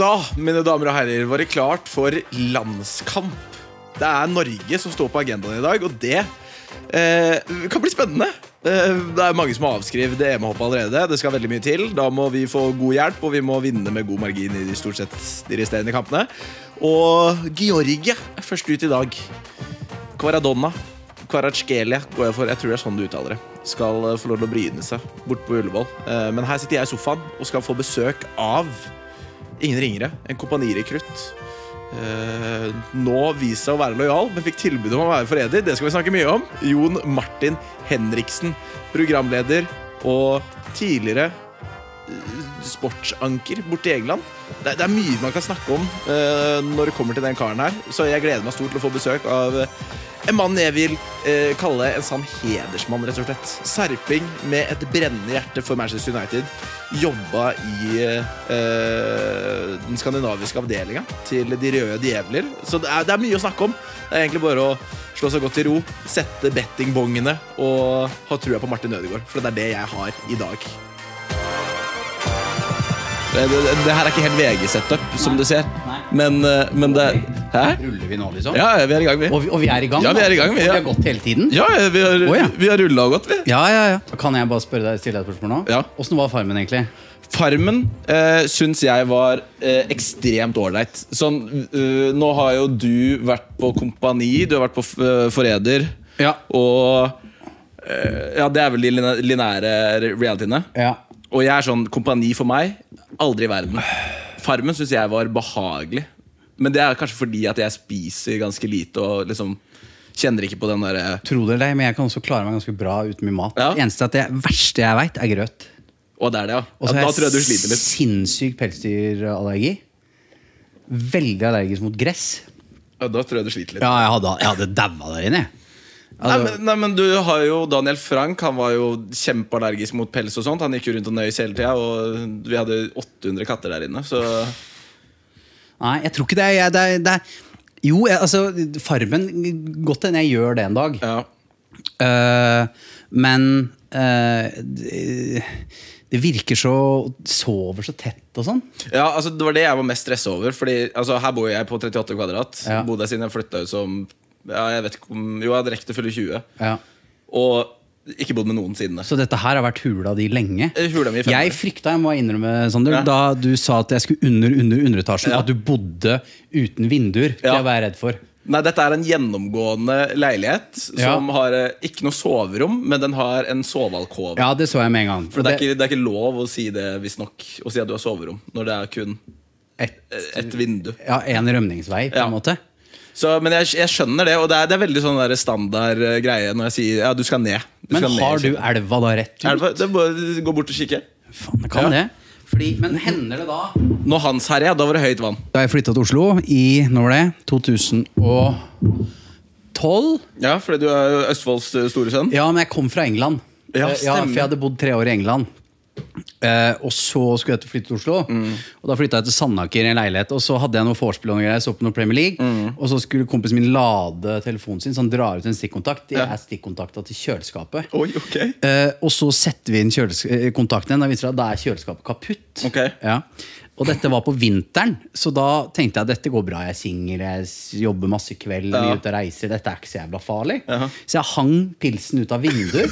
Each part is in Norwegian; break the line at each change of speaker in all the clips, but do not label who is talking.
Da, mine damer og herrer, var det klart for landskamp. Det er Norge som står på agendaen i dag, og det eh, kan bli spennende. Eh, det er mange som har avskrevet EM-hoppet allerede. Det skal veldig mye til. Da må vi få god hjelp, og vi må vinne med god margin i de stort sett de resterende kampene. Og Georgia er først ut i dag. Kvaradonna. Kvaratskhelia går jeg for. Jeg tror det er sånn du uttaler det. Skal eh, få lov til å bryne seg bort på Ullevål. Eh, Men her sitter jeg i sofaen og skal få besøk av ingen ringere enn kompanirekrutt. Eh, nå viste seg å være lojal, men fikk tilbud om å være forræder. Det skal vi snakke mye om. Jon Martin Henriksen, programleder og tidligere eh, sportsanker borti England. Det, det er mye man kan snakke om eh, når det kommer til den karen her, så jeg gleder meg stort til å få besøk av eh, en mann jeg vil eh, kalle en sann hedersmann, rett og slett. Serping med et brennende hjerte for Manchester United. Jobba i eh, den skandinaviske avdelinga til De røde djevler. Så det er, det er mye å snakke om. Det er egentlig bare å slå seg godt til ro, sette bettingbongene og ha trua på Martin Ødegaard, for det er det jeg har i dag. Det, Eh, det, det her er ikke helt VG-setup, som du ser, men, eh, men det Hæ?
Ruller vi nå, liksom?
Ja, ja, vi er i gang, vi.
Og, vi, og vi er i gang?
Ja, vi er i gang, vi,
vi,
ja.
vi har gått hele tiden?
Ja, ja, vi har,
Å, ja.
vi har rulla og gått, vi.
ja, ja. ja. Kan jeg bare spørre deg, stille deg et spørsmål nå?
Ja.
Åssen var Farmen, egentlig?
Farmen eh, syns jeg var eh, ekstremt ålreit. Sånn, eh, nå har jo du vært på Kompani, du har vært på f- eh, Forræder.
Ja.
Og eh, Ja, det er vel de linæ- lineære re- realityene.
Ja.
Og jeg er sånn Kompani for meg, aldri i verden. Farmen syns jeg var behagelig. Men det er kanskje fordi at jeg spiser ganske lite og liksom kjenner ikke på den derre
Tro det eller ei, men jeg kan også klare meg ganske bra uten mye mat.
Ja.
Det eneste at det verste jeg veit, er grøt.
Å, det er det, ja.
Og så
ja da tror
har
jeg du
jeg
sliter litt.
sinnssyk pelsdyrallergi. Veldig allergisk mot gress.
Ja, da tror jeg du sliter litt.
Ja, jeg hadde, jeg hadde daua der inne. jeg.
Nei
Altså,
men, nei, men du har jo Daniel Frank Han var jo kjempeallergisk mot pels og sånt Han gikk jo rundt og nøys hele tiden Og vi hadde 800 katter der inne Så
Nei, jeg tror ikke det. er- Jeg, det, er- det er- jo, jeg, altså, Farmen Godt hende jeg gjør det en dag.
ja
Eh, men eh, det, det virker så Sover så tett og sånn.
Ja, altså det var det jeg var mest stresset over Fordi altså, her bor jeg på 38 kvadrat
Ja.
Bodde jeg siden jeg flyttet ut som Ja, jeg vet ikke om Jo, jeg hadde rekt til å fylle 20
Ja.
Og ikke bodd med noen siden det
Så dette her har vært hula di lenge.
Eh, hula mi i fem
jeg
år.
frykta, jeg må innrømme, Sander,
Ja.
da du sa at jeg skulle under under underetasjen,
Ja.
at du bodde uten vinduer. Det
Ja.
var jeg redd for.
Nei, dette er en gjennomgående leilighet
Ja.
Som har eh, ikke noe soverom Men den har en sovealkov
Ja, det så jeg med en gang.
For det er,
Og
ikke, det er ikke lov å si det hvis nok Å si at du har soverom Når det er kun
et,
eh, et vindu
ja, en rømningsvei, på
Ja.
en måte.
Så, men jeg, jeg skjønner det, og det er, det er veldig sånn der standard eh, greie når jeg sier ja, du skal ned. Du
Men
skal ned,
har du
skjønner
elva da rett
Er
ut?
det, det er bare Gå bort og kikke.
Faen, det kan
Ja.
det. Fordi, men hender det da
Når Hans herja, da var det høyt vann.
Da jeg flytta til Oslo i når var det? 2012
Ja, fordi du er jo Østfolds eh, store sønn.
Ja, men jeg kom fra England.
Ja,
Eh, ja,
stemmer.
For jeg hadde bodd tre år i England. Eh, og så skulle jeg til- flytte til Oslo.
Mm.
Og Da flytta jeg til Sandaker i en leilighet. Og så hadde jeg noe vorspiel og noe greier, så på noe Premier League.
Mm.
Og så skulle kompisen min lade telefonen sin, så han drar ut en stikkontakt. Jeg
Ja.
er stikkontakta til kjøleskapet.
Oi, ok.
Eh, og så setter vi inn kjøles- eh, kontakten igjen. Da viser det seg at da er kjøleskapet kaputt.
Ok.
Ja. Og dette var på vinteren, så da tenkte jeg dette går bra. Jeg er singel, jeg s- jobber masse kveld,
Ja.
mye ute og reiser. Dette er ikke så jævla farlig.
Jaha.
Så jeg hang pilsen ut av vinduet.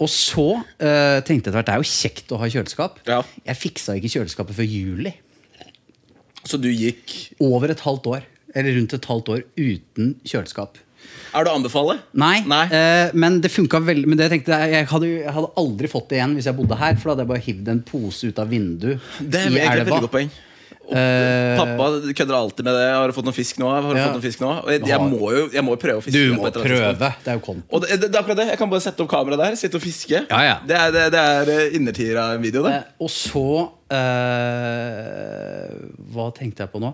og så eh, tenkte jeg etter hvert det er jo kjekt å ha kjøleskap.
Ja.
Jeg fiksa ikke kjøleskapet før juli.
Så du gikk
Over et halvt år. Eller rundt et halvt år uten kjøleskap.
Er det å anbefale?
Nei,
Nei.
eh, men det funka veldig Men det jeg tenkte jeg hadde, jo- jeg hadde aldri fått det igjen hvis jeg bodde her. For da hadde jeg bare hivd en pose ut av vinduet
det er
i
egentlig et
elva. Eh,
veldig godt poeng. Og Pappa kødder alltid med det. 'Har du fått noe fisk nå?' Har du
Ja.
fått noe fisk nå? Og jeg, jeg
Har-
må jo jeg må jo prøve å fiske.
Du
på
må
et eller annet tidspunkt.
prøve. Det er jo kont.
Og det, det, det er akkurat det. Jeg kan bare sette opp kameraet der, sitte og fiske.
Ja, ja.
Det er, det, det er eh, innertier av en video, det.
Eh, og så eh, Hva tenkte jeg på nå?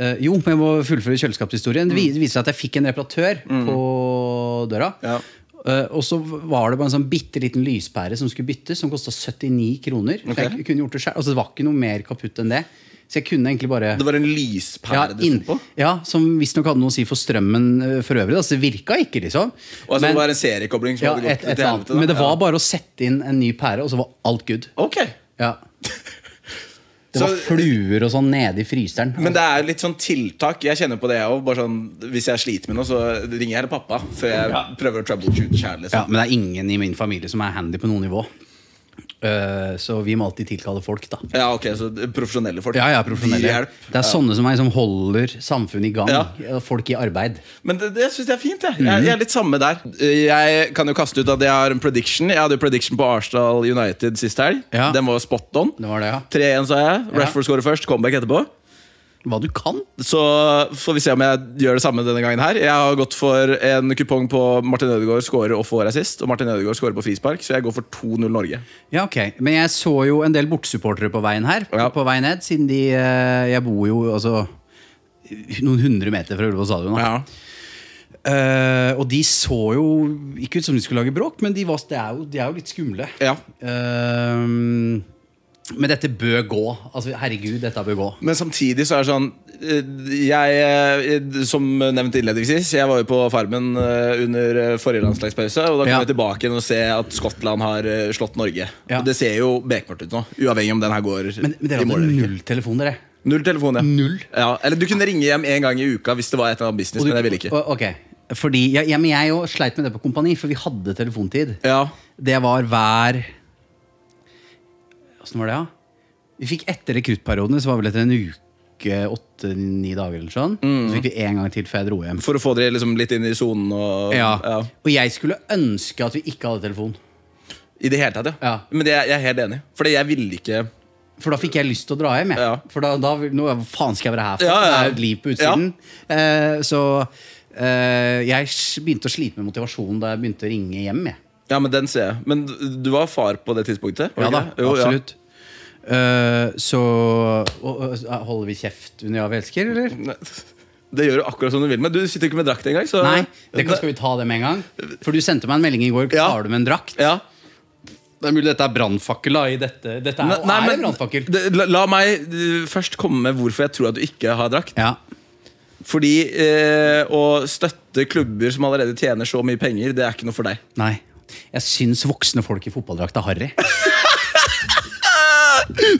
Eh, jo, men jeg må fullføre kjøleskapshistorien. Det vi- det viser seg at jeg fikk en reparatør på døra.
Mm. Ja.
Eh, og så var det bare en sånn bitte liten lyspære som skulle byttes, som kosta 79 kroner. Så
Ok.
Jeg kunne gjort det selv. Altså, det var ikke noe mer kaputt enn det. Så jeg kunne egentlig bare
Det var en lyspære du
inn-
sto på?
Ja, som visstnok hadde noe å si for strømmen eh, for øvrig. Da. Så det virka ikke, liksom.
Og altså, det
men,
var en seriekobling som
ja,
hadde gått
et, et
til
eller
helvete?
annet.
da?
men det var
ja.
bare å sette inn en ny pære, og så var alt good.
Ok.
Ja. Det var
Så-
fluer og sånn nede i fryseren.
Men det er litt sånn tiltak. Jeg kjenner på det òg. Sånn, hvis jeg sliter med noe, så ringer jeg til pappa. Før jeg prøver å troubleshoote sjæl.
Ja,
Liksom.
men det er ingen i min familie som er handy på noe nivå. Eh, så vi må alltid tilkalle folk, da.
Ja. ok, så profesjonelle folk.
Ja, ja, profesjonelle.
De gir hjelp.
Det er sånne som meg som holder samfunnet i gang.
Ja.
eh, Folk i arbeid.
Men det, det syns jeg er fint. Jeg.
Mhm.
Jeg, jeg er litt samme der. Jeg kan jo kaste ut at jeg har en prediction. Jeg hadde jo prediction på Arsenal United sist helg.
Ja.
Den var jo spot on.
Det var det, ja.
3-1, sa jeg.
Ja.
Rashford scorer først, comeback etterpå.
Hva du kan?
Så får vi se om jeg gjør det samme denne gangen her. Jeg har gått for en kupong på Martin Ødegaard scorer og får assist. Og Martin Ødegaard scorer på frispark, så jeg går for 2-0 Norge.
Ja, ok. Men jeg så jo en del bortsupportere på veien her.
Ja.
På vei ned, siden de eh, Jeg bor jo altså noen hundre meter fra Ullevål stadion. da. Eh, og de så jo ikke ut som de skulle lage bråk, men de, var, det er jo, de er jo litt skumle.
Ja.
Eh, men dette bør gå. Altså, herregud, dette bør gå.
Men samtidig så er det sånn eh, jeg, eh, Som nevnt innledningsvis, jeg var jo på Farmen eh, under eh, forrige landslagspause. Og da kom
Ja.
jeg tilbake igjen og se at Skottland har eh, slått Norge.
Ja.
Og det ser jo bekmørkt ut nå, uavhengig om den her går
Men, men
i mål.
dere hadde
eller ikke.
null telefon, dere.
Null telefon, ja.
Null?
ja. Eller du kunne ringe hjem en gang i uka hvis det var et eller annet business, men jeg ville ikke.
O- Ok, fordi ja, ja, men jeg òg sleit med det på kompani, for vi hadde telefontid.
Ja,
Det var hver Åssen var det, da? Vi fikk etter rekruttperiodene, så var det vel etter en uke, åtte-ni dager eller sånn. Så fikk vi en gang til før jeg dro hjem.
For å få dere liksom litt inn i sonen og
Ja.
Ja.
Og jeg skulle ønske at vi ikke hadde telefon.
I det hele tatt, ja.
Ja.
Men det, jeg er helt enig. Fordi jeg ville ikke
For da fikk jeg lyst til å dra hjem. Jeg.
Ja.
For da, da nå, Hva faen skal jeg være her for?
Ja, ja, ja.
Det er jo et liv på utsiden. Eh, så eh, jeg s- begynte å slite med motivasjonen da jeg begynte å ringe hjem. Jeg.
Ja, men den ser jeg. Men du var far på det tidspunktet? var
Ja
du
da,
ikke det? Jo, ja.
absolutt. Eh, så og, og, Holder vi kjeft under Ja, vi elsker, eller?
Nei, Det gjør du akkurat som du vil, men du sitter jo ikke med drakt engang. Så...
Nei, det kan, skal vi ta det med en gang? For du sendte meg en melding i går.
Ja.
Har du med en drakt?
Ja.
Det er mulig dette er brannfakkel, da. I dette. dette er,
Nei,
er
men-
en brannfakkel.
det- La, la meg eh, først komme med hvorfor jeg tror at du ikke har drakt.
Ja.
Fordi eh, å støtte klubber som allerede tjener så mye penger, det er ikke noe for deg.
Nei. Jeg syns voksne folk i fotballdrakt er harry.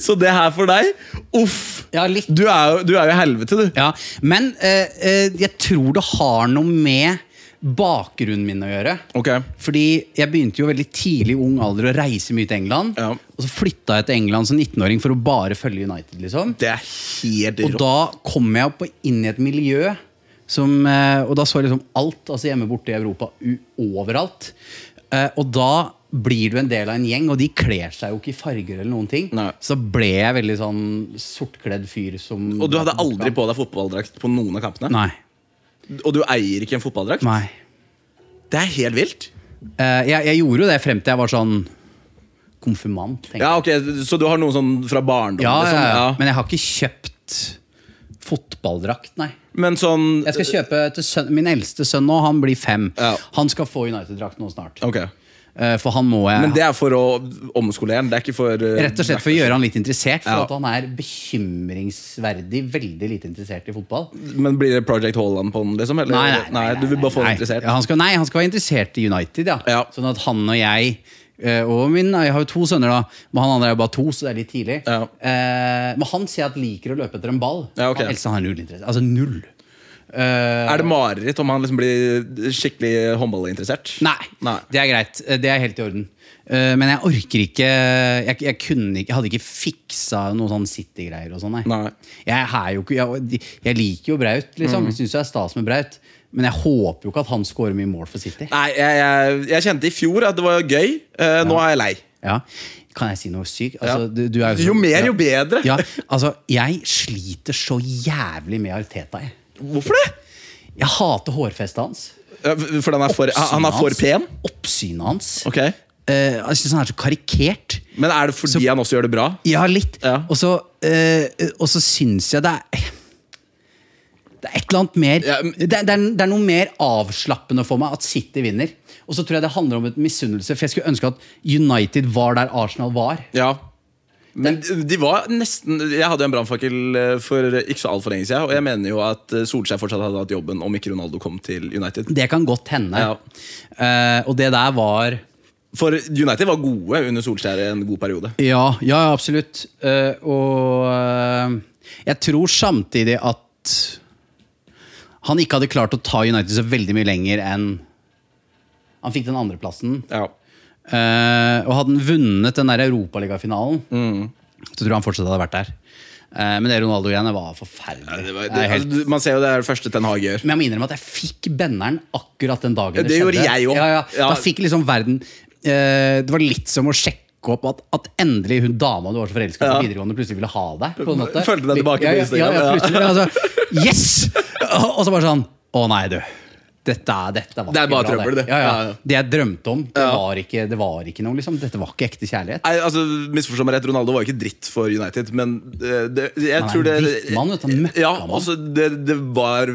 Så det her for deg Uff!
Ja, litt.
Du er jo, du er jo i helvete, du.
Ja, men eh, eh, jeg tror det har noe med bakgrunnen min å gjøre.
Ok.
Fordi jeg begynte jo veldig tidlig i ung alder å reise mye til England.
Ja.
Og så flytta jeg til England som 19-åring for å bare følge United. liksom.
Det er helt
Og
rått.
da kom jeg opp og inn i et miljø som eh, Og da så jeg liksom alt, altså hjemme borte i Europa, u overalt. Eh, Og da blir du en del av en gjeng, og de kler seg jo ikke i farger eller noen ting.
Nei.
Så ble jeg veldig sånn sortkledd fyr som
Og du hadde aldri på deg fotballdrakt på noen av kampene?
Nei.
Og du eier ikke en fotballdrakt?
Nei.
Det er helt vilt.
Eh, jeg, jeg gjorde jo det frem til jeg var sånn konfirmant. tenker jeg.
Ja, ok, Så du har noe sånn fra barndommen?
Ja, ja,
liksom?
ja.
Ja.
Men jeg har ikke kjøpt fotballdrakt, nei.
Men sånn
Jeg skal kjøpe til sønn, Min eldste sønn nå, han blir fem.
Ja.
Han skal få United-drakt nå snart.
Ok.
Eh, for han må jeg
Men det er for å omskolere den? Det er ikke for uh,
Rett og slett for å gjøre han litt interessert, for
Ja.
at han er bekymringsverdig veldig lite interessert i fotball.
Men blir det Project Haaland på den, liksom? Eller? Du vil bare få
nei.
den interessert?
Ja, han skal, nei, han skal være interessert i United, ja.
Ja.
Sånn at han og jeg eh, og min, Jeg har jo to sønner, da. Men han andre er jo bare to, så det er litt tidlig.
Ja.
Eh, men han sier at liker å løpe etter en ball.
Ja, ok.
Han helst har null interesse. Altså null. Eh,
Er det mareritt om han liksom blir skikkelig håndballinteressert?
nei,
Nei.
det er greit. Eh, Det er helt i orden. Eh, men jeg orker ikke Jeg, jeg kunne ikke, jeg hadde ikke fiksa noe sånn City-greier og sånn, nei.
Nei. Mm.
Jeg, er jo ikke, jeg, jeg liker jo Braut, liksom. Jeg syns det er stas med Braut. Men jeg håper jo ikke at han scorer mye mål for City.
Nei, jeg, jeg, jeg kjente i fjor at det var gøy. Eh, Nå er jeg lei.
Ja. Kan jeg si noe sykt? Altså,
Ja.
du, du er
Jo
så-
mer, jo bedre.
Ja, altså, jeg sliter så jævlig med Arteta. Jeg,
Hvorfor det?
jeg hater hårfestet hans.
Ja, For han er for, han er for
Oppsynet
pen?
hans. Oppsynet hans.
Ok
Eh, jeg syns han er så karikert.
Men er det fordi han også gjør det bra?
Ja, litt.
Ja.
Og så eh, og så syns jeg det er det er et eller annet mer
Ja, men-
det, er- det, er, det er noe mer avslappende for meg at City vinner. Og så tror jeg det handler om et misunnelse, for jeg skulle ønske at United var der Arsenal var.
Ja men de- de var nesten Jeg hadde jo en brannfakkel eh, for ikke så altfor lenge siden. Og jeg mener jo at eh, Solskjær fortsatt hadde hatt jobben om ikke Ronaldo kom til United.
Det kan godt hende.
Ja.
Eh, og det der var
For United var gode under Solskjær en god periode.
Ja, ja absolutt. Eh, og eh, jeg tror samtidig at han ikke hadde klart å ta United så veldig mye lenger enn Han fikk den andreplassen.
Ja.
Eh, og hadde han vunnet den der Europaligafinalen,
Mm.
så tror jeg han fortsatt hadde vært der. Eh, men det Ronaldo-greiene var forferdelig.
Nei, Det var,
Jeg
det,
er helt-
altså, man ser jo det er det første Ten Hag gjør.
men jeg må innrømme at jeg fikk benneren akkurat den dagen.
Ja, det gjorde jeg også.
Ja, ja.
Ja.
Da fikk liksom verden eh, Det var litt som å sjekke opp at, at endelig hun dama du var så forelska i
Ja.
på videregående, plutselig ville ha deg. På en måte.
Følte deg tilbake på
ja, ja,
Instagram,
Ja,
ja.
ja, plutselig, altså, yes! Og, og så bare sånn Å nei, du. Dette, er- dette var
Det er bare
bra,
trøbbel, det.
Ja, ja.
Ja, ja.
Det jeg drømte om, det, var, ikke, det var ikke noe. Liksom. Dette var ikke ekte kjærlighet.
Nei, altså, Misforstå meg rett, Ronaldo var jo ikke dritt for United, men eh, det, jeg
er
tror det
en drittmann, vet du, han møkkamann.
ja, altså, det, det var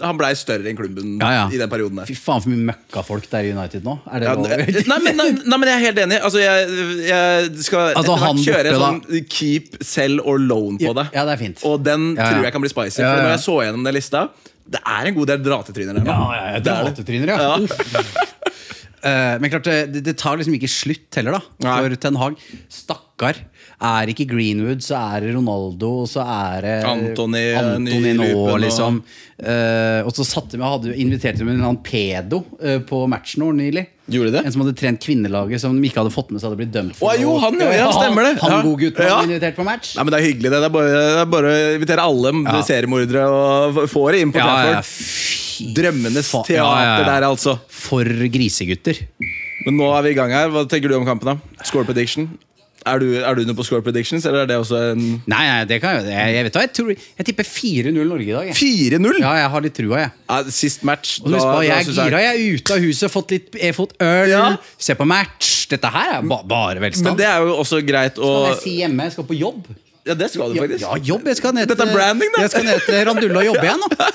Han blei større enn klubben
Ja, ja.
i den perioden der.
Fy faen, for mye møkkafolk det er i United nå. Er det
Ja,
lov?
nei, men, nei, nei, men jeg er helt enig. Altså, jeg, jeg skal
Altså,
etter
han
hvert kjøre en
borte,
sånn keep, sell or loan på
Ja,
det.
ja, det er fint.
Og den
Ja, ja.
tror jeg kan bli spicy.
Ja,
For
ja.
når jeg så gjennom den lista Det er en god del dratetryner der nå.
Ja, ja, ja, det er åttetryner, ja.
Ja.
Eh, men klart, det, det tar liksom ikke slutt heller, da.
Nei.
For Ten Hag. Stakkar. Er ikke Greenwood, så er det Ronaldo, og så er det
Antony,
Antony
ny
nå,
Lupen og-
liksom. Eh, og så satte vi, hadde, inviterte vi en eller annen pedo eh, på matchen vår nylig.
Gjorde de det?
En som hadde trent kvinnelaget som de ikke hadde fått med seg hadde blitt dømt for.
Å, jo,
noe.
han, ja, ja, stemmer det.
Han
Ja.
godgutten
Ja.
hadde invitert på match.
Nei, men Det er hyggelig. det Det er bare, det er bare å invitere alle seriemordere og få det inn på
Ja, ja, ja.
Trafford.
Fy
Drømmenes
faen.
teater
Ja, ja, ja.
der, altså.
For grisegutter.
Men nå er vi i gang her. Hva tenker du om kampen? da? Score prediction? Er du, er du inne på score predictions, eller er det også en
Nei, nei, det kan jeg, jeg, jeg vet hva, jeg, tror, jeg tipper 4-0 Norge i dag. Jeg.
4-0?
Ja, jeg har litt trua, jeg.
Ja, sist match.
Og husk på, jeg er
synes
gira, jeg er ute av huset, fått litt jeg har fått øl,
Ja.
se på match. Dette her er ba bare velstand.
Men det er jo også greit å
Hva skal jeg si hjemme, jeg skal på jobb.
Ja, det skal du
Ja,
faktisk.
ja, jobb. Jeg skal ned
Dette er branding, da.
Jeg skal ned til Randulla og jobbe igjen, da.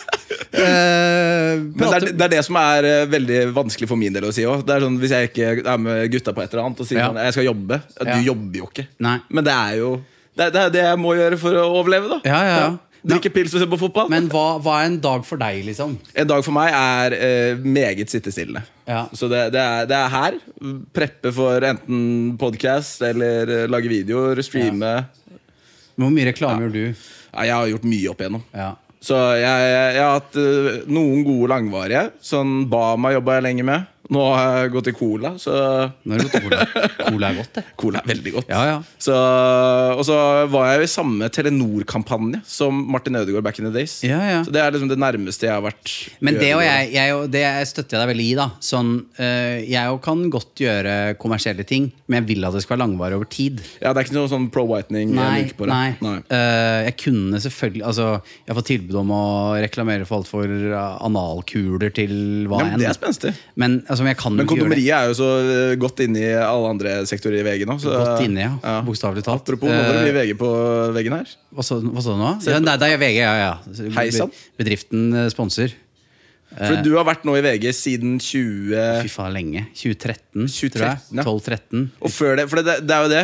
Eh,
Men det
prate-
er, det er det som er eh, veldig vanskelig for min del å si òg. Sånn, hvis jeg ikke er med gutta på et eller annet og sier
Ja.
sånn, jeg skal jobbe ja, Du
Ja.
jobber jo ikke.
Nei.
Men det er jo det, er- det er det jeg må gjøre for å overleve, da.
Ja, ja, ja.
Drikke pils og se på fotball.
Men hva, hva er en dag for deg, liksom?
en dag for meg er eh, meget sittestillende.
Ja.
Så det, det, er, det er her. Preppe for enten podkast eller eh, lage videoer, streame.
Hvor mye reklame gjør du?
Ja, jeg har gjort mye opp igjennom.
Ja.
Så jeg, jeg, jeg har hatt eh, noen gode langvarige. Sånn Bama jobba jeg lenge med. Nå har jeg gått i Cola, så
Nå er det godt cola. Cola er godt, det.
Cola er veldig godt.
Ja, ja.
Så, og så var jeg jo i samme Telenor-kampanje som Martin Ødegaard back in the days.
Ja, ja.
Så det er liksom det nærmeste jeg har vært.
Men det, og
Ødegaard.
jeg, jeg, og det støtter jeg deg veldig i. da sånn, eh, Jeg jo kan godt gjøre kommersielle ting, men jeg vil at det skal være langvarig over tid.
Ja, Det er ikke noe sånn pro-whitening.
Nei,
på det.
nei. Eh, jeg kunne selvfølgelig altså, Jeg har fått tilbud om å reklamere for alt for eh, analkuler til hva
Ja, men
enn.
det er spenstig.
Men, altså, men jeg kan jo
Men
ikke gjøre det
kondomeriet er jo så eh, godt inni alle andre sektorer i VG nå. Så,
godt inne, ja. Bokstavelig talt.
Apropos, nå må det
Eh,
bli VG på veggen her.
hva, sa, hva sa du nå? Ja, nei, det er VG, ja. ja.
Hei sann.
Bedriften eh, sponser.
For du har vært nå i VG siden 20...
Eh. Fy faen, lenge. 2013, tror
2013, ja.
jeg. 12-13.
Og før det, for det, det er jo det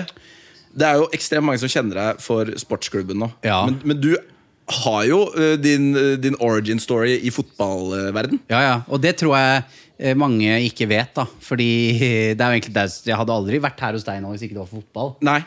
Det er jo ekstremt mange som kjenner deg for sportsklubben nå
Ja.
men, men du har jo eh, din, eh, din origin story i fotballverden
Ja, ja. Og det tror jeg eh, mange ikke vet, da. Fordi det er jo egentlig det jeg hadde aldri vært her hos deg nå hvis ikke det var for fotball.
Nei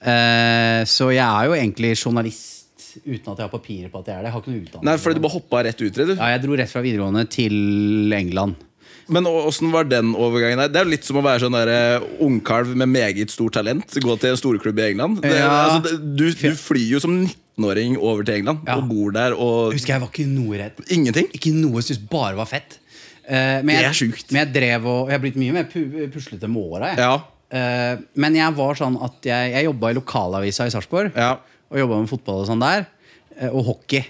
Eh, så jeg er jo egentlig journalist uten at jeg har papirer på at jeg er det. Jeg har ikke noe utdannelse.
Nei, fordi du bare hoppet rett ut, Redu
Ja, jeg dro rett fra videregående til England.
Men å- hvordan var den overgangen der? Det er jo litt som å være sånn der eh, ungkalv med meget stort talent Gå til en storklubb i England det,
Ja.
altså, det, du, du flyr jo som 19-åring over til England
Ja.
Og bor der og
Husker jeg var ikke noe redd.
ingenting
Ikke noe jeg syntes bare var fett. Eh, men
Det
jeg,
er sjukt.
Men jeg drev og Jeg har blitt mye mer pu puslete med åra. jeg.
Ja.
Eh, men jeg var sånn at jeg, jeg jobba i lokalavisa i Sarpsborg.
Ja.
Og jobba med fotball og sånn der. eh, og hockey.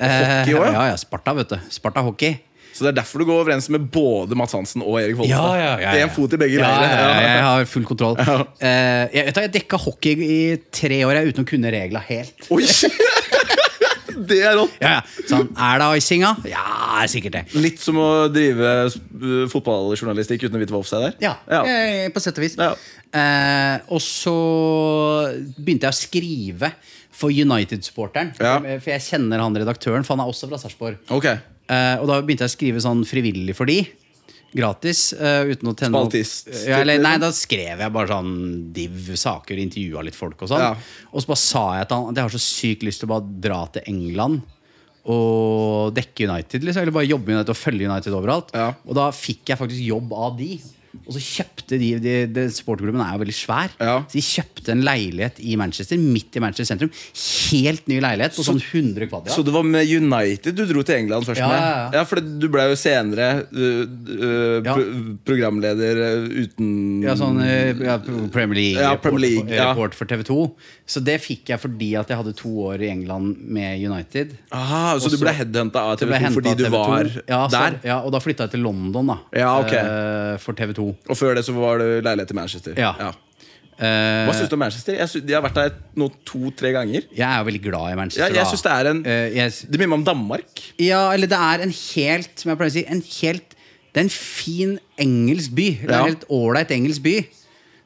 hockey
Eh,
også, ja?
ja, ja, Sparta, vet du. Sparta hockey.
Så det er derfor du går overens med både Mads Hansen og Erik Follestad Det er en fot i begge
ja,
leirer
Ja, ja, jeg har full kontroll.
Ja.
Eh, jeg, vet du, jeg dekka hockey i tre år jeg, uten å kunne regla helt.
Oi! det er rått.
Ja, ja. Sånn, Er det icinga? Ja, det er sikkert det.
Litt som å drive eh, fotballjournalistikk uten å vite hva offside er.
Ja, eh, på sett og vis.
Ja.
Eh, og så begynte jeg å skrive for United-supporteren. Eh,
Ja.
For jeg kjenner han redaktøren, for han er også fra Sarpsborg.
Ok.
Eh, og da begynte jeg å skrive sånn frivillig for de. gratis. eh, uten å tenne opp-
Spaltist. liksom?
Ja, eller, nei, da skrev jeg bare sånn div-saker, intervjua litt folk og sånn.
Ja.
Og så bare sa jeg til han at jeg har så sykt lyst til å bare dra til England og dekke United. Liksom, eller bare jobbe med United og følge United overalt.
Ja.
Og da fikk jeg faktisk jobb av de. Og så kjøpte de, de, de Supporterklubben er jo veldig svær.
Ja.
Så de kjøpte en leilighet i Manchester, midt i Manchester sentrum. Helt ny leilighet på sånn 100 kvadrat.
Så det var med United du dro til England først?
Ja,
med?
ja, ja.
ja for det- du ble jo senere uh, uh,
Ja.
pro- programleder uh, uten
Ja, sånn eh, ja, Premier League,
Ja, Premier League,
report, for,
ja.
report for TV 2. Så det fikk jeg fordi at jeg hadde to år i England med United.
Aha, så
Og
du
så-
ble headhunta av
Så
TV2
ble jeg hentet
fordi
av
du
TV2.
var
ja, så,
der?
Ja, og da flytta jeg til London, da.
Ja, ok.
eh, for TV 2.
Og før det så var det leilighet i Manchester?
Ja. Eh,
Hva syns du om Manchester? Jeg, sy- de har vært der nå to-tre ganger.
Jeg er jo veldig glad i Manchester.
Ja, jeg
da.
synes det er en-
Eh, jeg,
Det minner meg om Danmark.
Ja, eller det er en helt Som jeg pleier å si En helt Det er en fin engelsk by Det er
Ja.
en helt ålreit engelsk by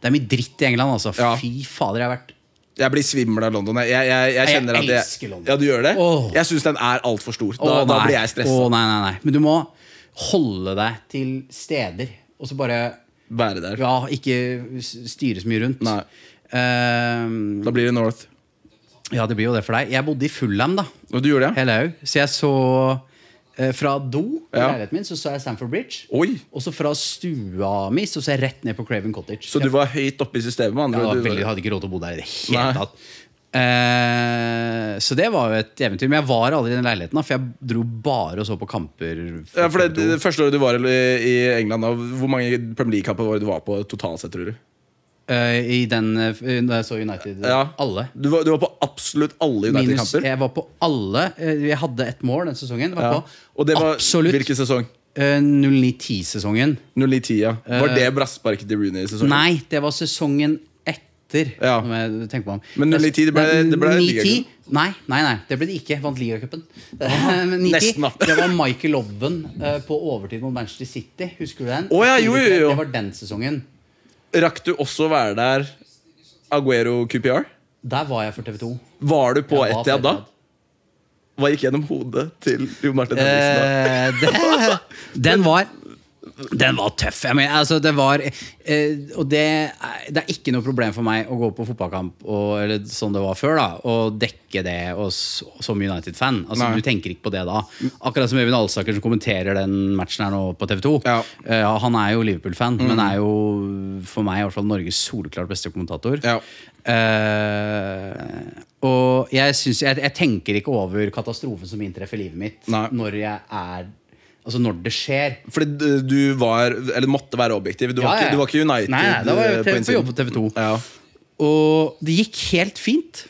Det er mye dritt i England altså
Ja.
Fy fader, jeg har vært
Jeg blir svimmel av London. Jeg, jeg, jeg, jeg
Jeg
kjenner at jeg,
elsker London.
Ja, du gjør det?
Åh.
Jeg syns den er altfor stor. Da,
Å,
da
nei.
blir jeg stressa.
Å, nei, nei, nei Men du må holde deg til steder Og så bare
Være der.
Ja, ikke s- styre så mye rundt
Nei.
Ehm,
Da blir det North.
Ja, det blir jo det for deg Jeg bodde i Fulham da
Og du gjorde det?
Hello. Så jeg så eh, Fra do i
Ja.
leiligheten min Så så jeg Stamford Bridge
Oi!
Og så fra stua mi så så jeg rett ned på Craven Cottage.
Så du var høyt oppe i systemet? med Andre,
jeg, jeg
ord.
var
Du-
veldig, hadde ikke råd til å bo der i det hele
Nei.
tatt. Eh, så det var jo et eventyr. Men jeg var aldri i den leiligheten, da, for jeg dro bare og så på kamper.
ja, for det, det første året du var i i England, da, hvor mange Premier League-kamper var det du var på totalt sett, tror du?
Eh, I den eh, Da jeg så United.
Ja.
Alle.
Du var, du var på absolutt alle
Minus,
United-kamper?
jeg var på alle. Eh, Jeg hadde ett mål den sesongen. Var
Ja.
på
Og det var
absolutt
hvilken sesong?
eh, 09-10-sesongen.
09-10, ja. Var det brassparket til Rooney-sesongen?
Eh. Nei, det var sesongen etter.
Ja.
Når jeg tenker meg om.
Men 09-10, det ble-
Nei,
det ble
09-10
ligacup.
Nei, nei, nei, det ble det ikke. Vant ligacupen. Eh, Men 09-10,
nesten, da.
Det var Michael Owen eh, på overtid mot Manchester City. Husker du den?
Å, ja, jo, jo, jo.
Det var den sesongen.
Rakk du også å være der Aguero QPR?
Der var jeg for TV 2.
Var du på Etiad da? Hva gikk gjennom hodet til Jo Martin Henriksen da?
Eh, det, den var den var tøff. Jeg mener, altså, det var eh, Og det, er- det er ikke noe problem for meg å gå på fotballkamp og, eller sånn det var før, da, og dekke det og, s- som United-fan. Altså,
Nei.
du tenker ikke på det da. Akkurat som Øyvind Alsaker som kommenterer den matchen her nå på TV 2.
Ja.
Eh,
Mm.
han er jo Liverpool-fan, men er jo for meg i hvert fall Norges soleklart beste kommentator.
Ja.
Eh, og jeg, synes, jeg, jeg tenker ikke over katastrofen som inntreffer livet mitt
Nei.
når jeg er Altså når det skjer.
Fordi d- du var Eller måtte være objektiv. Du, var,
Ja, ja.
ikke, du var ikke United
Nei, nei, da var jeg
eh,
på
på innsiden.
jobb på TV 2.
Ja.
Og det gikk helt fint.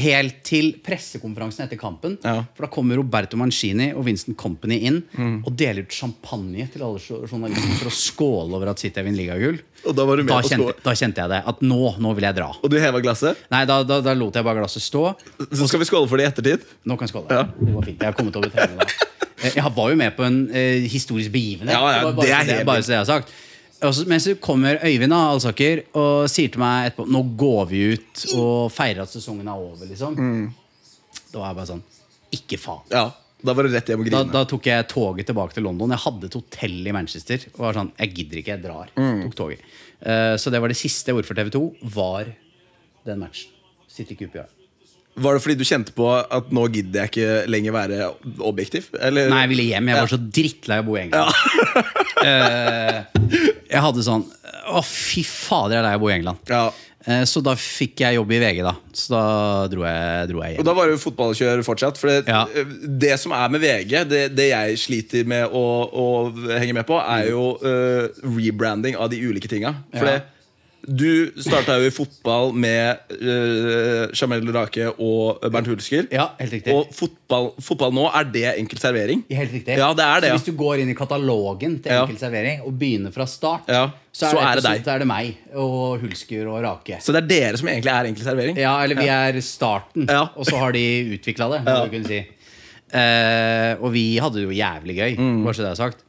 Helt til pressekonferansen etter kampen.
Ja.
For da kommer Roberto Mancini og Vincent Company inn
Mm.
og deler ut champagne til alle jo- journalister for å skåle over at City har vunnet ligagull.
Og da var du med
Da,
på
kjente-
skål.
da kjente jeg det. At nå, nå vil jeg dra.
Og du heva glasset?
Nei, da, da, da lot jeg bare glasset stå.
Så skal vi skåle for det i ettertid?
Nå kan jeg skåle.
Ja.
Det var fint. Jeg har kommet over tellene da. Eh, Jeg var jo med på en eh, historisk begivenhet.
Ja, ja,
var
det er
bare, så
helt
bare så det jeg har sagt. Og så- men så kommer Øyvind da, Alsaker og sier til meg etterpå Nå går vi ut og feirer at sesongen er over. liksom Da var jeg bare sånn Ikke faen.
Ja. Da var det rett hjem og
Da,
grine.
da tok jeg toget tilbake til London. Jeg hadde et hotell i Manchester. Og var sånn, jeg gidder ikke, jeg drar.
Mm.
Tok toget. Eh, så det var det siste jeg gjorde for TV 2, var den matchen. City QPR.
Var det fordi du kjente på at nå gidder jeg ikke lenger være objektiv? Eller?
Nei, jeg ville hjem. Jeg var så drittlei av å bo i England. Eh, jeg hadde sånn Å, fy fader, jeg er lei av å bo i England.
Ja.
Eh, så da fikk jeg jobb i VG, da. Så da dro jeg, dro jeg
Og
hjem.
da var det jo fotballkjør fortsatt. For det, eh,
Ja.
det som er med VG, det, det jeg sliter med å, å henge med på, er jo eh, rebranding av de ulike tinga. For
Ja.
det- du starta jo i fotball med uh, Jamel Rake og Bernt Hulsker.
Ja, helt riktig.
Og fotball, fotball nå, er det enkel servering?
Helt riktig.
Ja, det er det,
så
ja.
hvis du går inn i katalogen til
Ja.
Enkel servering og begynner fra start,
Ja.
så,
Så er
er
det
det,
deg.
så er det meg og Hulsker og Rake.
Så det er dere som egentlig er enkel servering?
Ja, eller vi er starten,
Ja.
og så har de utvikla det.
Ja.
må du kunne Si. Eh, og vi hadde det jo jævlig gøy,
Mm.
bare så det er sagt.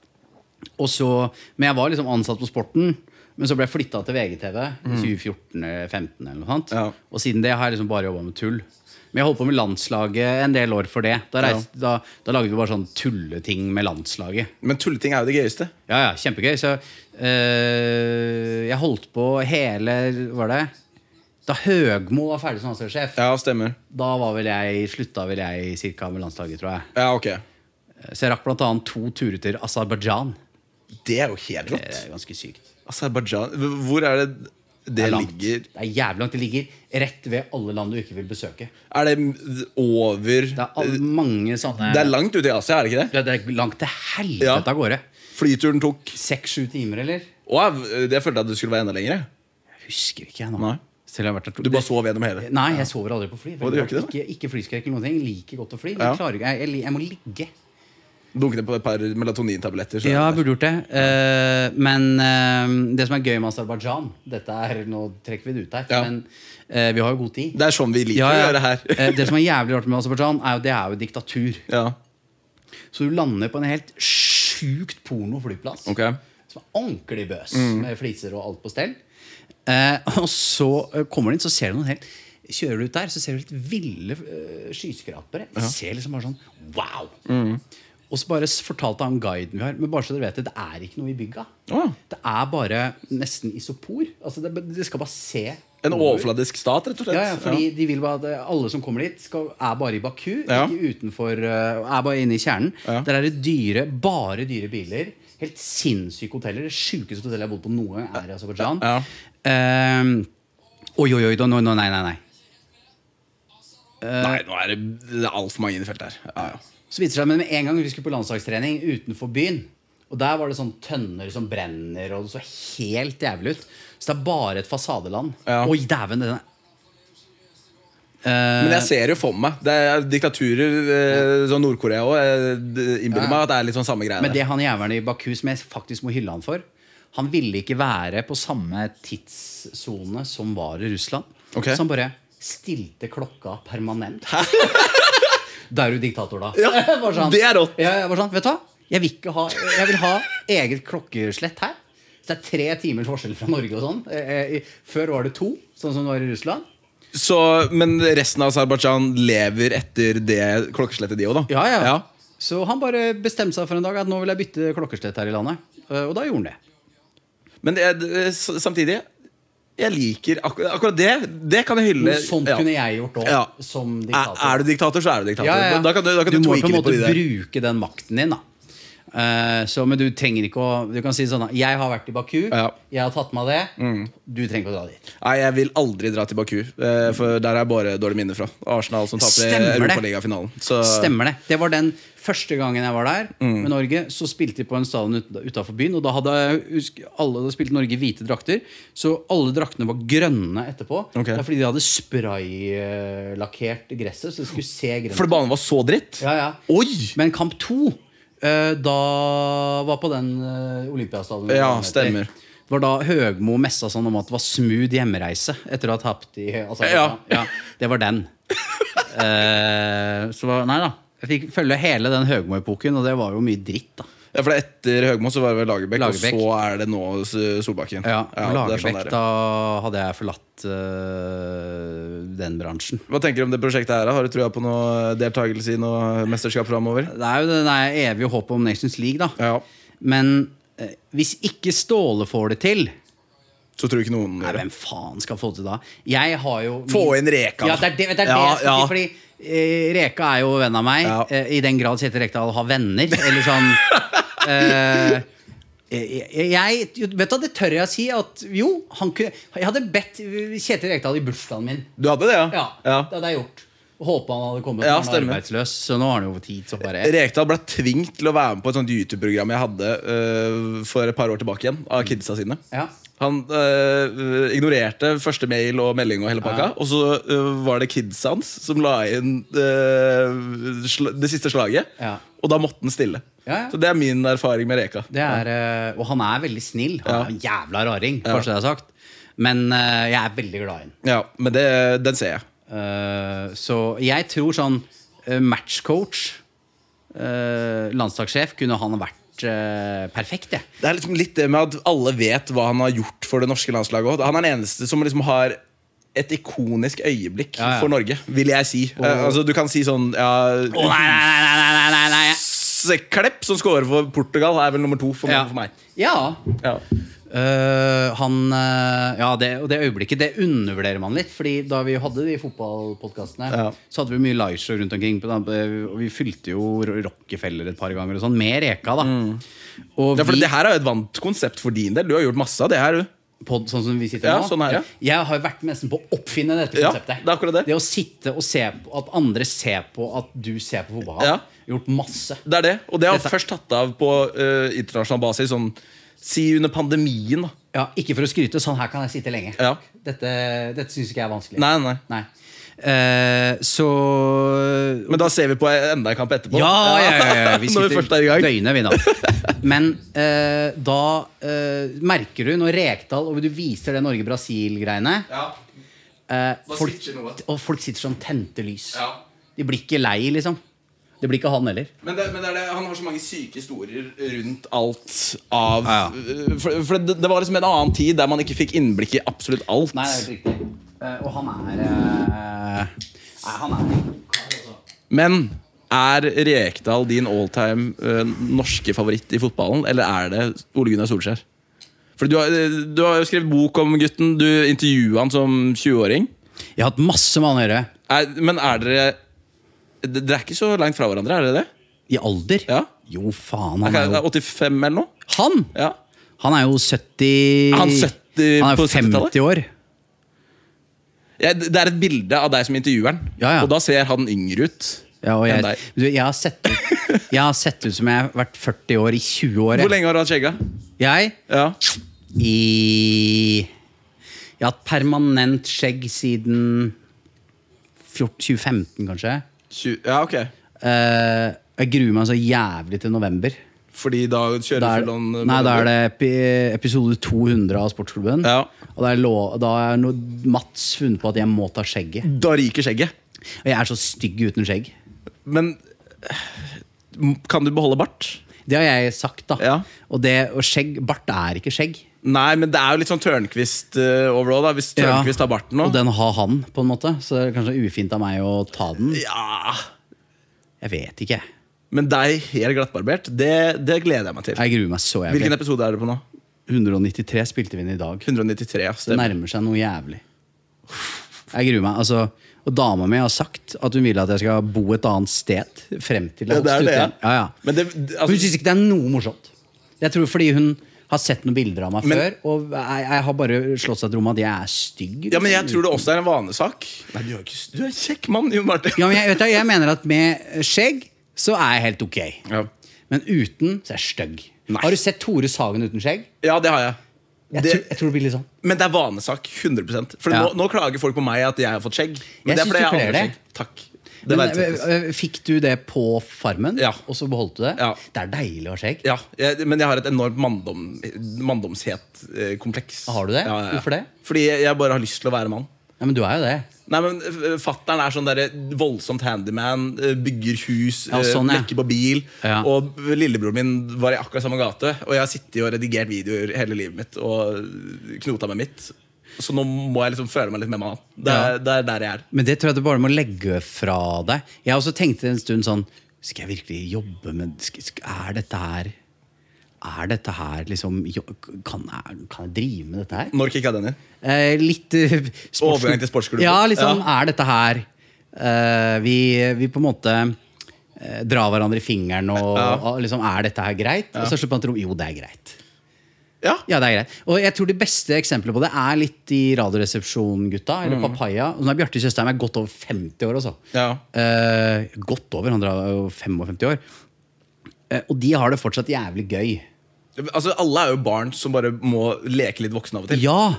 Og så, men jeg var liksom ansatt på Sporten, men så ble jeg flytta til VGTV i 2014-2015. eh, eller noe sånt.
Mm. Ja.
Og siden det har jeg liksom bare jobba med tull. Men jeg holdt på med landslaget en del år for det. Da, reiste, da, da lagde vi bare sånn tulleting med landslaget.
Men tulleting er jo det gøyeste.
Ja, ja, kjempegøy. Så eh, jeg holdt på hele Var det Da Høgmo var ferdig som landslagssjef,
Ja, stemmer.
da var vel jeg, slutta vel jeg cirka med landslaget, tror jeg.
Ja, ok.
Så jeg rakk bl.a. to turer til Aserbajdsjan.
Det er jo helt
Det
rått.
er ganske sykt.
Aserbajdsjan H- Hvor er det det
Det er langt.
ligger
Det er jævlig langt. Det ligger rett ved alle land du ikke vil besøke.
Er det m- over
Det er all, mange sånne
Det er langt ute i Asia, er det ikke det?
Ja, det er langt til helvete
Ja.
av gårde.
Flyturen tok
Seks-sju timer, eller?
Å, jeg- jeg følte at det skulle være enda lenger. jeg.
Jeg husker ikke jeg nå.
Nei.
Selv om jeg har vært der to-
Du bare
Det-
sov gjennom hele.
Nei, jeg sover aldri på fly.
Å, du gjør ikke det,
ikke, ikke flyskrekk eller noen ting. Jeg liker godt å fly. men
Ja.
Jeg, klarer, ikke- jeg, jeg, li- jeg må ligge.
Dunket ned på et par melatonintabletter. så-
Ja, jeg burde gjort det. Eh, men eh, det som er gøy med Aserbajdsjan Dette er, Nå trekker vi det ut her,
Ja.
men eh, vi har jo god tid.
Det er sånn vi liker
Ja,
å
ja.
gjøre her.
Eh, det som er jævlig rart med Aserbajdsjan, er jo det er jo diktatur.
ja,
Så du lander på en helt sjukt porno flyplass.
ok
Som er ordentlig bøs,
Mm.
med fliser og alt på stell. Eh, og så eh, kommer du inn, så ser du noen helt Kjører du ut der, så ser du helt ville eh, skyskrapere. De ser liksom bare sånn Wow!
Mm.
Og så bare s- fortalte han guiden vi har Men bare så dere vet det, det er ikke noe i bygga.
Å.
Det er bare nesten isopor. Altså, det, det skal bare se
En
over.
overfladisk stat, rett og slett.
Ja, ja, fordi de vil bare at eh, alle som kommer dit, skal, er bare i Baku.
Ja.
Ikke utenfor, eh, er bare inne i kjernen.
Ja.
Der er det dyre, bare dyre biler. Helt sinnssyke hoteller. Det sjukeste hotellet jeg har bodd på noen gang, er i Aserbajdsjan.
Ja.
Ehm, oi, oi, oi, da- nå- nå- nei, nei, nei.
Nei, nå er det, det er altfor mange innfelt her. Ja, ja.
Så viser det seg, men med en gang vi skulle på landslagstrening utenfor byen, og der var det sånn tønner som brenner, og det så helt jævlig ut. Så det er bare et fasadeland.
Ja.
Oi, dæven, det der. Eh.
Men jeg ser jo for meg Det er diktaturer, eh, sånn Nord-Korea òg, innbiller meg at det er litt sånn samme greie.
Men det han jævelen i Baku som jeg faktisk må hylle han for Han ville ikke være på samme tidssone som var i Russland.
Ok.
Så han bare stilte klokka permanent. da er du diktator, da.
Ja,
Bare sånn.
det er rått.
Ja, jeg var sånn, vet du hva? Jeg vil, ikke ha, jeg vil ha eget klokkeslett her. Så det er tre timers forskjell fra Norge og sånn. Eh, eh, Før var det to, sånn som det var i Russland.
Så, men resten av Aserbajdsjan lever etter det klokkeslettet, de òg, da?
Ja, ja. Så han bare bestemte seg for en dag at nå vil jeg bytte klokkeslett her i landet. Eh, Og da gjorde han det.
Men jeg, eh, s- samtidig Jeg liker akkur akkurat det. Det kan jeg hylle.
Men sånt
ja.
kunne jeg gjort òg,
Ja.
som
er,
diktator.
er du diktator, så er du diktator.
ja, ja, ja.
Da kan du, da kan du,
må på
tweake
en
litt på
måte
de der.
bruke den makten din, da. Eh, så, men du trenger ikke å Du kan si sånn da, Jeg har vært i Baku,
Ja. Mm.
jeg har tatt meg av det. Du trenger ikke å dra dit.
Nei, jeg vil aldri dra til Baku, eh, for der er jeg bare dårlige minner fra. Arsenal som tapte
Stemmer det.
Europaligafinalen. Så Mm.
Stemmer det. Det var den første gangen jeg var der med Norge. Så spilte vi på en stadion utafor byen, og da hadde jeg husk- alle da spilte Norge i hvite drakter. Så alle draktene var grønne etterpå.
Ok.
Det er fordi de hadde spraylakkert gresset, så det skulle se grønt
Fordi banen var så dritt?
Ja, ja.
Oi!
Men kamp to eh, da var på den uh, Olympiastadion.
Ja, stemmer.
Det var da Høgmo messa sånn om at det var smooth hjemreise etter å ha tapt i altså,
Ja.
Det var den. Eh, så var- nei da. Jeg fikk følge hele den Høgmo-epoken, og det var jo mye dritt, da.
Ja, for det er etter Høgmo så var det vel Lagerbäck,
Lagerbäck.
og så er det nå S- Solbakken.
Ja,
det er
Lagerbäck,
sånn det er.
da hadde jeg forlatt eh, den bransjen.
Hva tenker du om det prosjektet her? da? Har du trua på noe deltakelse i noe mesterskap framover?
Det er jo det der evige håpet om Nations League, da.
Ja.
Men eh, hvis ikke Ståle får det til
Så tror ikke noen
Nei, hvem faen skal få det til da? Jeg har jo
Få inn Reka.
Ja, det er det, det, er det
Ja,
jeg skal
ja.
si, fordi eh, Reka er jo venn av meg.
Ja.
eh, I den grad Kjetil Rekdal har venner, eller sånn eh, jeg, jeg, vet du, hva, Det tør jeg å si. At jo, han kunne, jeg hadde bedt Kjetil Rekdal i bursdagen min.
Du hadde det, ja?
Ja, Det hadde jeg gjort. Håpa han hadde kommet.
Ja,
men han er
stemmer.
arbeidsløs, så nå har han jo tid. Så bare
Rekdal ble tvunget til å være med på et sånt YouTube-program jeg hadde øh, for et par år tilbake igjen,
Mm.
av kidsa sine.
Ja.
Han øh, ignorerte første mail og melding og hele pakka, og så øh, var det kidsa hans som la inn øh, sl det siste slaget,
Ja.
og da måtte han stille.
Ja, ja.
Så det er min erfaring med Reka.
Det er, eh, og han er veldig snill. Han er en jævla raring, kanskje det er sagt. Men eh, jeg er veldig glad i ham.
Ja, men det, den ser jeg.
Eh, så jeg tror sånn eh, matchcoach, eh, landslagssjef, kunne han vært eh, perfekt, jeg.
Det er liksom litt det med at alle vet hva han har gjort for det norske landslaget. også. Han er den eneste som liksom har et ikonisk øyeblikk
Ja, ja.
for Norge, vil jeg si. Eh, altså, du kan si sånn ja,
Å, nei, nei, nei, nei, nei, nei, nei.
Klepp, som scorer for Portugal, er vel nummer to for,
Ja.
for meg.
Ja.
Ja.
Eh, han eh, Ja, det, og det øyeblikket det undervurderer man litt. Fordi da vi hadde de fotballpodkastene,
Ja.
så hadde vi mye liveshow rundt omkring. På, og vi fylte jo Rockefeller et par ganger og sånn, med Reka, da. Og
Ja, for
vi,
Det her er jo et vant konsept for din del. Du har gjort masse av det her. du
pod, sånn som vi sitter
Ja,
nå
sånn er det.
Jeg har jo vært med nesten på å oppfinne dette
Ja,
konseptet.
det er akkurat det.
å sitte og se på at andre ser på at du ser på fotball.
Ja.
Gjort masse.
Det er det, Og det har
Dette-
først tatt av på eh, internasjonal basis, sånn si under pandemien. da
Ja, ikke for å skryte, sånn her kan jeg sitte lenge.
Ja.
Dette, dette syns ikke jeg er vanskelig.
Nei, nei
Nei. Eh, så
Men da ser vi på enda en kamp etterpå.
ja, ja, ja, ja, vi
Når vi først er i
sitter
gang.
døgnet, vi da. Men eh, da eh, merker du, når Rekdal og du viser det Norge-Brasil-greiene
Ja,
eh, folk,
switcher noe.
Og folk sitter som tente lys.
Ja.
De blir ikke lei, liksom. Det blir ikke han heller.
Men, det, men det er det, han har så mange syke historier rundt alt av eh,
Ja,
For, for det, det var liksom en annen tid der man ikke fikk innblikk i absolutt alt.
Nei, det er helt riktig. Eh, og han er eh, Nei, han er
Men er Rekdal din alltime uh, norske favoritt i fotballen, eller er det Ole Gunnar Solskjær? For du har, eh, du har jo skrevet bok om gutten. Du intervjua han som 20-åring.
Jeg har hatt masse med han å gjøre.
Er, men er dere Dere er ikke så langt fra hverandre, er dere det?
I alder?
Ja.
Jo, faen. Han
Er
er
ikke-
jo
er 85 eller noe?
Han!
Ja.
Han er jo 70
Er han 70
Han er
på
jo
70-tallet?
50 år.
Ja, Det det er et bilde av deg som intervjueren,
Ja, ja.
og da ser han yngre ut.
Ja, og jeg,
Enn deg.
du, jeg, har sett ut, jeg har sett ut som jeg har vært 40 år i 20 år.
Hvor
Jeg.
lenge har du hatt skjegga?
jeg
Ja.
i Jeg har hatt permanent skjegg siden 14 2015, kanskje.
Tju- ja, ok.
Eh, jeg gruer meg så jævlig til november.
Fordi da kjører
Da er,
du full on, eh,
nei, da er det epi, episode 200 av Sportsklubben.
Ja.
Og da er, lo, da er no, Mats funnet på at jeg må ta skjegget.
Da ryker skjegget.
Og jeg er så stygg uten skjegg.
Men eh, kan du beholde bart?
Det har jeg sagt, da.
Ja.
Og, det, og skjegg, bart er ikke skjegg.
Nei, men det er jo litt sånn Tørnquist eh, overall, da. Hvis Tørnquist har barten nå.
Og den har han, på en måte. Så det er kanskje ufint av meg å ta den.
Ja.
Jeg vet ikke.
Men deg helt glattbarbert, det, det gleder jeg meg til.
Jeg gruer meg så jævlig.
Hvilken episode er det på nå?
193 spilte vi inn i dag.
193. ja,
Det
Stemmer.
nærmer seg noe jævlig. Jeg gruer meg. altså Og dama mi har sagt at hun vil at jeg skal bo et annet sted frem til jeg
Ja, det er
har
det, ja.
studert. Ja, ja.
Men det,
Hun
altså,
syns ikke det er noe morsomt. Jeg tror fordi hun har sett noen bilder av meg
Men-
før, og jeg, jeg har bare slått seg til ro med at jeg er stygg.
ja, men jeg tror det også er en vanesak. Nei, du er, ikke, du er en kjekk mann, Jon Martin.
Ja, men jeg, vet du, jeg mener at med skjegg så er jeg helt ok.
Ja.
Men uten så er jeg stygg.
Nei.
Har du sett Tore Sagen uten skjegg?
ja, det har jeg.
Jeg,
Det-
tror, jeg tror det blir litt sånn.
Men det er vanesak. 100 For
Ja.
nå, nå klager folk på meg at jeg har fått skjegg. Men
Jeg
det er
synes
fordi
du
jeg
kler
aldri har
det.
skjegg. Takk. Det
Men,
verdsettes.
øh, øh, fikk du det på Farmen,
Ja.
og så beholdt du det?
Ja.
Det er deilig å ha skjegg.
Ja, jeg, men jeg har et enormt manndom, manndomshet-kompleks.
Har du det?
Ja, ja, ja.
Hvorfor det?
Fordi jeg, jeg bare har lyst til å være mann.
Ja, men du er jo det.
Nei, men Fattern er sånn der voldsomt handyman, eh, bygger hus,
Ja, sånn,
eh,
ja.
lekker på bil.
Ja.
Og lillebroren min var i akkurat samme gate, og jeg har sittet og redigert videoer hele livet mitt. Og knota med mitt Så nå må jeg liksom føle meg litt mer mann. Det, er-
Ja.
det er der jeg er.
Men det tror jeg du bare må legge fra deg. Jeg også tenkte en stund sånn Skal jeg virkelig jobbe med sk- sk- Er dette her Er dette her liksom jo- Kan jeg, kan jeg drive med dette her?
Når kicka den inn?
Eh, litt eh, sports-
Overgang til sportsklubben.
Ja, litt sånn er dette her. eh, vi, vi på en måte eh, drar hverandre i fingeren og,
Ja.
og liksom Er dette her greit? Og så slipper man til ro. Jo, det er greit.
Ja.
Ja, det er greit. Og jeg tror de beste eksemplene på det er litt de Radioresepsjon-gutta. Eller Papaya. Og Nå er Bjarte Tjøstheim er godt over 50 år, altså.
Mm. Ja.
Eh, godt over, han er jo 55 år. Eh, og de har det fortsatt jævlig gøy.
Altså, alle er jo barn som bare må leke litt voksen av og til.
Ja!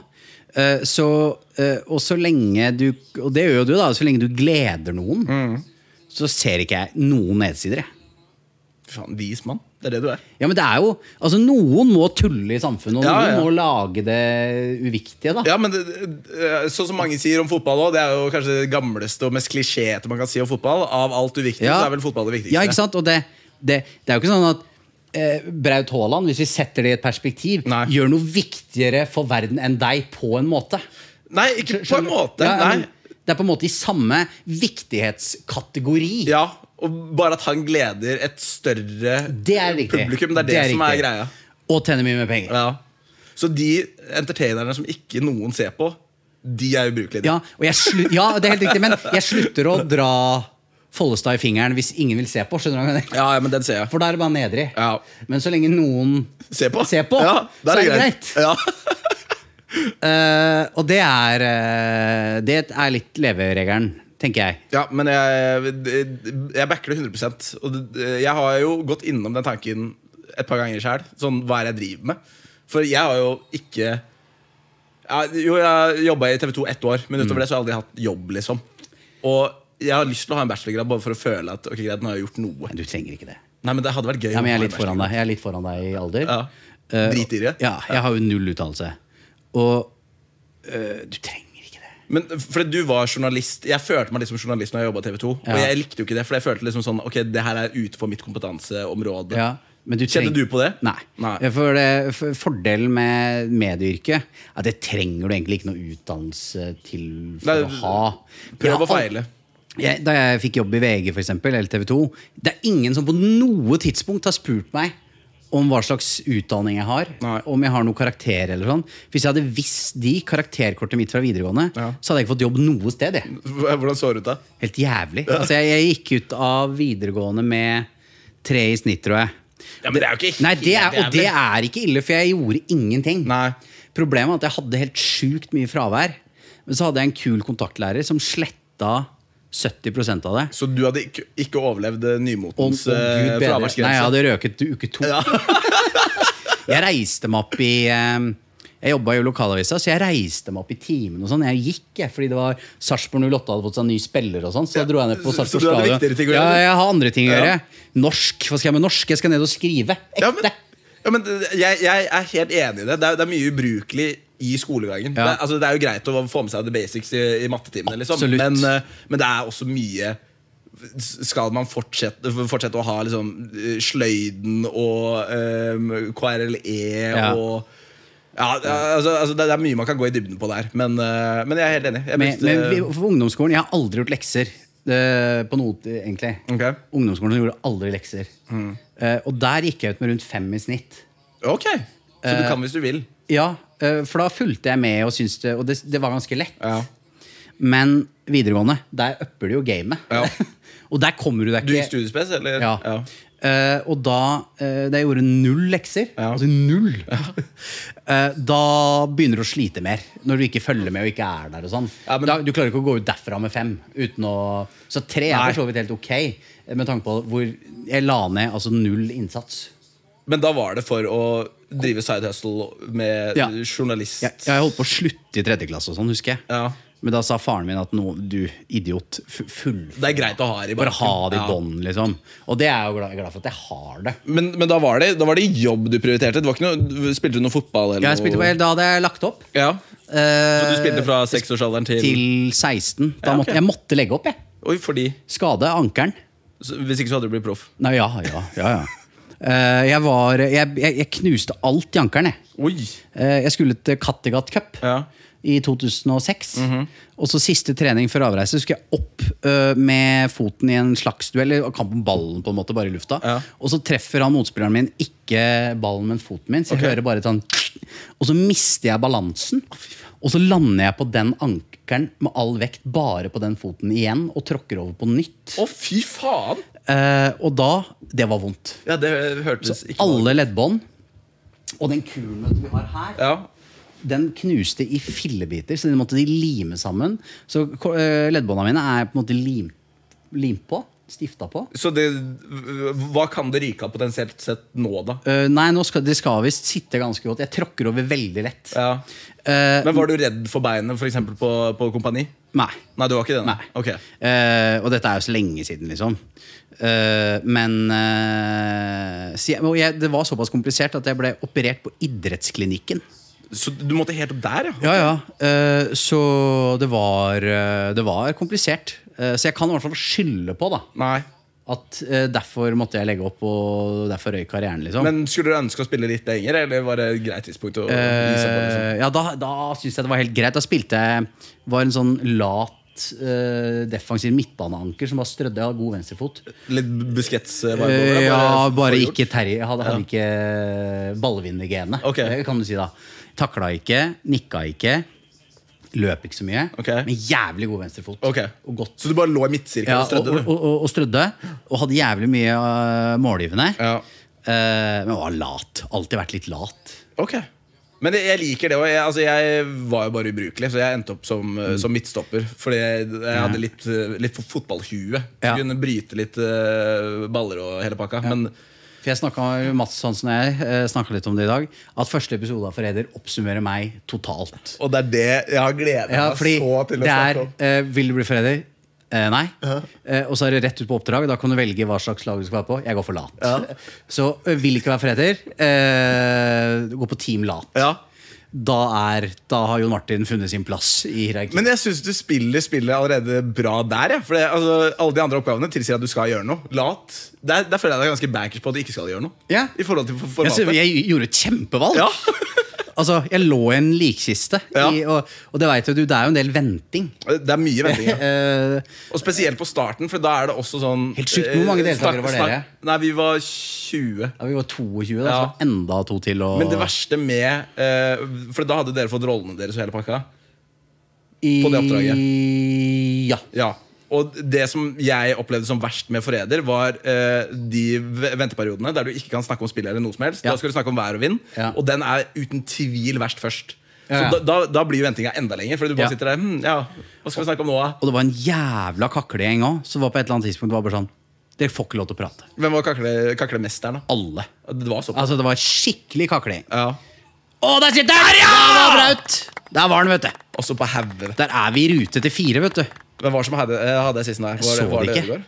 Eh, så, eh, og så lenge du Og det gjør jo du, da. Så lenge du gleder noen,
Mm.
så ser ikke jeg noen nedsider, jeg.
Faen, vis mann. Det er det du er.
Ja, men det er jo, altså Noen må tulle i samfunnet, og
Ja,
noen
ja.
må lage det uviktige. da
Ja, men det, eh, Sånn som mange sier om fotball òg, det er jo kanskje det gamleste og mest klisjéete man kan si om fotball. Av alt uviktig,
Ja.
så er vel fotball det viktigste.
Ja, ikke sant? Og det, det, det er jo ikke sånn at eh, Braut Haaland, hvis vi setter det i et perspektiv,
Nei.
gjør noe viktigere for verden enn deg på en måte.
Nei, ikke på en måte.
Ja, ja, men
Nei.
Det er på en måte i samme viktighetskategori.
Ja, og bare at han gleder et større
Det er riktig.
publikum. Det er det, som er
riktig.
greia.
Og tjener mye mer penger.
Ja. Så de entertainerne som ikke noen ser på, de er ubrukelige. de.
Ja, og jeg slu- ja, det er helt riktig, men jeg slutter å dra Follestad i fingeren hvis ingen vil se på. skjønner du hva jeg mener?
Ja, ja, men den ser jeg.
For da er det bare nedrig.
Ja.
Men så lenge noen
Se på.
ser på,
Ja, der
så er det greit.
Ja.
Eh, Og det er, eh, det er litt leveregelen, tenker jeg.
ja, men jeg, jeg backer det 100 Og det- jeg har jo gått innom den tanken et par ganger sjøl. Sånn, hva er det jeg driver med? For jeg har jo ikke ja, Jo, jeg jobba i TV 2 ett år, men
Mm.
utover det så har jeg aldri hatt jobb, liksom. Og jeg har lyst til å ha en bachelorgrad bare for å føle at ok, greit, nå har jeg gjort noe.
Men du trenger ikke det.
Nei, men det hadde vært gøy.
Ja,
å
men jeg
ha en
er litt foran deg Jeg er litt foran deg i alder.
Ja.
Eh,
Drit i det.
Ja, jeg har jo null utdannelse. Og eh, du trenger ikke det.
Men fordi du var journalist Jeg følte meg litt som journalist når jeg jobbet i TV 2. Og
Ja.
jeg likte jo ikke det, for jeg følte liksom sånn Ok, det her er utenfor mitt kompetanseområde.
Ja, men du
Kjente
treng-
du på det?
Nei. For det, for fordelen med medieyrket er at det trenger du egentlig ikke noe utdannelse til for
Nei,
å ha.
prøv
Jeg
å
har al-
feile.
Jeg, da jeg fikk jobb i VG, for eksempel, eller TV 2 Det er ingen som på noe tidspunkt har spurt meg om hva slags utdanning jeg har.
Nei.
Om jeg har noen karakter eller sånn. Hvis jeg hadde visst de karakterkortet mitt fra videregående,
Ja.
så hadde jeg ikke fått jobb noe sted. Jeg.
Hvordan så det ut da?
Helt jævlig. Altså, jeg, jeg gikk ut av videregående med tre i snitt, tror jeg.
Ja, men det er jo ikke
Nei, det er,
helt
Og det
jævlig.
er ikke ille, for jeg gjorde ingenting.
Nei.
Problemet er at jeg hadde helt sjukt mye fravær. Men så hadde jeg en kul kontaktlærer som sletta 70 av det.
Så du hadde ikke, ikke overlevd eh,
Om, om
nymotens eh,
Gud bedre. Nei, jeg
fraværsgrense?
hadde røket til uke to. jeg reiste meg opp i eh, Jeg jobba jo i lokalavisa, så jeg reiste meg opp i timen. og sånn Jeg gikk, jeg, fordi det var Sarpsborg 08 hadde fått seg en ny spiller. og sånn Så da dro jeg ned på
så- så
Sarpsborg
du hadde
Stadion.
viktigere ting å gjøre,
Ja,
eller?
jeg har andre ting å
Ja.
gjøre. Norsk. Hva skal jeg med norsk? Jeg skal ned og skrive. Ekte.
Ja, men, ja, men det- jeg, jeg er helt enig i det. Det er, det er mye ubrukelig i skolegangen.
Ja.
Det, er- altså, det er jo greit å få med seg the basics i, i mattetimene, liksom.
Absolutt.
men, eh, men det er også mye skal man fortsette, fortsette å ha liksom, eh, Sløyden og eh, KRLE
Ja.
og ja, altså, altså, det det er mye man kan gå i dybden på der, men, eh, men jeg er helt enig. Jeg
Men,
brukte-
men vi, for ungdomsskolen, jeg har aldri gjort lekser eh, på noe, egentlig.
Ok.
Ungdomsskolen gjorde aldri lekser.
Mm.
Eh, og der gikk jeg ut med rundt fem i snitt.
ok, så
Eh,
du kan hvis du vil.
Ja, eh, for da fulgte jeg med, og, syntes det, og det, det var ganske lett.
Ja.
Men videregående, der upper du jo gamet.
Ja.
og der kommer du deg
Du
ikke
gikk studiespes, eller?
Ja.
Ja.
Eh, og da eh, da jeg gjorde null lekser,
Ja.
altså null, eh, da begynner du å slite mer. Når du ikke følger med og ikke er der. og sånn
Ja, men-
da, Du klarer ikke å gå ut derfra med fem. Uten å, så tre er
Nei.
for så vidt helt ok, eh, med tanke på hvor jeg la ned altså null innsats.
Men da var det for å drive side hustle med
Ja.
journalist.
Jeg, jeg holdt på å slutte i tredje klasse og sånn, husker jeg.
Ja.
Men da sa faren min at nå, du idiot, fu- full
Det er greit å ha det i
Bare ha det i
Ja.
bånd, liksom. Og det er jeg jo glad, glad for at jeg har det.
Men, men da, var det, da var det jobb du prioriterte? Det var ikke noe, spilte du noe fotball? Eller
Jeg spilte,
noe?
da hadde jeg lagt opp.
Ja.
Eh,
Så du spilte fra seksårsalderen til,
til 16. Da
Ja, ok.
måtte, jeg måtte legge opp, jeg.
Oi, fordi
Skade ankelen.
så, Hvis ikke så hadde du blitt proff.
Nei, ja, ja, ja, ja. Eh, jeg var jeg, jeg, jeg knuste alt i ankelen, jeg.
Oi
Eh, jeg skulle til Kattegat Cup
Ja. Mhm.
i 2006. Og så siste trening før avreise skulle jeg opp eh, med foten i en slags duell. eller Kamp om ballen, på en måte, bare i lufta.
Ja.
Og så treffer han motspilleren min ikke ballen, men foten min. Så jeg
Ok.
hører bare et sånn Og så mister jeg balansen. Og så lander jeg på den ankelen med all vekt bare på den foten igjen og tråkker over på nytt.
Å, fy faen!
Eh, og da Det var vondt.
Ja, Det hørtes ikke
Alle leddbånd. Og den kulen vet du, vi har her,
Ja.
den knuste i fillebiter, så den måtte de lime sammen. Så ko- eh, leddbånda mine er på en måte lim, limt på. Stifta på.
Så det, hva kan det ryke av potensielt sett nå, da?
Eh, nei, nå skal, det skal visst sitte ganske godt. Jeg tråkker over veldig lett.
Ja.
Eh,
Men var du redd for beinet, f.eks. På, på kompani?
nei.
Nei, du var ikke det?
nei.
Ok.
Eh, og dette er jo så lenge siden, liksom. Eh, men eh, så jeg, og jeg, det var såpass komplisert at jeg ble operert på idrettsklinikken.
Så du måtte helt opp der, ja?
Ja, ja. Eh, så det var, eh, det var komplisert. Eh, så jeg kan i hvert fall skylde på da
Nei.
At eh, derfor måtte jeg legge opp, og derfor røyk karrieren, liksom.
Men skulle du ønske å spille litt lenger, eller var det et greit tidspunkt? å vise på liksom?
Eh, ja, da, da syns jeg det var helt greit. Da spilte jeg var en sånn lat eh, defensiv midtbaneanker som bare strødde. Jeg hadde god venstrefot.
Litt buskets eh, vibe over
Eh,
det,
ja, bare
forgjort.
ikke Terje. Hadde, hadde ikke ballvinnergenet.
Ok.
Det kan du si, da. Takla ikke, nikka ikke. Løp ikke så mye.
Ok.
Men jævlig god venstrefot.
Ok.
Og godt.
Så du bare lå i midtsirkelen
Ja,
og strødde,
og, og,
du?
og, og strødde. Og hadde jævlig mye uh, målgivende.
Ja.
Eh, men var lat. Alltid vært litt lat.
Ok men jeg- jeg liker det òg. Jeg, altså, jeg var jo bare ubrukelig, så jeg endte opp som, eh, som midtstopper. Fordi jeg, jeg hadde litt, eh, litt for fotballhue.
Ja.
Kunne bryte litt eh, baller og hele pakka. Men
For jeg snakket, Mats Hansen og jeg eh, snakket litt om det i dag. At første episode av Forræder oppsummerer meg totalt.
Og det er det jeg har gleda
Ja,
meg
fordi
så til å
det er
snakke om.
eh, Vil du bli forræder? Eh, nei. Eh, og så er det rett ut på oppdrag. Da kan du velge hva slags lag du skal være på. Jeg går for lat. Så eh, vil ikke være forræder. Eh, gå på Team Lat.
Ja.
Da, er, da har Jon Martin funnet sin plass i hierarkiet.
Men jeg syns du spiller spillet allerede bra der. Ja. For det, altså, alle de andre oppgavene tilsier at du skal gjøre noe. Lat. Der, der føler jeg deg ganske bankers på at du ikke skal gjøre noe.
Ja.
I forhold til for-
Jeg,
formatet.
synes- jeg gjorde et kjempevalg.
Ja.
altså, jeg lå i en likkiste.
Ja.
I, og, og det vet jo du, det er jo en del venting.
Det er mye venting. Ja.
Eh,
Og spesielt på starten, for da er det også sånn
Helt sjukt, hvor mange
eh,
deltakere var
snakk-
dere?
snakk- Nei, vi var 20.
Ja, Vi var 22, da,
Ja.
så det var enda to til. Og...
Men det verste med eh, For da hadde dere fått rollene deres og hele pakka. på det oppdraget.
I- Ja.
Ja og det som jeg opplevde som verst med Forræder, var eh, de v- venteperiodene der du ikke kan snakke om spill eller noe som helst.
Ja.
Da skal du snakke om vær og vind,
Ja.
og den er uten tvil verst først.
Ja, ja.
Så da, da, da blir jo ventinga enda lenger, fordi du bare
Ja.
sitter der hm, ja, Hva skal vi snakke om nå, da?
Og det var en jævla kaklegjeng òg, som var på et eller annet tidspunkt var bare sånn Dere får ikke lov til å prate.
Hvem var kakle, kaklemesteren, da?
Alle.
Det var såpass.
Altså, det var skikkelig kaklegjeng.
Ja.
Å, der sitter han! Ja! Der var Braut! Der var han, vet du.
Også på hauget.
Der er vi i rute til fire, vet du.
Hvem var det som hadde, eh, hadde assisten der? Var,
så
var
det ikke.
Ødegaard?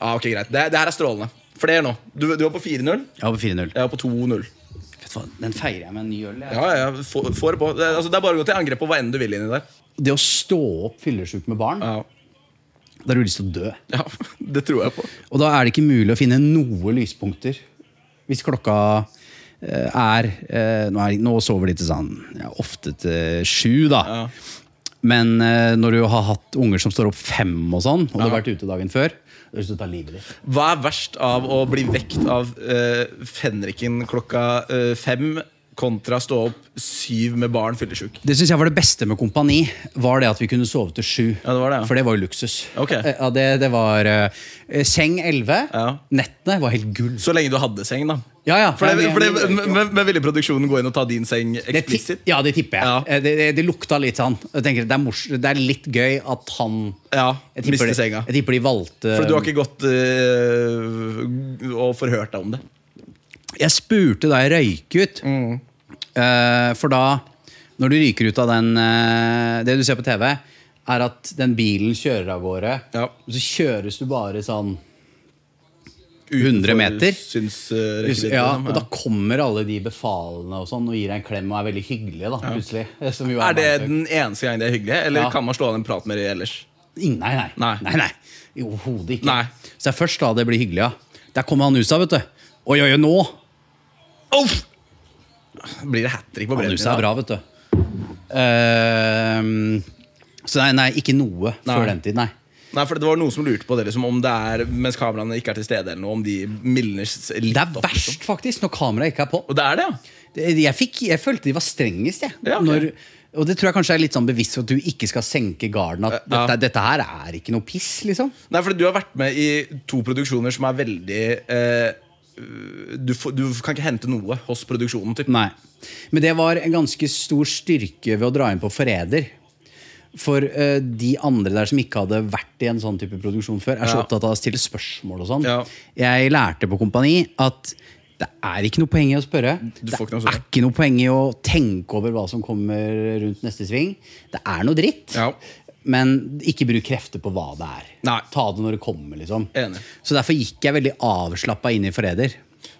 Ja, ok, greit. Det, det her er strålende. Flere nå. Du, du var på 4-0.
Jeg var på 4-0.
Jeg var på 2-0.
Vet du hva, Den feirer jeg med en ny øl. jeg.
Ja, ja, ja. Få få det på. Det, altså, det er bare å gå til angrep på hva enn du vil inni der.
Det å stå opp fyllesyk med barn,
Ja.
da har du lyst til å dø.
ja, Det tror jeg på.
Og da er det ikke mulig å finne noe lyspunkter. Hvis klokka eh, er, eh, nå, er nå sover de til sånn ja, ofte til sju, da.
Ja.
Men eh, når du har hatt unger som står opp fem, og sånn, og du har vært ute dagen før da har du lyst til å ta livet ditt.
Hva er verst av å bli vekt av eh, fenriken klokka eh, fem kontra stå opp syv med barn fyllesjuk?
Det synes jeg var det beste med Kompani, var det at vi kunne sove til sju.
Ja, det var det, ja.
For det var jo luksus.
Ok.
Eh, Ja, det, det var eh, Seng elleve.
Ja.
Nettene var helt gull.
Så lenge du hadde seng, da.
Ja, ja.
For det,
Ja,
for
vi-
det, men, men- men ville produksjonen gå inn og ta din seng
Det ti-
eksplisitt?
ja, det tipper jeg.
Ja.
Eh, Det, det, det lukta litt sånn. Jeg tenker, det, er mors, det er litt gøy at han
Ja,
jeg tipper,
miste
de,
senga.
jeg tipper de valgte
For du har ikke gått øh, og forhørt deg om det?
Jeg spurte da jeg røyk ut.
Mm.
Eh, for da, når du ryker ut av den eh, Det du ser på TV, er at den bilen kjører av gårde.
Ja.
Og så kjøres du bare sånn 100 meter?
Syns,
ja,
liksom.
og da kommer alle de befalene og sånn og gir deg en klem og er veldig hyggelige. da, plutselig eh, som jo
er det
meg.
den eneste gangen det er hyggelig, eller
Ja.
kan man slå av en prat med de ellers?
Ingen- Nei, nei.
Nei.
nei, nei. I Overhodet ikke.
Nei.
Så det er først da det blir hyggelig. Ja. Der kommer han Nusa, vet du. Oi, oi, oi, nå!
Uff! Blir det hat trick på
Han
bredden?
Nusa er bra, vet du. Ehm, så nei, nei, ikke noe
Nei.
før den tid, nei.
Nei, for Det var noen som lurte på det, liksom, om det er mens kameraene ikke er til stede, eller noe, om de mildner s- litt
Det er
opp, liksom.
verst, faktisk, når kameraet ikke er på.
Og det er det, ja?
Det- Jeg, fikk, jeg følte de var strengest, jeg.
Ja, ok.
når, og det tror jeg kanskje er litt sånn bevisst for at du ikke skal senke garden. At
Ja.
dette, dette her er ikke noe piss, liksom.
Nei, for Du har vært med i to produksjoner som er veldig eh, du, får- du kan ikke hente noe hos produksjonen. Typ.
Nei. Men det var en ganske stor styrke ved å dra inn på Forræder. For eh, de andre der som ikke hadde vært i en sånn type produksjon før, er så
Ja.
opptatt av å stille spørsmål og sånn.
Ja.
Jeg lærte på Kompani at det er ikke noe poeng i å spørre.
Du får ikke noe
det
svar.
er ikke noe poeng i å tenke over hva som kommer rundt neste sving. Det er noe dritt.
Ja.
Men ikke bruk krefter på hva det er.
Nei.
Ta det når det kommer, liksom.
Enig.
Så derfor gikk jeg veldig avslappa inn i Forræder.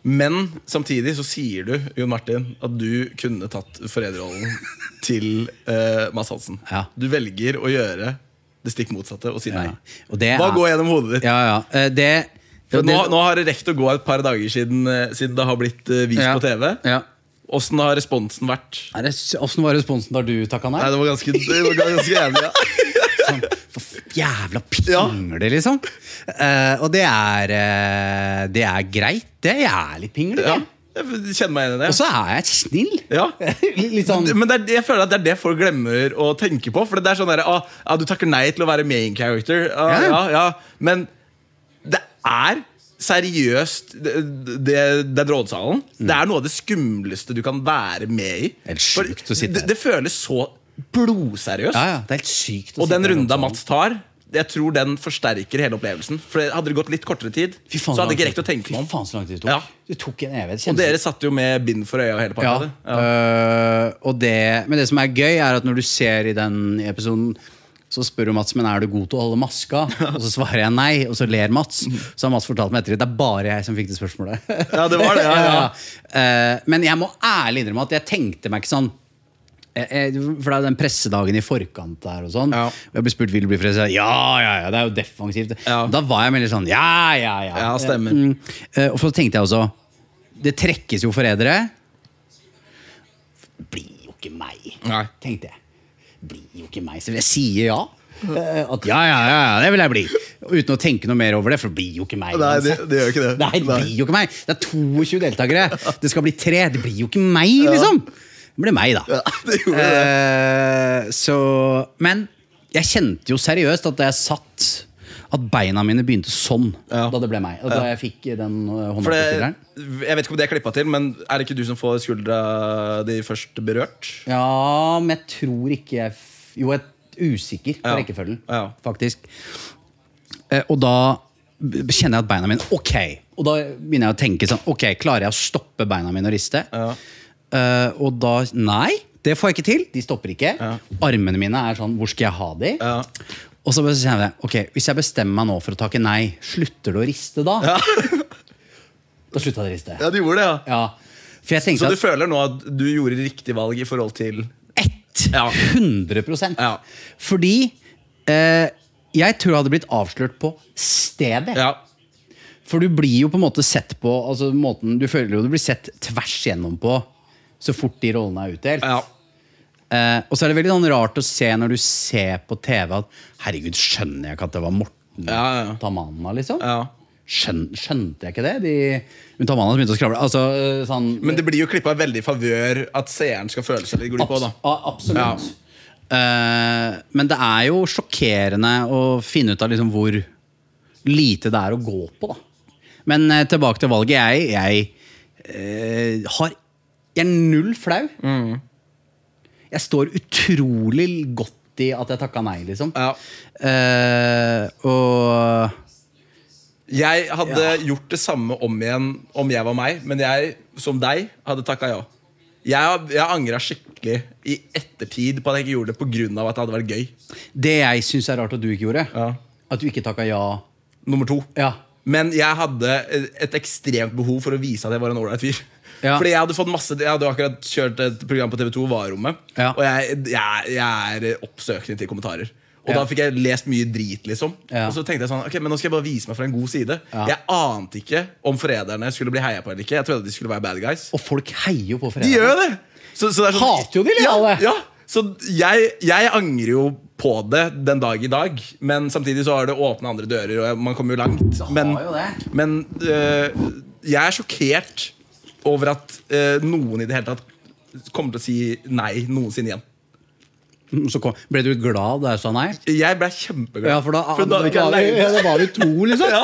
Men samtidig så sier du, Jon Martin, at du kunne tatt forræderrollen til eh, Mads Hansen.
Ja.
Du velger å gjøre det stikk motsatte og si nei.
Ja. Og det
Hva
er-
går gjennom hodet ditt?
Ja, ja. Eh, Det,
For
det-
nå, nå har det rekt å gå et par dager siden, eh, siden det har blitt eh, vist
Ja.
på TV.
Ja.
Åssen har responsen vært?
Er det, hvordan var responsen da du takka
Nei,
nei?
det var ganske, det var ganske jævlig. Ja.
Jævla pingle, liksom. Eh, og det er eh, Det er greit. Det jeg er litt pingle.
Ja,
jeg.
jeg kjenner meg igjen i
Og
det.
så er jeg snill.
Ja.
litt sånn
Men det er, det- jeg føler at det er det folk glemmer å tenke på. For det er sånn der, ah, ah, Du takker nei til å være main character. Ah,
Ja.
ja, ja. Men det er seriøst det, det, Den rådsalen Det er noe av det skumleste du kan være med i.
Helt
For
sjukt å sitte
det,
her.
det føles så blodseriøst.
Ja, ja, det er helt sykt å
Og den
sitte her
runda
og- sånn.
Mats tar, jeg tror den forsterker hele opplevelden. For Hadde det gått litt kortere tid,
Fy faen,
så hadde
så
jeg ikke
lang
rekt å tenke
tid-
meg
Fy
om.
faen, så lang tid det tok.
Ja.
Det tok en evighet.
Og
kjennes
dere satt jo med bind for øya og hele pakka.
Ja.
dere. Ja.
øh, og det, men det som er gøy, er at når du ser i den episoden så spør jo Mats men er du god til å holde maska, og så svarer jeg nei, og så ler Mats. Så har Mats fortalt meg etter det. Det er bare jeg som fikk det spørsmålet.
Ja, det var det, ja, ja.
Eh, men jeg må ærlig innrømme at jeg tenkte meg ikke sånn eh, eh, For det er jo den pressedagen i forkant der og sånn.
Ja.
Og jeg ble spurt vil du bli president. Ja, ja, ja, det er jo defensivt.
Ja.
Da var jeg veldig sånn ja, ja, ja.
Ja, stemmer.
Mm, eh, og så tenkte jeg også Det trekkes jo forrædere blir jo ikke meg,
Nei.
tenkte jeg. Blir jo ikke meg, så jeg sier ja. Eh, At ja, ja, ja, ja, det vil jeg bli. Uten å tenke noe mer over det, for det blir jo ikke meg.
Nei, det-
uansett.
det gjør ikke det.
Nei, det
Nei.
blir jo ikke meg. Det er 22 deltakere. Det skal bli tre. Det blir jo ikke meg, liksom. Det ble meg, da.
Ja, det gjorde det.
Eh, så, men jeg kjente jo seriøst at da jeg satt at beina mine begynte sånn
Ja.
da det ble meg. Da jeg fikk den eh,
For det,
håndbakspilleren.
jeg vet ikke om det er klippa til, men er det ikke du som får skuldra di først berørt?
Ja, men jeg tror ikke jeg f- Jo, jeg er usikker på
Ja.
rekkefølgen,
Ja.
faktisk. Eh, og da b- kjenner jeg at beina mine Ok! Og da begynner jeg å tenke sånn Ok, klarer jeg å stoppe beina mine og riste?
Ja.
Eh, og da Nei, det får jeg ikke til. De stopper ikke. Armene mine er sånn Hvor skal jeg ha de?
Ja.
Og så bare kjenner jeg Ok, hvis jeg bestemmer meg nå for å takke nei, slutter det å riste da? da slutta det å riste.
Ja, du gjorde det, ja.
Ja. For jeg tenkte
Så
at
du føler nå at du gjorde riktig valg i forhold til
ett.
Ja.
100
Ja.
Fordi eh, jeg tror jeg hadde blitt avslørt på stedet.
Ja.
For du blir jo på en måte sett på altså måten, Du føler jo du blir sett tvers gjennom på så fort de rollene er utdelt.
ja.
Eh, og så er det veldig sånn rart å se når du ser på TV at herregud, skjønner jeg ikke at det var Morten
Ja, ja.
Tamanna, liksom?
Ja.
Skjøn, skjønte jeg ikke det? De, men Tamanna begynte å skravle. Altså, eh, sånn,
Men det blir jo klippa veldig i favør at seeren skal føle seg litt god på, da.
Abs- ja, absolutt. Eh, men det er jo sjokkerende å finne ut av liksom hvor lite det er å gå på, da. Men eh, tilbake til valget. Jeg, jeg eh, har Jeg er null flau.
Mm.
Jeg står utrolig godt i at jeg takka nei, liksom.
Ja.
Eh, og
Jeg hadde gjort det samme om igjen om jeg var meg, men jeg, som deg, hadde takka ja. Jeg, jeg angra skikkelig i ettertid på at jeg ikke gjorde det pga. at det hadde vært gøy.
det jeg syns er rart at du ikke gjorde,
Ja.
at du ikke takka ja.
Nummer to.
Ja.
Men jeg hadde et ekstremt behov for å vise at jeg var en ålreit fyr.
Ja.
Fordi jeg hadde fått masse Jeg hadde jo akkurat kjørt et program på TV2, Varerommet.
Ja.
Og jeg, jeg, jeg er oppsøkende til kommentarer. Og
Ja.
da fikk jeg lest mye drit, liksom.
Ja.
Og så tenkte jeg sånn, ok, men nå skal jeg bare vise meg fra en god side.
Ja.
Jeg ante ikke om forræderne skulle bli heia på eller ikke. Jeg trodde de skulle være bad guys.
Og folk heier jo på
De
fredag.
gjør jo det! Så, så det er sånn,
Hater jo de lojale.
Ja, ja. Så jeg, jeg angrer jo på det den dag i dag, men samtidig så har det åpna andre dører, og jeg- man kommer jo langt. Men,
jo det.
men øh, jeg er sjokkert over at øh, noen i det hele tatt kommer til å si nei noensinne igjen.
Så kom, ble du glad da jeg sa nei?
Jeg ble kjempeglad.
Ja, for da,
da er vi ikke
da, var vi-
alene.
ja, da var vi to, liksom.
Ja.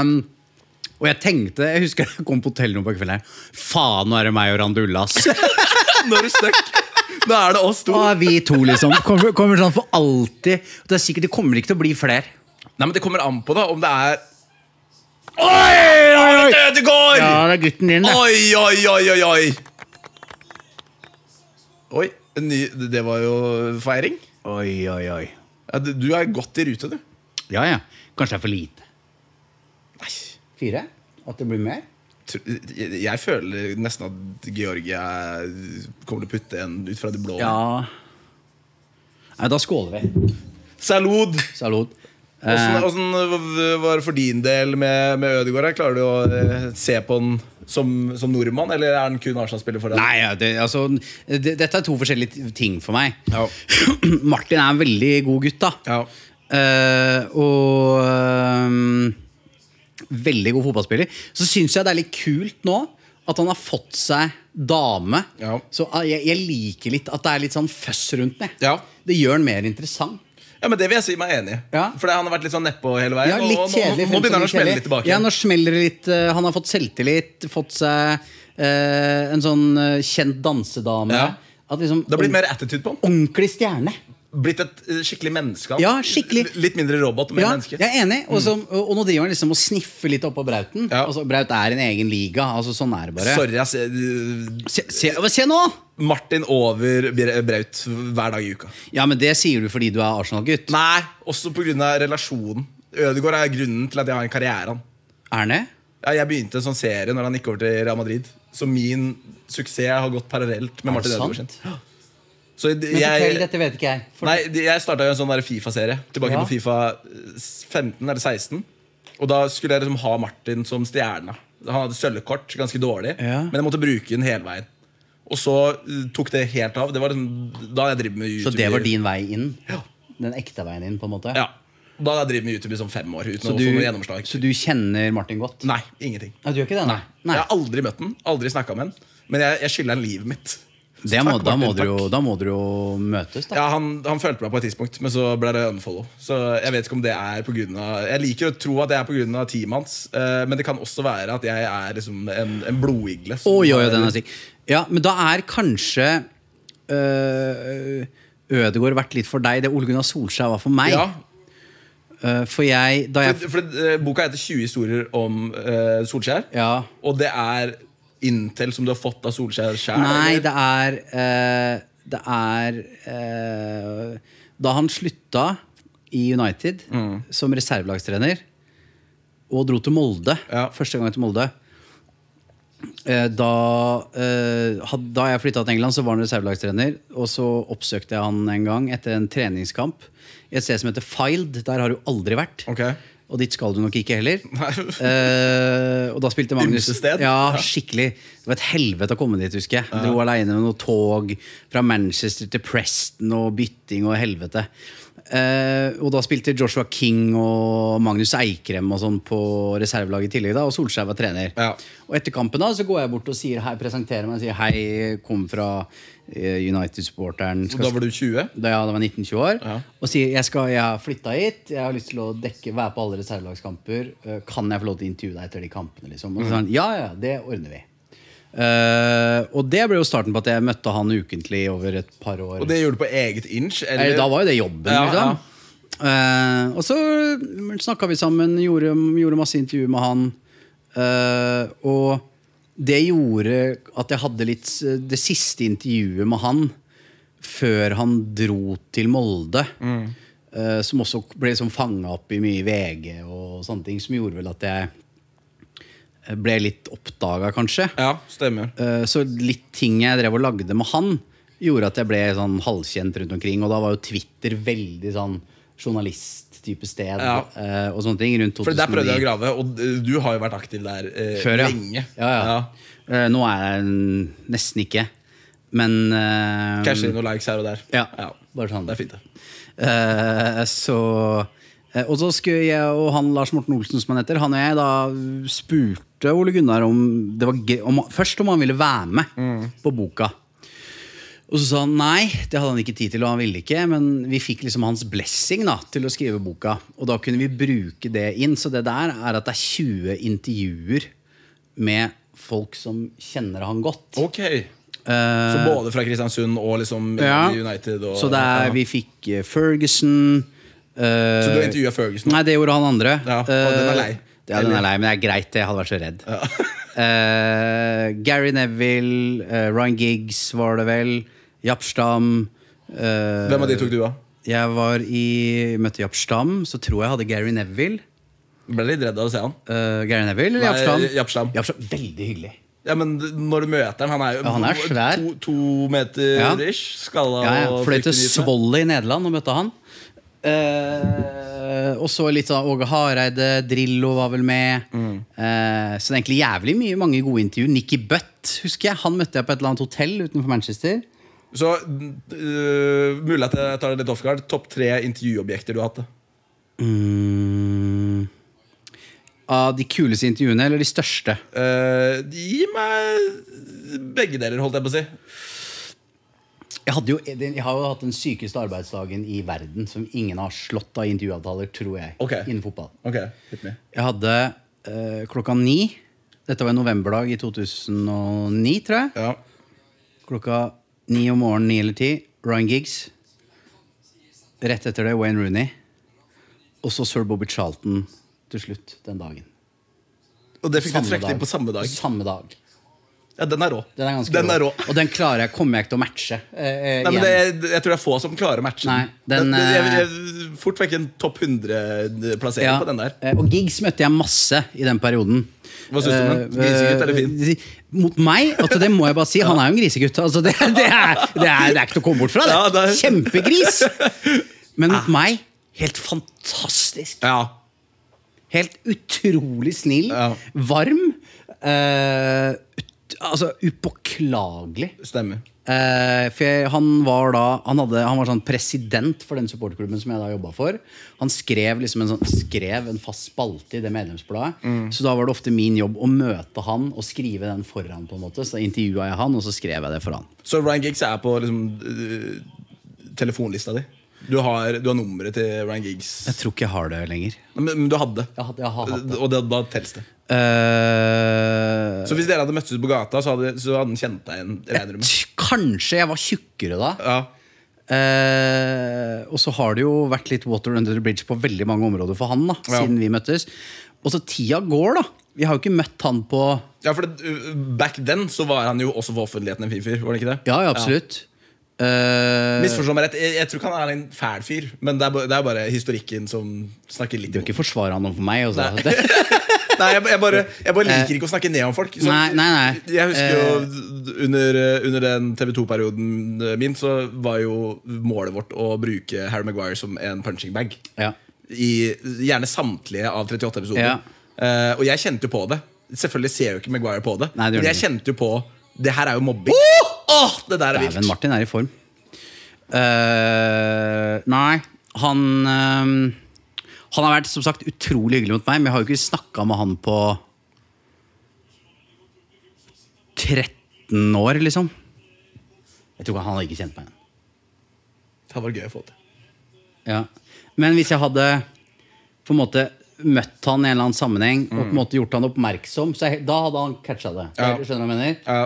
Um, og jeg tenkte, jeg husker jeg kom på hotellrommet på kvelden her Faen, nå er det meg og Randulla, ass.
Nå er du stuck. Nå er det oss to.
Nå er vi to, liksom. Kommer, kommer sånn for alltid. Og det er sikkert, det kommer ikke til å bli flere.
Nei, men Det kommer an på da om det er
Oi, oi,
Oi, det går!
Ja, det er gutten din, det.
Oi, oi, oi, oi, oi! Oi, en ny, det var jo feiring.
Oi, oi, oi.
Ja, du du er godt i rute, du.
Ja, ja. Kanskje det er for lite.
Nei,
Fire? At det blir mer?
tr- jeg jeg føler nesten at Georgie er- kommer til å putte en ut fra det blå.
Ja. Nei, da skåler vi.
Salud!
Salut. Eh,
Åssen åssen var det for din del med, med Ødegaard? her? Klarer du å eh, se på han som, som nordmann, eller er han kun Arsenal-spiller for deg?
Nei, ja, det, altså, det, dette er to forskjellige t- ting for meg.
Ja.
Martin er en veldig god gutt, da.
Ja.
Eh, og ehm, veldig god fotballspiller. Så syns jeg det er litt kult nå at han har fått seg dame.
Ja.
Så ah, jeg, jeg liker litt at det er litt sånn føss rundt det.
Ja.
Det gjør han mer interessant.
Ja, men Det vil jeg si meg enig i.
Ja.
For det- han har vært litt sånn nedpå hele veien.
Ja, litt
og nå,
kjedelig
nå, nå begynner han å
fremstår
smelle
kjedelig.
litt tilbake.
Ja, nå smeller det litt eh, Han har fått selvtillit, fått seg eh, en sånn eh, kjent dansedame.
Ja.
At liksom,
det har blitt mer attitude på han.
ordentlig stjerne.
Blitt et eh, skikkelig menneske. han.
Ja, skikkelig.
L- Litt mindre robot, mer
Ja,
menneske.
jeg er enig. Og, så, og nå driver han liksom og sniffer litt oppå Brauten.
Mm. Ja.
Altså, Braut er en egen liga. Altså, sånn er det bare.
Sorry, ass. eh,
Se, se, hva- se nå!
Martin over Bra- Braut hver dag i uka.
Ja, men det sier du fordi du er Arsenal-gutt.
Nei, også pga. relasjonen. Ødegaard er grunnen til at jeg har en karriere. han.
Er han det?
Ja, jeg begynte en sånn serie når han gikk over til Real Madrid. Så min suksess har gått parallelt med Martin Ødegaard sin.
sant?
Så d-
Men fortell,
jeg,
dette vet ikke jeg. For,
nei, d- jeg starta en sånn der Fifa-serie tilbake
Ja.
på Fifa eh, 15 eller 16. Og da skulle jeg liksom ha Martin som stjerna. Han hadde sølvkort, ganske dårlig,
Ja.
men jeg måtte bruke den hele veien. Og så eh, tok det helt av. Det var liksom, da jeg driver med YouTube.
så det var din vei inn?
Ja.
Den ekte veien inn, på en måte?
Ja. Da jeg driver med YouTube i sånn fem år uten
Så,
å
du,
få noe gjennomslag.
så du kjenner Martin godt?
Nei, ingenting.
Ja, du gjør ikke det? Nei.
Jeg har aldri møtt den, aldri snakka med den. Men jeg, jeg skylder han livet mitt.
Det må,
Takk,
da, må
Martin,
dere jo, da må dere jo møtes, da.
Ja, han, han følte meg på et tidspunkt, men så ble det unfollow. Så jeg vet ikke om det er på grunn av Jeg liker å tro at det er pga. teamet hans, eh, men det kan også være at jeg er liksom en, en blodigle. som
Oi, oi, oi,
har-
den er stygg. Ja, men da er kanskje øh, Ødegård vært litt for deg det Ole Gunnar Solskjær var for meg.
ja,
Øh, for jeg Da jeg
for, for eh, Boka heter 20 historier om eh, Solskjær,
Ja.
og det er Intel som du har fått av Solskjær sjæl?
Nei, det er øh, Det er øh, Da han slutta i United som reservelagstrener og dro til Molde,
Ja.
første gang til Molde Eh, Da, eh, had- da jeg flytta til England, så var han reservelagstrener. Og så oppsøkte jeg han en gang etter en treningskamp i et sted som heter Filed. Der har du aldri vært.
Ok.
Og dit skal du nok ikke heller.
Nei.
Eh, og da spilte Magnus
Ymse sted.
Ja, skikkelig. Det var et helvete å komme dit, husker jeg. Dro aleine med noe tog fra Manchester til Preston og bytting og helvete. Eh, og da spilte Joshua King og Magnus Eikrem og sånn på reservelaget i tillegg, da, og Solskjær var trener.
Ja.
Og etter kampen da, så går jeg bort og sier hei, presenterer meg og sier hei, kom fra eh, United-supporteren.
Og da var du 20?
Da jeg da var 19-20 år.
Ja.
Og sier jeg, skal, jeg har flytta hit, jeg har lyst til å dekke, være på alle reservelagskamper. eh, Kan jeg få lov til å intervjue deg etter de kampene? Liksom? Og så sa han ja, ja, det ordner vi. Eh, og det ble jo starten på at jeg møtte han ukentlig over et par år.
Og det gjorde du på eget inch?
Eh, Da var jo det jobben,
Ja,
liksom.
ja.
Eh, og så snakka vi sammen, gjorde, gjorde masse intervjuer med han. eh, og det gjorde at jeg hadde litt Det siste intervjuet med han før han dro til Molde.
Mm.
eh, som også ble liksom fanga opp i mye VG og sånne ting, som gjorde vel at jeg ble litt oppdaga, kanskje.
Ja, stemmer.
Eh, Så litt ting jeg drev og lagde med han, gjorde at jeg ble sånn halvkjent rundt omkring. Og da var jo Twitter veldig sånn journalist-type sted.
Ja.
eh, Og sånne ting rundt 2009.
For der prøvde jeg å grave, og eh, du har jo vært aktiv der eh,
Før, ja.
lenge.
Ja, ja. Eh, Nå er jeg mm, nesten ikke. Men eh,
Casher inn noen likes her og der.
Ja, bare sånn.
Det er fint, det.
Eh, så eh, Og så skulle jeg og han Lars Morten Olsen, som han heter, han og jeg da spurte Ole Gunnar om, det var, gøy- om Først om han ville være med på boka. Og så sa han nei, det hadde han ikke tid til, og han ville ikke. Men vi fikk liksom hans blessing da, til å skrive boka, og da kunne vi bruke det inn. Så det der er at det er 20 intervjuer med folk som kjenner han godt.
Ok Så både fra Kristiansund og liksom
Eh, Ja.
United og,
Så det er,
ja.
vi fikk eh, Ferguson eh,
Så du har intervjua Ferguson?
Nei, det gjorde han andre.
Ja, og den er lei.
Eh, Ja, den er lei, men det er greit. det, Jeg hadde vært så redd. Eh, Gary Neville, eh, Ryan Giggs var det vel. Jappstam. eh,
Hvem av de tok du av?
Jeg var i, møtte Jappstam, så tror jeg hadde Gary Neville.
Ble litt redd av å se han.
Eh, Gary Neville eller
Nei,
Jappstam?
Jappstam.
Veldig hyggelig.
Ja, men d- Når du møter han Han er jo
Ja, han er svær.
to, to meter
Ja.
ish. Skalla
Ja, ja.
og
Fløy til
fryktinngytende.
Svolle i Nederland og møtte han. Eh, og så litt sånn Åge Hareide, Drillo var vel med.
Mm.
Eh, så det er egentlig jævlig mye mange gode intervjuer. Nikki Butt husker jeg. Han møtte jeg på et eller annet hotell utenfor Manchester.
Så øh, mulig at jeg tar det litt offguard. Topp tre intervjuobjekter du har hatt. da.
Mm. Av de kuleste intervjuene, eller de største?
Eh, gi meg begge deler, holdt jeg på å si.
Jeg, hadde jo, jeg har jo hatt den sykeste arbeidsdagen i verden, som ingen har slått av intervjuavtaler, tror jeg.
Ok.
Innen fotball.
Ok, hit me
Jeg hadde eh, klokka ni. Dette var en novemberdag i 2009, tror jeg.
ja.
Klokka ni om morgenen, ni eller ti. Ryan Giggs. Rett etter det Wayne Rooney. Og så sir Bobby Charlton til slutt den dagen.
Og det fikk du
Samme
trukket
dag.
inn på samme dag.
Samme dag.
Ja, Den er rå.
Den er ganske
Den er rå.
Og den klarer jeg, kommer jeg ikke til å matche. eh, eh,
Nei, men det,
igjen.
jeg tror det er få som klarer matchen.
Nei, den,
det, jeg,
eh,
jeg, fort vekk en topp 100-plassering
Ja,
på den der.
eh, Og Giggs møtte jeg masse i den perioden.
Hva synes du om han?
Eh,
Grisegutt eller fin?
eh, Mot meg? Altså, det må jeg bare si. Han er jo en grisegutt. Altså, det, det, er, det, er, det er ikke til å komme bort fra. Det.
Ja, det er- Ah.
Kjempegris! Men mot meg helt fantastisk.
Ja.
Helt utrolig snill.
Ja.
Varm. eh, ut, altså upåklagelig.
Stemmer.
Eh, for jeg, han var da han, hadde, han var sånn president for den supporterklubben som jeg da jobba for. Han skrev liksom en, sånn, skrev en fast spalte i det medlemsbladet. Så da var det ofte min jobb å møte han og skrive den for han. på en måte Så da intervjua jeg han, og så skrev jeg det for han.
Så Ryan Giggs er på liksom, øh, telefonlista di. Du har, du har nummeret til Ryan Giggs.
Jeg tror ikke jeg har det lenger.
Men, men du hadde.
Jeg har, jeg har hatt det.
Og det, da telles det.
Eh,
Så hvis dere hadde møttes ute på gata, så hadde, så hadde han kjent deg igjen? regner du med?
t- kanskje jeg var tjukkere da.
Ja.
Eh, og så har det jo vært litt water under the bridge på veldig mange områder for han. da
Ja.
Siden vi møttes Og så tida går, da. Vi har jo ikke møtt han på
ja, for det, øh, Back then så var han jo også for offentligheten en fin fyr. var det ikke det?
Ja, ja absolutt. Eh,
Misforstå meg rett, jeg, jeg tror ikke han er en fæl fyr, men det er, ba- det er bare historikken som snakker litt
du kan ikke forsvare han overfor meg. Altså.
Nei.
Det, Eh.
Nei, jeg, jeg, bare, jeg bare liker ikke å snakke ned om folk. Så-
Nei, nei, Eh. nei.
Jeg husker jo under, eh, under den TV2-perioden eh, min, så var jo målet vårt å bruke Harry Maguire som en punching bag.
ja.
I gjerne samtlige av 38 episoder.
Ja.
Eh, og jeg kjente jo på det. Selvfølgelig ser jo ikke Maguire på det,
Nei, det gjør
men jeg
han
kjente jo på Det her er jo mobbing. Åh, det der er vilt!
Dæven, Martin er i form. Eh, nei, han eh, Han har vært som sagt utrolig hyggelig mot meg, men jeg har jo ikke snakka med han på 13 år, liksom. Jeg tror ikke han hadde ikke kjent meg igjen.
Det var gøy å få til.
Ja. Men hvis jeg hadde på en måte møtt han i en eller annen sammenheng og på en måte gjort han oppmerksom, så jeg, da hadde han catcha det.
Mm. Ja.
Skjønner du hva jeg mener?
Ja.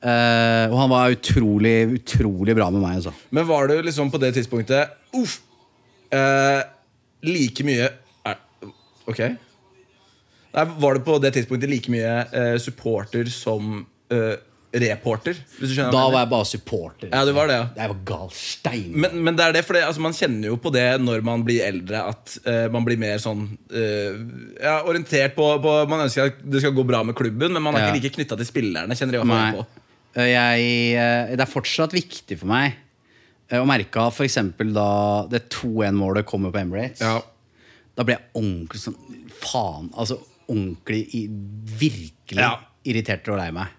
Eh, og han var utrolig, utrolig bra med meg. Altså.
Men var du liksom på det tidspunktet Uff eh, Like mye er, Ok Nei, Var du på det tidspunktet like mye eh, supporter som eh, reporter? Hvis du skjønner hva jeg
Da var
mener?
jeg bare supporter.
Ja, du var det, ja.
Jeg var gal stein.
Men, men det er det, for det, altså, man kjenner jo på det når man blir eldre, at eh, man blir mer sånn eh, ja, orientert på, på Man ønsker at det skal gå bra med klubben, men man er
Ja.
ikke like knytta til spillerne. Kjenner jeg i hvert fall
Nei.
på
Eh, Jeg, eh, det er fortsatt viktig for meg eh, å merke av f.eks. da det 2-1-målet kommer på Emirates.
Ja.
Da ble jeg ordentlig sånn Faen. Altså ordentlig i, virkelig
Ja.
irritert og lei meg.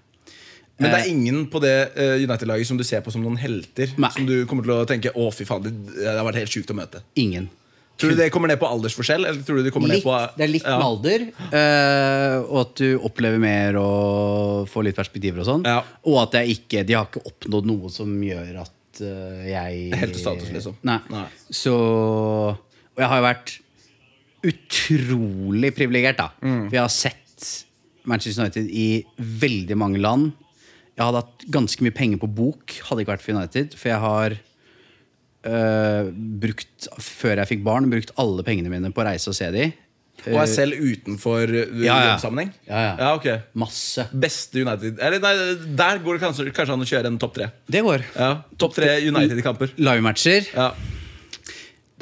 Men det er ingen på det eh, United-laget som du ser på som noen helter?
Nei.
Som du kommer til å tenke 'Å, fy faen, det, det har vært helt sjukt å møte'?
Ingen.
Tror du det kommer ned på aldersforskjell? Eller tror du det kommer
Litt,
ned på
det er litt med alder, eh, og at du opplever mer og får litt perspektiver og sånn.
Ja.
Og at jeg ikke, de har ikke oppnådd noe som gjør at eh, jeg
Heltestatus, liksom.
Nei.
Nei.
Så Og jeg har jo vært utrolig privilegert, da. For jeg har sett Manchester United i veldig mange land. Jeg hadde hatt ganske mye penger på bok, hadde ikke vært for United. For jeg har eh, brukt, før jeg fikk barn, brukt alle pengene mine på å reise og se de.
Og er selv utenfor uh,
ja, ja.
jobbsammenheng?
Ja, ja.
ok.
Masse.
Beste United Eller nei, der går det kanskje, kanskje an å kjøre en topp tre.
Det går.
Ja. Topp tre United-kamper.
Livematcher.
Ja,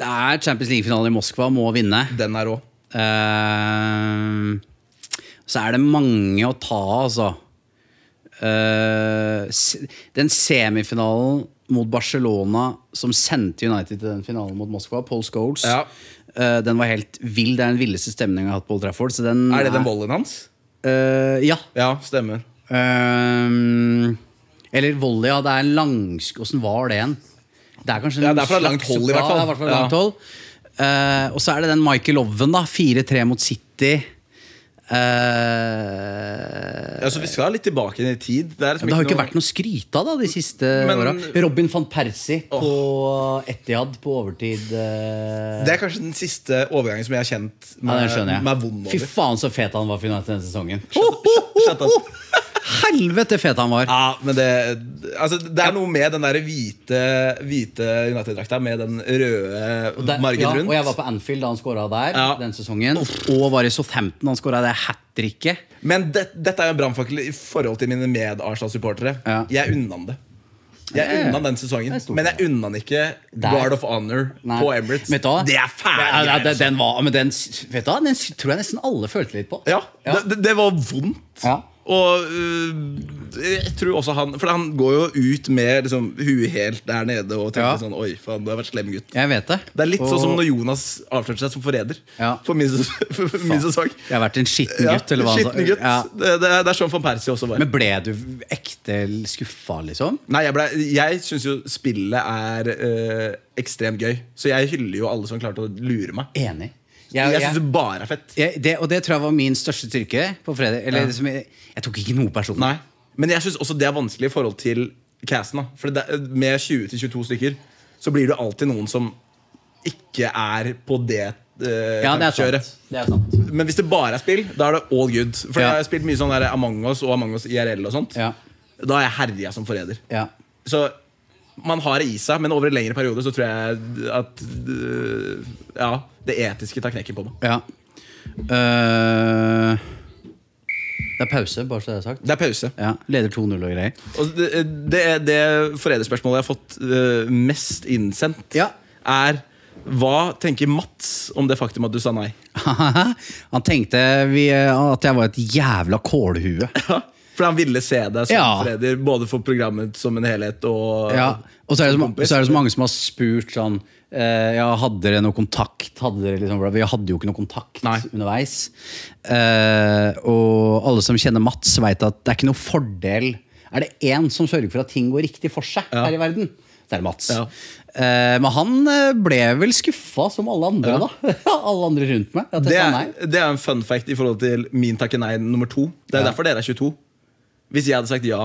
Det er Champions League-finalen i Moskva, må vinne.
Den er rå.
Eh, så er det mange å ta av, altså. Eh, se- den semifinalen mot Barcelona, som sendte United til den finalen mot Moskva. Paul Scholes.
Ja.
Eh, den var helt vill. Det er den villeste stemningen jeg har hatt på Old Trafford. Så den
Er det den volleyen hans?
Eh, ja.
Ja, stemmer.
Ehm, eller volley, ja. Det er en langsk... Åssen var det igjen? Det er kanskje en
Ja, det er fra
slags-
langt hold i hvert fall.
Ja, det er fra
Ja.
langt hold. Eh, og så er det den Michael Oven, da. 4-3 mot City. Eh,
Ja, så Vi skal litt tilbake i tid. Det, er liksom
det Ehm, har jo ikke
noe-
vært noe å skryte av da, de siste
Men-
åra. Robin van Persie på Etihad på overtid. eh,
det er kanskje den siste overgangen som jeg har kjent
ja,
meg,
den skjønner jeg.
meg vond
Fy
over.
faen, så fet han var for United denne sesongen.
Shut up.
Helvete fet han var!
Ja, men det altså, Det er noe med den der hvite, hvite United-drakta med den røde
Der-
margen
ja,
rundt.
Og jeg var på Anfield da han skåra der.
Ja.
Den sesongen Og var i Southampton da han skåra det hat tricket.
Men det, dette er jo en brannfakkel i forhold til mine med-Arsenal-supportere.
Ja.
Jeg unna han det. Jeg
Ja, ja.
unna han den sesongen,
Det er stort.
men jeg unna han ikke
Der.
Guard of Honor
Nei.
på Emirates.
Vet du hva?
Det er fæle
Ja, ja,
greier,
den,
altså.
den var, men den, vet du hva? den tror jeg nesten alle følte litt på.
Ja,
Ja.
Det, det var vondt.
Ja.
Og øh, jeg tror også han For han går jo ut med liksom, huet helt der nede og tenker
Ja.
sånn Oi, faen, du har vært slem gutt.
Jeg vet det.
Det er litt sånn som
Og
når Jonas avslørte seg som forræder.
Ja.
For min, ses- for min sesong.
Jeg har vært en skitten
Ja,
gutt. eller hva han sa.
skitten gutt.
Ja.
Det, det, er- det er sånn van Persie også var.
Men ble du ekte skuffa, liksom?
Nei, Jeg, ble, jeg syns jo spillet er øh, ekstremt gøy, så jeg hyller jo alle som klarte å lure meg.
Enig.
Jeg,
Jeg, jeg,
syns det bare er fett.
jeg, det, og det tror jeg var min største styrke på fredag. Eller,
Ja.
liksom, jeg, jeg tok ikke noe personlig.
Nei. Men jeg syns også det er vanskelig i forhold til casten. Da. For det, med 20-22 stykker så blir det alltid noen som ikke er på det øh,
Ja, det er
tankekjøret.
sant. Det er sant.
Men hvis det bare er spill, da er det all good. For
Ja.
jeg har spilt mye sånn der Among us og Among us IRL og sånt.
Ja.
Da er jeg herja som forræder.
Ja.
Så man har det i seg, men over en lengre periode så tror jeg at øh, Ja, det etiske tar knekken på meg.
Ja. Eh, det er pause, bare så det er sagt.
Det er pause.
Ja, Leder 2-0 og greier.
Og det, det, er det forræderspørsmålet jeg har fått øh, mest innsendt,
Ja.
er hva tenker Mats om det faktum at du sa nei?
han tenkte vi, eh, at jeg var et jævla kålhue.
For han ville se deg som
Ja.
forræder, både for programmet som en helhet og
Ja. Og så er, det så, ma- så er det så mange som har spurt sånn eh, Ja, hadde dere noe kontakt? Hadde dere liksom, vi hadde jo ikke noe kontakt
Nei.
underveis. Eh, og alle som kjenner Mats, veit at det er ikke noe fordel Er det én som sørger for at ting går riktig for seg her i verden? Det er Mats.
Ja.
Eh, men han eh, ble vel skuffa, som alle andre, da. alle andre rundt meg. At
Det
jeg sa nei.
er, det er en fun fact i forhold til min takke nei nummer to. Det er derfor dere er 22. Hvis jeg hadde sagt ja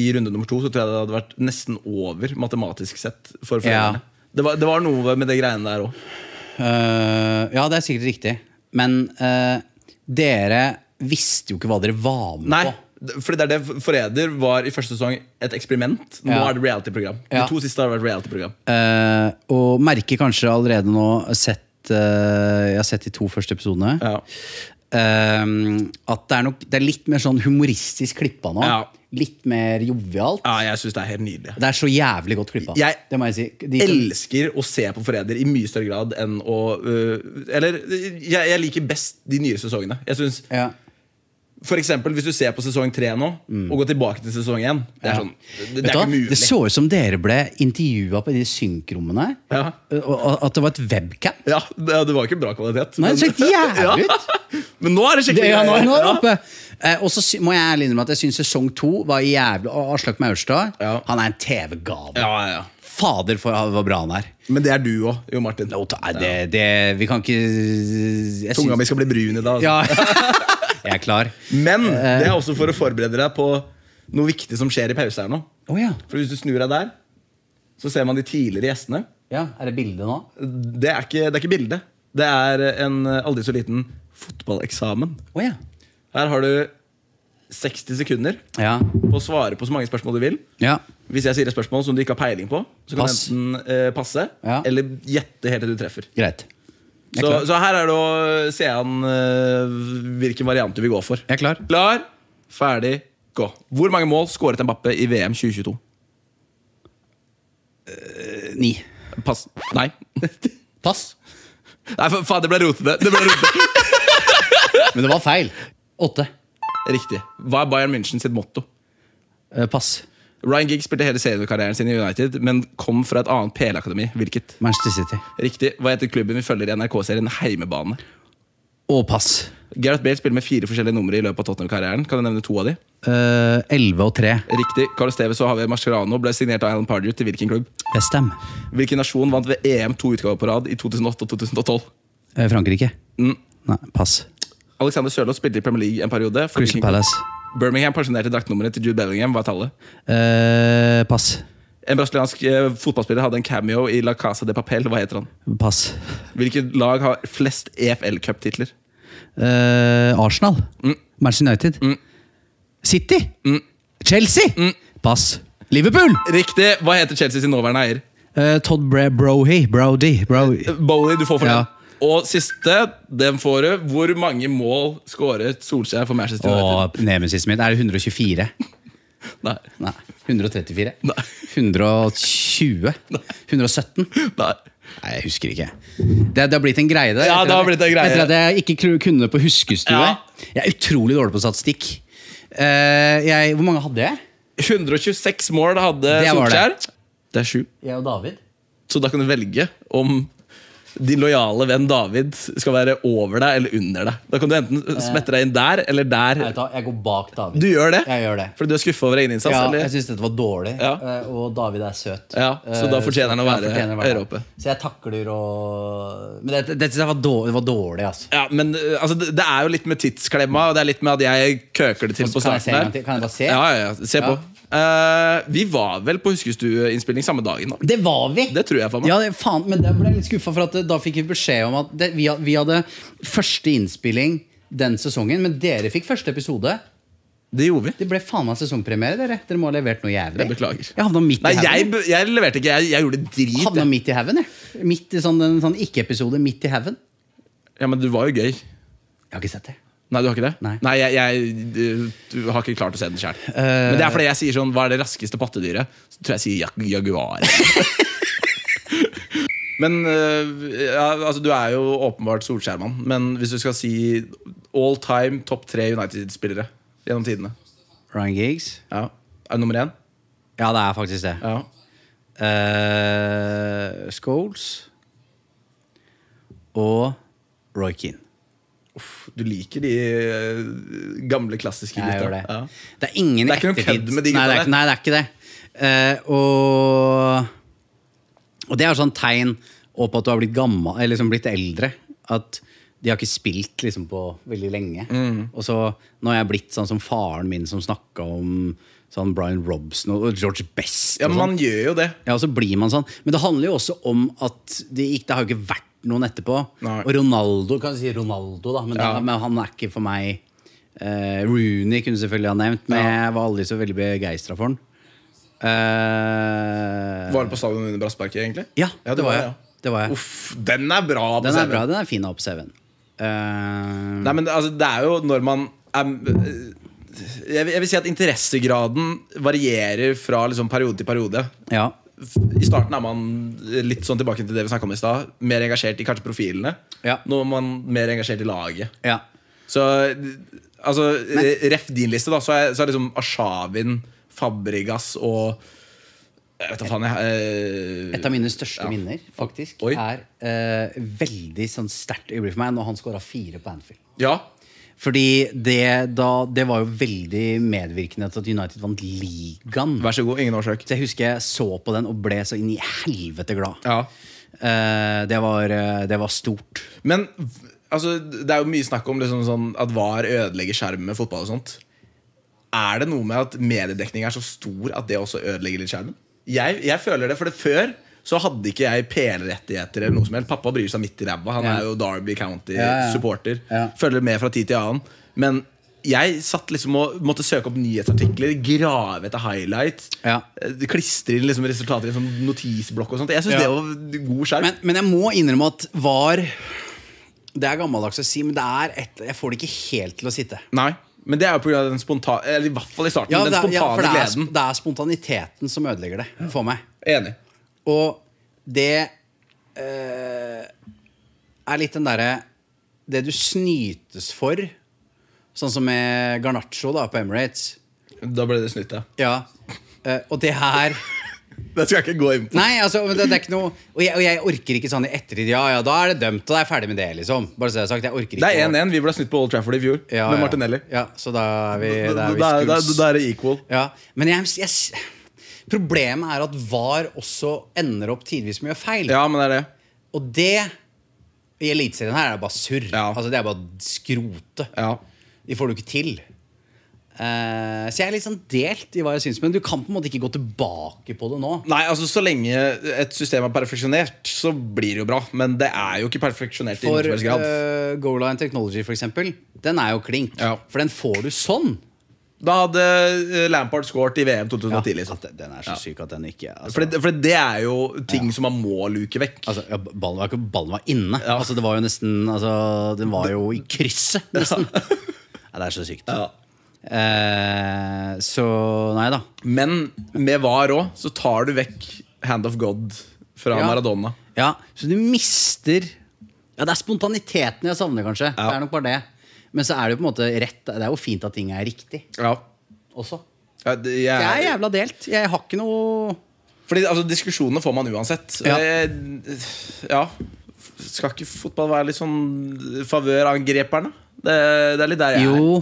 i runde nummer to, så tror jeg det hadde vært nesten over matematisk sett. for
Ja.
foreldrene. det, var, det var noe med det greiene der òg.
Eh, ja, det er sikkert riktig. Men eh, dere visste jo ikke hva dere var med
Nei,
på.
fordi det er det Forræder var i første sesong et eksperiment. Nå
Ja.
er det reality-program.
Ja.
De to siste har vært reality-program.
Eh, og merker kanskje allerede nå sett, eh, Jeg har sett de to første episodene.
Ja.
eh, at det er, nok, det er litt mer sånn humoristisk klippa nå.
Ja.
Litt mer jovialt.
ja, jeg syns det er helt nydelig.
Det er så jævlig godt klippa.
Jeg
det må jeg si. De som-
elsker å se på forræder i mye større grad enn å øh, Eller jeg, jeg liker best de nyere sesongene. Jeg synes,
ja.
For eksempel, Hvis du ser på sesong tre nå, og går tilbake til sesong én Det er,
Ja.
sånn, Mm. det,
Vet
det er
du hva?
ikke mulig.
det så ut som dere ble intervjua på de synkrommene.
Ja.
Og, og at det var et webcam.
ja, det, det var ikke bra kvalitet.
Nei, det så jævlig
Ja. Men nå er det
Det
skikkelig
er han nå,
Ja.
han oppe. Eh, og så sy- må jeg ærlig innrømme at jeg syns sesong to var jævlig Og Aslak Maurstad
Ja.
han er en TV-gave.
Ja, ja, ja.
Fader, for hvor bra han er.
Men det er du òg, Jo Martin.
Jo, ta- nei, det, det, vi kan ikke jeg
Tunga
syns-
mi skal bli brun i dag. altså. Eh.
ja. Jeg er klar.
Men det er også for å forberede deg på noe viktig som skjer i pause her nå.
Å ja.
For hvis du snur deg der, så ser man de tidligere gjestene.
ja. Er det bilde nå?
Det er ikke, det er ikke bildet. Det er en eh, aldri så liten fotballeksamen.
Å ja.
Her har du 60 sekunder
Ja.
på å svare på så mange spørsmål du vil.
ja.
Hvis jeg sier et spørsmål som du ikke har peiling på, så kan
Pass.
du enten eh, passe
Ja.
eller gjette helt til du treffer.
Greit. Jeg
Så,
er klar.
så her er det å se an eh, hvilken variant du vil gå for.
Jeg er klar.
Klar, ferdig, gå. Hvor mange mål skåret Mbappe i VM 2022?
Ni.
Pass. Nei. Nei,
Pass.
for faen, det ble rotete. Det ble rotete.
Men det var feil. Åtte.
Riktig. Hva er Bayern München sitt motto?
Eh, pass.
Ryan Giggs spilte hele seriekarrieren sin i United, men kom fra et annet PL-akademi. Hvilket?
Manchester City.
Riktig. Hva heter klubben vi følger i NRK-serien Heimebane?
Og pass.
Gareth Bale spiller med fire forskjellige numre i løpet av Tottenham-karrieren. Kan du nevne to av de?
Eh, 11 og 3.
Riktig. Carlos Tevez og Javier Mascherano ble signert av Alan Pardew til hvilken klubb?
Westham.
Hvilken nasjon vant ved EM to utgaver på rad i 2008 og 2012?
Uh, Frankrike.
Mm.
Nei, pass.
Alexander Sørloth spilte i Premier League en periode. For hvilken
Crystal
klubb?
Palace.
Birmingham pensjonerte draktnummeret til Jude Bellingham. Hva er tallet?
Eh, pass.
En brasiliansk eh, fotballspiller hadde en cameo i La Casa de Papel. Hva heter han?
Pass.
Hvilket lag har flest E EFL-cuptitler?
Eh, Arsenal.
Mm.
Manchester United. City. Chelsea.
Mm.
Pass. Liverpool.
Riktig! Hva heter Chelsea sin nåværende eier?
Eh, Todd Bre Brohy. Brody. Brody.
Bowley, du får for
Ja.
den. Og siste, den får du. Hvor mange mål skåret Solskjær for Manchester United?
Og nemesisen min er 124.
Nei.
Nei. 134.
Nei.
120. 117.
Nei.
Nei, jeg husker ikke. Det, det har blitt en greie. Det,
Ja,
etter
det har
at-
blitt en greie.
Etter at jeg ikke kru- kunne det på huskestue.
Ja.
Jeg er utrolig dårlig på statistikk. Eh, jeg, hvor mange hadde jeg?
126 mål hadde
Det var det.
Solskjær. Det er sju.
Jeg og David.
Så da kan du velge om din lojale venn David skal være over deg eller under deg. Da kan du enten smette deg inn der eller der.
Eh. Jeg, tar, jeg går bak David.
Du gjør det?
Jeg gjør det.
Fordi du er skuffa over egen innsats?
Ja, jeg
eller?
syns dette var dårlig,
Ja.
eh, og David er søt.
Ja, så da
Eh,
fortjener han å
ja,
være
fortjener
høyere oppe.
Så jeg takler og Men dette, dette synes jeg var dårlig, det var dårlig altså.
Ja, men eh, altså, det det er jo litt med tidsklemma, og det er litt med at jeg køker det til
Og så
på
kan jeg se
starten der.
en gang til? Kan jeg bare se?
Ja, ja, ja. Se på.
Ja.
Eh, vi var vel på huskestueinnspilling samme dagen, da.
Det var vi!
Det tror jeg, faen meg.
Ja, det- faen, men det ble jeg litt skuffa, for at eh, da fikk vi beskjed om at det, vi, had- vi hadde første innspilling den sesongen, men dere fikk første episode.
Det gjorde vi.
Det ble faen meg sesongpremiere, dere. Dere må ha levert noe jævlig.
Jeg beklager.
Jeg havna midt
Nei,
i
jeg,
haugen.
b- jeg leverte ikke. Jeg, jeg gjorde drit.
Havna
jeg.
midt i haugen, jeg. Midt i sånn, en sånn ikke-episode midt i haugen.
Ja, Men du var jo gøy.
Jeg har ikke sett det.
Nei, du har ikke det?
Nei. Eh.
jeg, jeg du, du har ikke klart å se den sjøl. Men det er fordi jeg sier sånn Hva er det raskeste pattedyret? Så tror jeg jeg sier jag jaguar. men eh, ja, altså, Du er jo åpenbart Solskjær-mann. Men hvis du skal si all time topp tre United-spillere gjennom tidene
Ryan Giggs?
ja. Er det nummer én?
Ja, det er faktisk det.
Ja.
Eh, Scholes og Roy Keane.
Du liker de eh, gamle, klassiske
Jeg gjør det.
Ja.
Det er ingen
Det er ikke noe
ettertid-
kødd med de gutta
nei, det er,
der.
ikke- nei, det er ikke det. Eh, og, og det er sånn tegn og på at du har blitt gammel, eller liksom blitt eldre. At de har ikke spilt liksom på veldig lenge.
Mm.
Og så nå har jeg blitt sånn som faren min som snakka om sånn Brian Robson og George Best.
ja,
og
men
sånn.
man gjør jo det.
Ja, og så blir man sånn. Men det handler jo også om at det, ikke, det har jo ikke vært noen etterpå.
Nei.
Og Ronaldo kan du si Ronaldo, da, men,
Ja.
da, men han er ikke for meg eh, Rooney kunne selvfølgelig ha nevnt, men
Ja.
jeg var aldri så veldig begeistra for han. Eh,
Var det på stadion under Brassparket, egentlig?
Ja, det, var jeg.
ja.
Det var jeg.
Uff, den er bra. altså. på
Den
CV.
er bra, den er fin da, på CV-en. Eh,
Nei, men altså, det er jo når man er, eh, jeg, vil- jeg vil si at interessegraden varierer fra liksom, periode til periode.
ja.
F- I starten er man litt sånn tilbake til det vi snakket om i stad. Mer engasjert i kanskje profilene.
Ja.
Nå er man mer engasjert i laget.
ja.
Så altså, eh, ref din liste, da, så er, så er liksom Ashavin, Fabregas og Jeg eh, vet da faen, jeg.
Et av mine største minner faktisk
Oi.
er eh, veldig sånn sterkt øyeblikk for meg når han scora fire på Anfield.
Eh, ja.
Fordi det, da, det var jo veldig medvirkende til at United vant ligaen.
Vær så god. Ingen årsak.
Så jeg husker jeg så på den og ble så inn i helvete glad.
Ja.
Eh, det, var, eh, det var stort.
Men v- altså, det er jo mye snakk om liksom, sånn, at VAR ødelegger skjermen med fotball og sånt. Er det noe med at mediedekning er så stor at det også ødelegger litt skjermen? Jeg, jeg føler det, for det før så hadde ikke jeg PL-rettigheter eller noe som helst. Pappa bryr seg midt i ræva. Han
Ja.
er jo Derby
Ja, ja.
County-supporter.
Ja.
Følger med fra tid til annen. Men jeg satt liksom og måtte søke opp nyhetsartikler, grave etter highlights.
Ja.
eh, Klistre inn liksom resultater i en sånn notisblokk og sånt. Jeg syns
Ja.
det var god skjerm.
Men, men jeg må innrømme at var Det er gammeldags å si, men det er et, jeg får det ikke helt til å sitte.
Nei, men det er jo pga. den spontane Eller i hvert fall i starten.
Ja,
den
det, er-
spontane
ja, for det, er,
gleden.
sp- det er spontaniteten som ødelegger det for meg.
Enig.
Og det eh, er litt den derre Det du snytes for, sånn som med Garnaccio da, på Emirates.
Da ble det snytt, ja.
Ja. Eh, og det her
Det skal jeg ikke gå inn på.
Nei, altså, men det, det er ikke noe og jeg, og jeg orker ikke sånn i ettertid. Ja, ja, da er det dømt, og da er jeg ferdig med det, liksom. Bare så det er sagt. Jeg orker ikke
Det er
å-
1-1. Vi ble snytt på Old Trafford i fjor
Ja,
med
ja.
Martinelli.
Ja, så da er vi,
Da
da
da-
er vi
da- da-
skuls.
da er det equal.
Ja, men jeg, jeg, problemet er at VAR også ender opp tidvis med å gjøre feil.
Ja, men det er det.
Og det I Eliteserien her er det bare surr.
Ja.
Altså, det er bare skrote.
Ja.
De får det jo ikke til. Eh, så jeg er litt sånn delt i hva jeg syns. Men du kan på en måte ikke gå tilbake på det nå.
Nei, altså Så lenge et system er perfeksjonert, så blir det jo bra. Men det er jo ikke perfeksjonert. i
For
noen som helst grad
eh, Goal Line Technology, for eksempel, den er jo klink.
Ja.
For den får du sånn.
Da hadde eh, Lampard scoret i VM 2010. liksom
At den er så syk at den ikke altså,
for det, for det er jo ting som man må luke vekk.
Altså, ja, ballen, var ikke, ballen var inne. Altså, det var jo nesten altså, Den var jo i krysset, nesten. Nei, det er så sykt.
Ja.
Eh, så nei da.
Men med VAR òg, så tar du vekk Hand of God fra
Ja.
Maradona.
Ja, Så du mister Ja, det er spontaniteten jeg savner, kanskje. Det er nok bare det. Men så er det jo på en måte rett Det er jo fint at ting er riktig
Ja.
også.
Ja, det, jeg,
Jeg er jævla delt. Jeg har ikke noe
Fordi altså, Diskusjonene får man uansett.
Ja.
Eh, ja. Skal ikke fotball være litt sånn favørangreperne? Det, det er litt der jeg er.
Jo.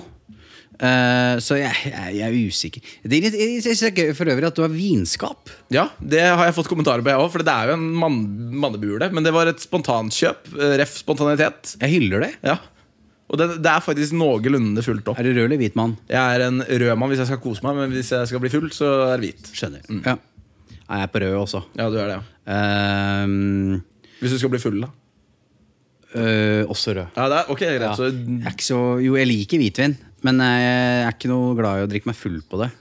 Eh, så jeg, jeg, jeg er usikker. Det er litt, jeg, jeg synes det er gøy for øvrig at du har vinskap.
Ja, Det har jeg fått kommentarer på, jeg òg. For det er jo en mann, mannebule. Men det var et spontankjøp. eh, Ref spontanitet.
Jeg hyller det.
Ja. Og det, det er faktisk noenlunde fullt opp.
Er du rød eller hvit mann?
Jeg er en rød mann hvis jeg skal kose meg, men hvis jeg skal bli full, så er det hvit.
Skjønner. Ja. Nei, Jeg er på rød også.
Ja, du er det, ja.
Ehm,
Hvis du skal bli full, da.
øh, også rød.
Ja, det er, ok, greit
Ja.
så,
Jeg er ikke så, jo, jeg liker hvitvin, men jeg er ikke noe glad i å drikke meg full på det.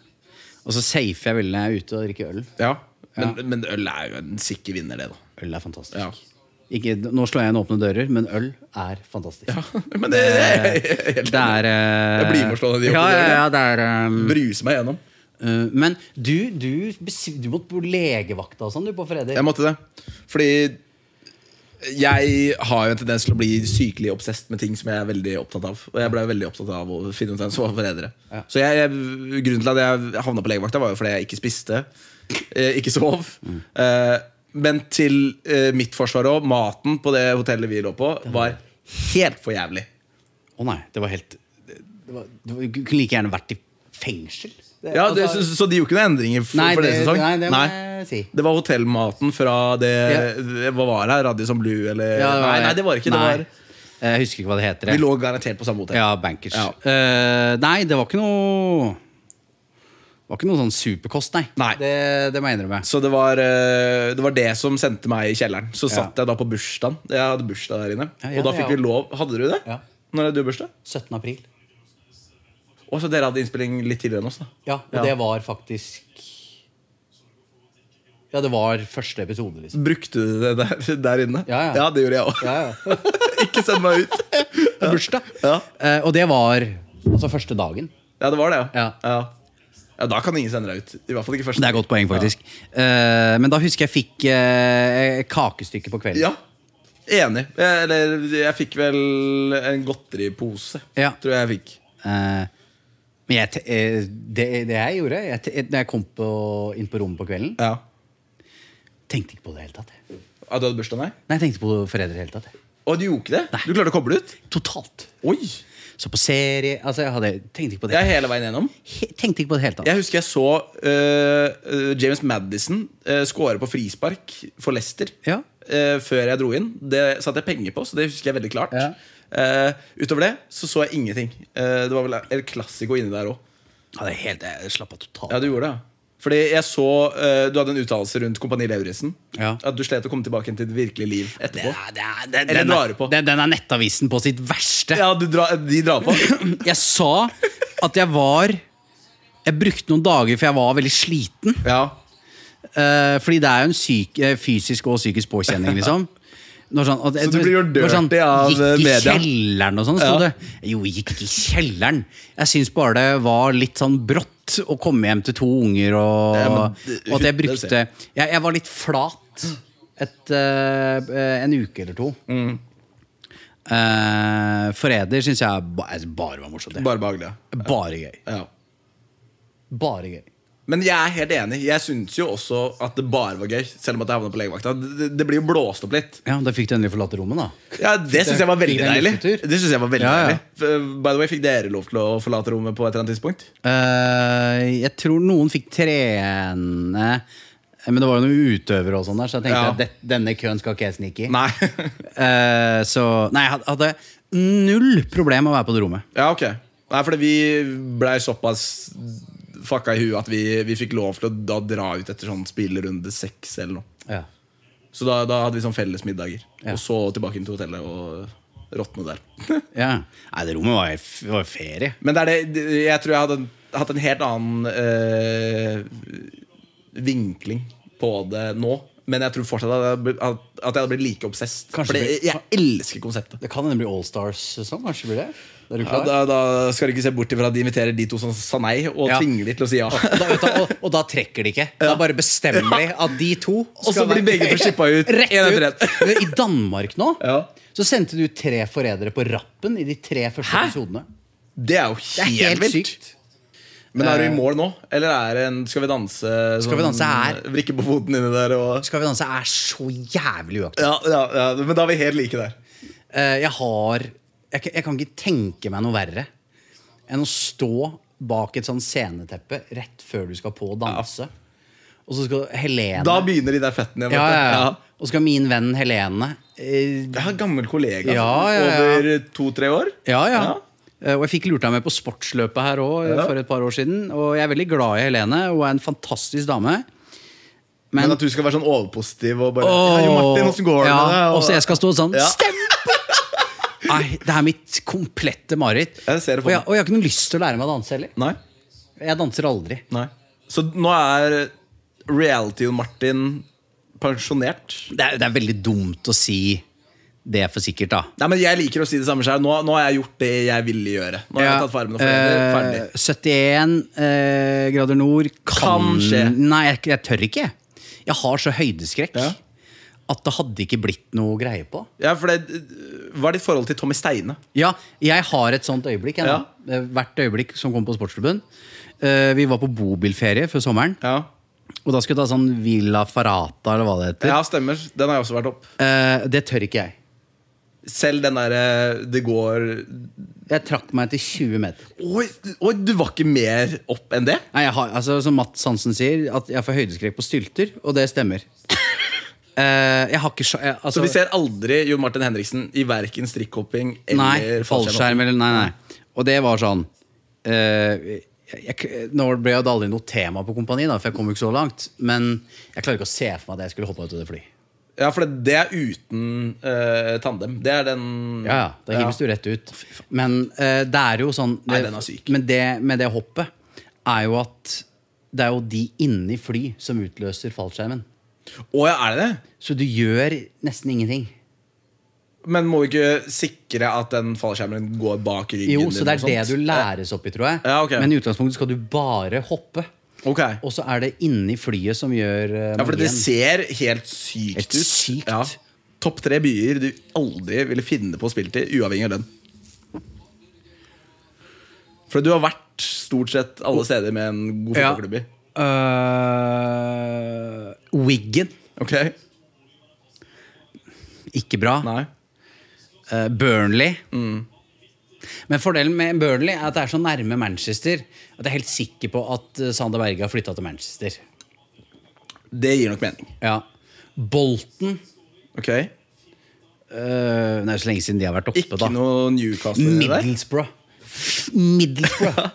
Og så safer jeg veldig når jeg er ute og drikker øl.
ja. Men, men øl er jo en sikker vinner, det, da.
Øl er fantastisk.
Ja.
Ikke, nå slår jeg inn åpne dører, men øl er fantastisk.
Men det,
Det er eh,
Jeg blir med å slå ned de åpne
ja, ja,
dørene.
ja, det er ehm,
Bruse meg gjennom.
øh, Men du, du, bes- du måtte på legevakta og sånn du på fredag.
Jeg måtte det. Fordi jeg har jo en tendens til å bli sykelig obsesst med ting som jeg er veldig opptatt av. Og jeg ble veldig opptatt av å finne ut hvem som var forrædere. Så jeg, jeg, grunnen til at jeg havna på legevakta, var jo fordi jeg ikke spiste, eh, ikke sov.
Mm.
Eh, men til eh, mitt forsvar òg, maten på det hotellet vi lå på, var helt for jævlig.
Å nei, det var helt det var, det var, Du kunne like gjerne vært i fengsel. Det-
Ja, det,
altså-
så, så de gjorde ikke noen endringer for,
Nei,
for det,
det-
sesong?
nei, det må jeg si.
Det var hotellmaten fra det Hva var det? her? Radisson Blue, eller
Ja,
nei, nei, det var ikke
Nei.
det.
Jeg husker ikke hva det heter.
Var,
jeg.
vi lå garantert på samme hotell.
Ja, Bankers.
Ja.
Eh, nei, det var ikke noe Det var ikke noe sånn superkost, nei.
Nei.
Det, det må jeg innrømme.
Så det var, eh, det var det som sendte meg i kjelleren. Så
Ja.
satt jeg da på bursdagen. Jeg hadde bursdag der inne.
Ja, ja,
og da
ja.
fikk vi lov. Hadde du det?
Ja.
Når hadde du bursdag?
17. april.
Og så dere hadde innspilling litt tidligere enn oss, da.
Ja, og
Ja.
det var faktisk Ja, det var første episode, liksom.
Brukte du det der, der inne?
Ja, ja.
det gjorde jeg òg.
Ja, ja.
ikke send meg ut.
Det var Bursdag.
Ja.
Eh, og det var altså første dagen.
Ja, det var det, ja.
Ja.
ja. ja da kan ingen sende deg ut. I hvert fall ikke første.
Det er et godt poeng, faktisk. Eh, men da husker jeg fikk eh, kakestykke på kvelden.
Ja, enig. Eh, Eller jeg fikk vel en godteripose,
Ja.
tror jeg jeg fikk.
Eh, men jeg, te- eh, det, det jeg gjorde jeg, te- Når jeg kom på, inn på rommet på kvelden,
Ja.
tenkte ikke på det i det hele tatt. jeg.
At du hadde bursdag, nei?
Nei, jeg tenkte på foreldre i det hele tatt. jeg.
Og du gjorde ikke det? Du klarte å koble ut?
Totalt.
Oi!
Så på serie Altså, jeg hadde, tenkte ikke på det.
Jeg er hele veien gjennom.
He, tenkte ikke på det i det hele tatt.
Jeg husker jeg så eh, eh, James Madison uh, score på frispark for Leicester
Ja.
eh, før jeg dro inn. Det satte jeg penger på, så det husker jeg veldig klart.
Ja.
Eh, utover det så så jeg ingenting. Eh, det var vel El Clasico inni der òg.
Ja, det er helt, jeg slapp av totalt.
Ja, du gjorde det. ja. Fordi jeg så eh, Du hadde en uttalelse rundt Kompani Lauritzen.
Ja.
At du slet å komme tilbake igjen til ditt virkelige liv
Det
etterpå.
er- det er- det-
Eller
den,
drar du
er,
på?
den, den er nettavisen på sitt verste.
Ja, du dra, de drar på.
Jeg sa at jeg var Jeg brukte noen dager, for jeg var veldig sliten.
Ja.
Eh, fordi det er jo en syk, eh, fysisk og psykisk påkjenning, liksom. Når sånn, at,
Så du blir gjort
når
dirty av, eh,
Gikk i
media.
kjelleren og sånn, sto det. Jo, gikk ikke i kjelleren. Jeg syns bare det var litt sånn brått å komme hjem til to unger, og,
Ja, men det-
og at jeg
det
brukte
ser
jeg, jeg var litt flat et, eh, eh, en uke eller to.
Mm.
Eh, forræder syns jeg ba, altså, bare var morsomt. det.
Bare behagelig.
Bare gøy.
Ja.
Bare gøy.
Men jeg er helt enig. Jeg syns jo også at det bare var gøy. Selv om at jeg havna på legevakta. Det, det blir jo blåst opp litt.
Ja, Da fikk du endelig forlate rommet, da.
Ja, Det syns jeg var veldig
Fikk deg en
deilig.
luftetur?
Det synes jeg var veldig
Ja, ja.
deilig F- By the way, Fikk dere lov til å forlate rommet på et eller annet tidspunkt?
Eh, jeg tror noen fikk trene eh, Men det var jo noen utøvere og sånn der, så jeg tenkte
Ja.
at det- denne køen skal ikke jeg snike i.
Nei.
Eh, så Nei, jeg had- hadde null problem med å være på det rommet.
ja, ok Nei, fordi vi blei såpass fucka i huet at vi, vi fikk lov til å da dra ut etter sånn spillerunde seks eller noe.
Ja.
Så da, da hadde vi sånn felles middager.
Ja.
Og så tilbake inn til hotellet og råtne der.
Nei, det rommet var, f- var ferie.
Men det er det, det- jeg tror jeg hadde hatt en helt annen eh, vinkling på det nå. Men jeg tror fortsatt at jeg hadde blitt- at at jeg hadde blitt like obsesst.
Kanskje
For
bli-
jeg elsker konseptet.
Det kan hende bli Allstars-sesong. Kanskje blir det? Er du
Ja,
klar?
da, da skal du ikke se bort ifra at de inviterer de to som sa nei, og
Ja.
tvinger de til å si ja.
Og da, vet du, og, og da trekker de ikke. Da bare bestemmer de at de to
Og så blir begge for skippa ut.
Rett
en etter
ut. I Danmark nå
Ja.
så sendte du tre forrædere på rappen i de tre første
Hæ?
episodene.
Det er jo
Det er
helt,
helt
vilt.
sykt. Eh.
Men er du i mål nå? Eller er det en Skal vi danse sånn, eh,
Skal vi danse her?
Vrikke på foten inni der og
Skal vi danse er så jævlig uaktuelt.
ja, ja, ja, men da er vi helt like der.
Eh, Jeg har jeg, kan- jeg kan ikke tenke meg noe verre enn å stå bak et sånn sceneteppe rett før du skal på å danse. Og så skal Helene
Da begynner de der fettene igjen.
ja,
vet du.
ja, ja. Og så skal min venn Helene eh,
Jeg har en gammel kollega
Ja,
altså,
ja, ja.
over to-tre år.
Ja, ja.
Ja.
Eh, Og jeg fikk lurt deg med på sportsløpet her òg
Ja.
for et par år siden. Og jeg er veldig glad i Helene. Hun er en fantastisk dame.
Men,
Men,
at du skal være sånn overpositiv og bare ja, jo, Martin, hvordan går det
ja,
med deg?
Og så jeg skal stå sånn
Ja.
Stempe! Nei, det er mitt komplette mareritt.
Jeg ser det for
Og, jeg-
meg.
og jeg har ikke noe lyst til å lære meg å danse heller.
Nei,
Jeg danser aldri.
nei. Så nå er realityen Martin pensjonert.
Det er, det er veldig dumt å si det for sikkert, da.
Nei, men Jeg liker å si det samme sjøl. Nå, nå har jeg gjort det jeg ville gjøre. Nå har jeg tatt farmen og forelder, ferdig.
Eh, 71 eh, grader nord kan,
Kan skje.
Nei, jeg, jeg tør ikke. Jeg har så høydeskrekk
Ja.
at det hadde ikke blitt noe greie på.
Ja, for det, Hva er ditt forhold til Tommy Steine?
Ja, jeg har et sånt øyeblikk. Jeg, nå. Eh, Hvert øyeblikk som kom på sportsklubben. Eh, vi var på bobilferie før sommeren.
Ja,
Og da skulle vi ta sånn Villa Farata, eller hva det heter.
ja stemmer. Den har jeg også vært opp.
Eh, det tør ikke jeg.
Selv den derre Det går
Jeg trakk meg til 20 meter.
Oi, oi, du var ikke mer opp enn det?
Nei, jeg har, altså, som Mats Hansen sier, at jeg får høydeskrekk på stylter, og det stemmer. Eh, jeg har ikke sja- jeg- altså,
Så vi ser aldri Jon Martin Henriksen i verken strikkhopping
Nei,
eller
fallskjerm eller Nei, nei. Og det var sånn eh, jeg, jeg, Nå ble det aldri noe tema på kompani, da, for jeg kom jo ikke så langt. Men jeg klarer ikke å se for meg at jeg skulle hoppe ut av det fly.
Ja, for det, det er uten eh, tandem. Det er den
Ja, ja, Da hives du rett ut. Men eh, det er jo sånn
Nei, den er syk.
Men det med det hoppet er jo at det er jo de inni fly som utløser fallskjermen.
Å ja, er det det?
Så du gjør nesten ingenting.
Men må vi ikke sikre at den fallskjermen går bak ryggen?
Jo, så det
eller
er
noe
det
sånt?
du læres opp i, tror jeg.
Ja, ok.
Men i utgangspunktet skal du bare hoppe.
Ok.
Og så er det inni flyet som gjør uh,
Ja, for det ser helt sykt
Helt
ut.
sykt.
Ja. Topp tre byer du aldri ville finne på å spille til, uavhengig av den. For du har vært stort sett alle steder med en god
Oh. Ja.
fotballklubb i.
Øh, Wiggen.
Ok?
Ikke bra.
Nei.
Eh, Burnley.
Mm.
Men fordelen med Burnley er at det er så nærme Manchester at jeg er helt sikker på at eh, Sander Berge har flytta til Manchester.
Det gir nok mening.
Ja. Bolton
Ok?
eh, Det er så lenge siden de har vært oppe,
Ikke
da.
noe Newcastle i det der.
Middlesbrough. Middlesbrough.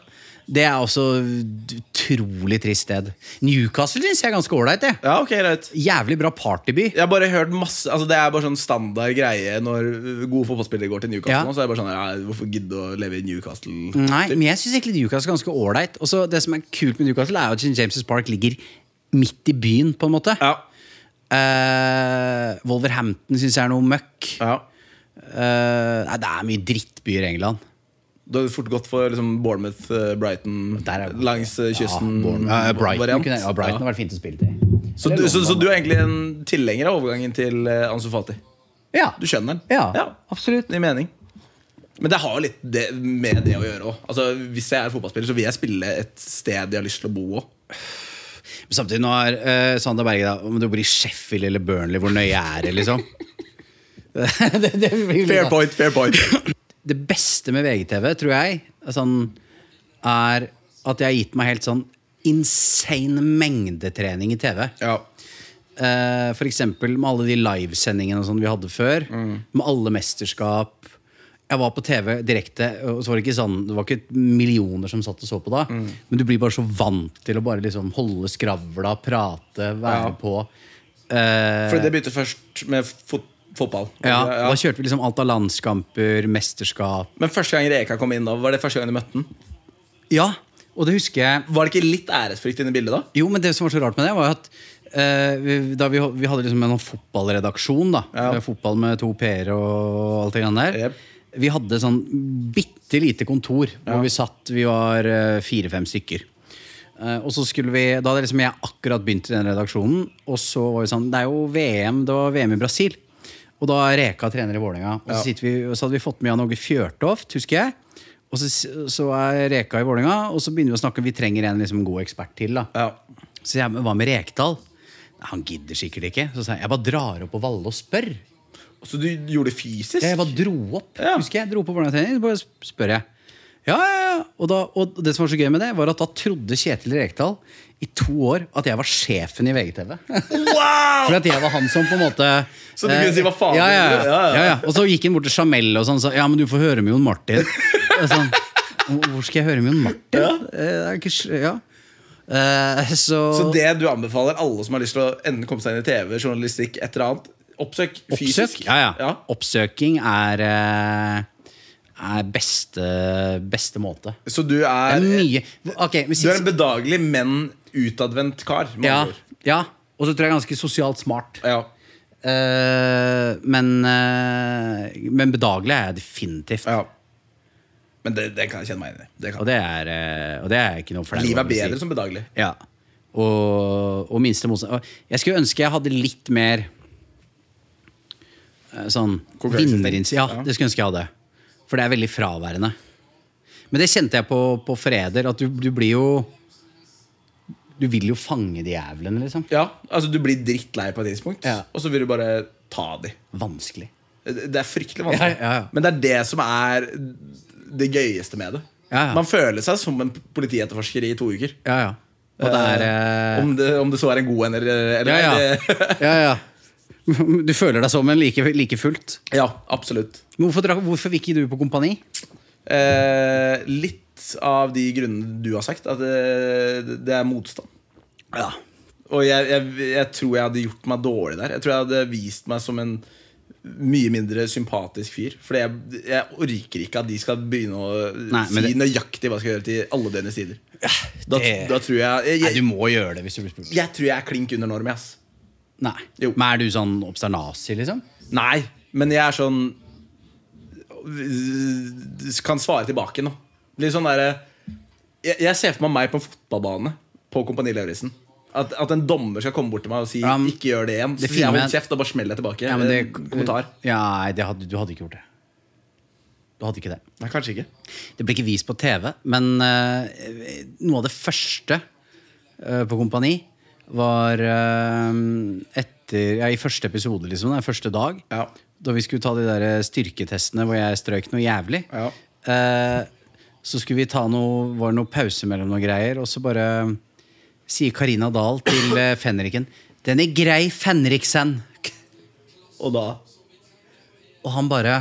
Det er også et utrolig trist sted. Newcastle syns jeg er ganske ålreit. jeg.
Ja, ok, greit.
Jævlig bra partyby.
Jeg har bare hørt masse altså Det er bare sånn standard greie når gode fotballspillere går til Newcastle.
Ja.
nå,
Mm.
Så er det bare sånn, ja, Hvorfor gidde å leve i Newcastle?
Nei, men jeg syns egentlig Newcastle er ganske ålreit. Og så Det som er kult med Newcastle, er jo at St. James' Park ligger midt i byen, på en måte.
Ja.
Eh, Wolverhampton syns jeg er noe møkk.
ja.
Eh, nei, det er mye drittbyer i England.
Du har fort gått for liksom Bournemouth, eh, Brighton
Der er-
langs eh, kysten.
Ja, Bournemouth- eh, Brighton,
variant.
kunne, ja, Brighton
Ja.
har vært fint å spille til.
Så, du,
Eller
så, så
London.
du er egentlig en tilhenger av overgangen til eh, Ansu Fati?
ja.
Du skjønner den?
Ja, absolutt.
Det gir mening. Men det har jo litt det, med det å gjøre òg. Altså, hvis jeg er fotballspiller, så vil jeg spille et sted jeg har lyst til å bo òg.
Men samtidig, nå er eh, Sander Berge da, om du bor i Sheffield eller Burnley, hvor nøye er det, liksom? det, det blir-
Fair point, fair point.
det beste med VGTV, tror jeg, er sånn, er at jeg har gitt meg helt sånn insane mengdetrening i TV.
Ja.
Eh, for eksempel med alle de livesendingene og sånn vi hadde før. Med alle mesterskap. Jeg var på TV direkte, og så var det ikke sånn Det var ikke millioner som satt og så på da. Men du blir bare så vant til å bare liksom holde skravla, prate, være
Ja.
på. Eh,
Fordi det begynte først med fot fotball.
ja, Da kjørte vi liksom alt av landskamper, mesterskap
Men første gang Reka kom innom, var det første gang du møtte den?
Ja, og det husker jeg
Var det ikke litt æresfrykt inne i bildet da?
Jo, men det som var så rart med det, var at eh, vi, da vi, vi hadde liksom en sånn fotballredaksjon. da
Ja.
Eh, Fotball med to p-er og alt det grann der.
Jep.
Vi hadde sånn bitte lite kontor hvor vi satt. Vi var eh, fire-fem stykker. Eh, og så skulle vi, Da hadde liksom jeg akkurat begynt i den redaksjonen. Og så var vi sånn Det er jo VM. Det var VM i Brasil. Og da er Reka trener i Vålerenga. Og så,
Ja.
sitter vi, og så hadde vi fått med Jan Åge Fjørtoft, husker jeg. Og så, så er Reka i Vålerenga, og så begynner vi å snakke om vi trenger en liksom, god ekspert til. da
Ja.
så jeg, men hva med Rekdal? Nei, Han gidder sikkert ikke. Så sa jeg jeg bare drar opp på Valle og spør.
Så du gjorde det fysisk?
Jeg bare dro opp.
Ja.
husker jeg, dro opp på barnetrening, så bare sp- spør jeg. Ja, ja, ja. Og, da, og det som var så gøy med det, var at da trodde Kjetil Rekdal i to år at jeg var sjefen i VGTV.
Wow!
For at jeg var han som på en måte
Så du kunne
eh,
si hva faen
ja, ja,
du ville.
ja,
Ja, ja.
ja, ja. Og så gikk han bort til Jamel og sånn sa ja, men du får høre med Jon Martin. Og sånn, Hvor skal jeg høre med Jon Martin? Eh, Det er ikke, s- ja. Eh,
Så det du anbefaler alle som har lyst til å enten komme seg inn i TV, journalistikk, et eller annet, oppsøk fysisk?
Oppsøk, ja, ja. Oppsøking er, eh, er beste, beste måte.
Så du
Det
er,
er mye Ok, vi
du er
sier
en bedagelig, men utadvendt kar? med
ja,
andre ord.
ja. Og så tror jeg jeg er ganske sosialt smart.
ja.
Eh, men, eh, men bedagelig er jeg definitivt.
ja. Men det, det kan jeg kjenne meg inn i. Det
Og
kan.
det er, eh, og det er ikke noe flaut.
Livet
å
er
si.
bedre som bedagelig.
Ja. Og, og minste motstand. og Jeg skulle ønske jeg hadde litt mer eh, sånn
Konkurranseinstinkt.
vinnerinstinkt. Ja,
Ja.
det skulle jeg ønske jeg hadde. For det er veldig fraværende. Men det kjente jeg på, på Forræder, at du, du blir jo Du vil jo fange de jævlene, liksom.
Ja, altså Du blir drittlei på et tidspunkt,
Ja.
og så vil du bare ta de.
Vanskelig.
Det det er fryktelig vanskelig.
Ja, ja, ja.
Men det er det som er det gøyeste med det.
Ja, ja.
Man føler seg som en politietterforsker i to uker.
Ja, ja. Og det er eh,
Eh, om, det, om det så er en god en eller, eller
Ja,
det-
ja. ja, ja. Du føler deg som en like, like fullt.
ja, absolutt.
Men hvorfor, dra- hvorfor vil ikke du på kompani?
Eh, litt av de grunnene du har sagt, at eh, det, det er motstand.
Ja.
Og jeg, jeg, jeg tror jeg hadde gjort meg dårlig der. Jeg tror jeg hadde vist meg som en mye mindre sympatisk fyr. Fordi jeg, jeg orker ikke at de skal begynne å
Nei,
si
men det-
nøyaktig hva jeg skal gjøre til alle døgnets tider. Da,
det-
da tror jeg jeg,
Nei, du
jeg,
må gjøre det hvis du blir spurt.
jeg tror jeg er klink under norm, jeg, ass.
Nei.
Jo.
Men er du sånn obsternasi, liksom?
Nei, men jeg er sånn Kan svare tilbake nå. Litt sånn derre jeg, jeg ser for meg meg på en fotballbane på Kompani Lauritzen. At, at en dommer skal komme bort til meg og si
Ja, men
'ikke gjør det igjen'. Så
det
sier jeg
fine-
'hold kjeft', og bare smeller jeg tilbake.
Ja, men det,
Eh, Kommentar.
Ja, nei, det hadde, du hadde ikke gjort det. Du hadde ikke det.
Nei, kanskje ikke.
Det ble ikke vist på TV, men eh, noe av det første eh, på Kompani var eh, etter Ja, i første episode, liksom. Den første dag.
Ja.
Da vi skulle ta de der eh, styrketestene hvor jeg strøyk noe jævlig.
Ja.
Eh, så skulle vi ta noe Var det noe pause mellom noen greier, og så bare eh, sier Karina Dahl til eh, fenriken Den er grei, Fenriksen.
Og da
Og han bare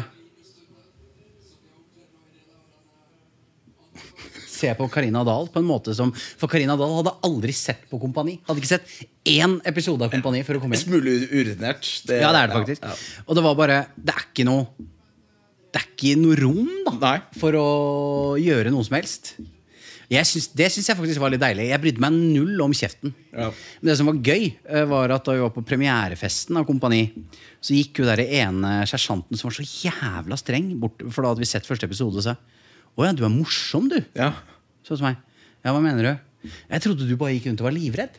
Se på Karina Dahl på en måte som For Karina Dahl hadde aldri sett på Kompani. Hadde ikke sett én episode av Kompani før hun kom inn.
Smule urutinert.
Ja, det er det faktisk.
ja.
Og det var bare Det er ikke noe Det er ikke noe rom, da
Nei.
for å gjøre noe som helst. Jeg syns- det syns jeg faktisk var litt deilig. Jeg brydde meg null om kjeften.
Ja.
Men det som var gøy, eh, var at da vi var på premierefesten av Kompani, så gikk jo der ene sersjanten som var så jævla streng, bort, for da hadde vi sett første episode, og sa Å ja, du er morsom, du.
Ja.
Så til meg. Ja, hva mener du? Jeg trodde du bare gikk rundt og var livredd.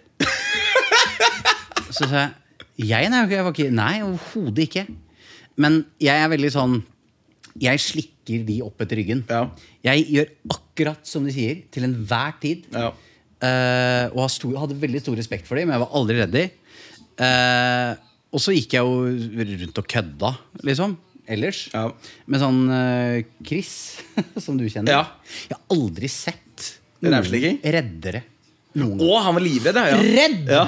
Så sa jeg jeg, nei, jeg var ikke, nei overhodet ikke. Men jeg er veldig sånn Jeg slikker de opp etter ryggen.
Ja.
Jeg gjør akkurat som de sier, til enhver tid.
Ja.
eh, og har stor, hadde veldig stor respekt for dem, men jeg var aldri redd dem. Eh, og så gikk jeg jo rundt og kødda, liksom. Ellers.
Ja.
Med sånn eh, Chris, som du kjenner.
Ja.
Jeg har aldri sett
Rævslikking?
reddere. Noen gang.
Å, han var livredd, ja. ja.
Redd!
Ja.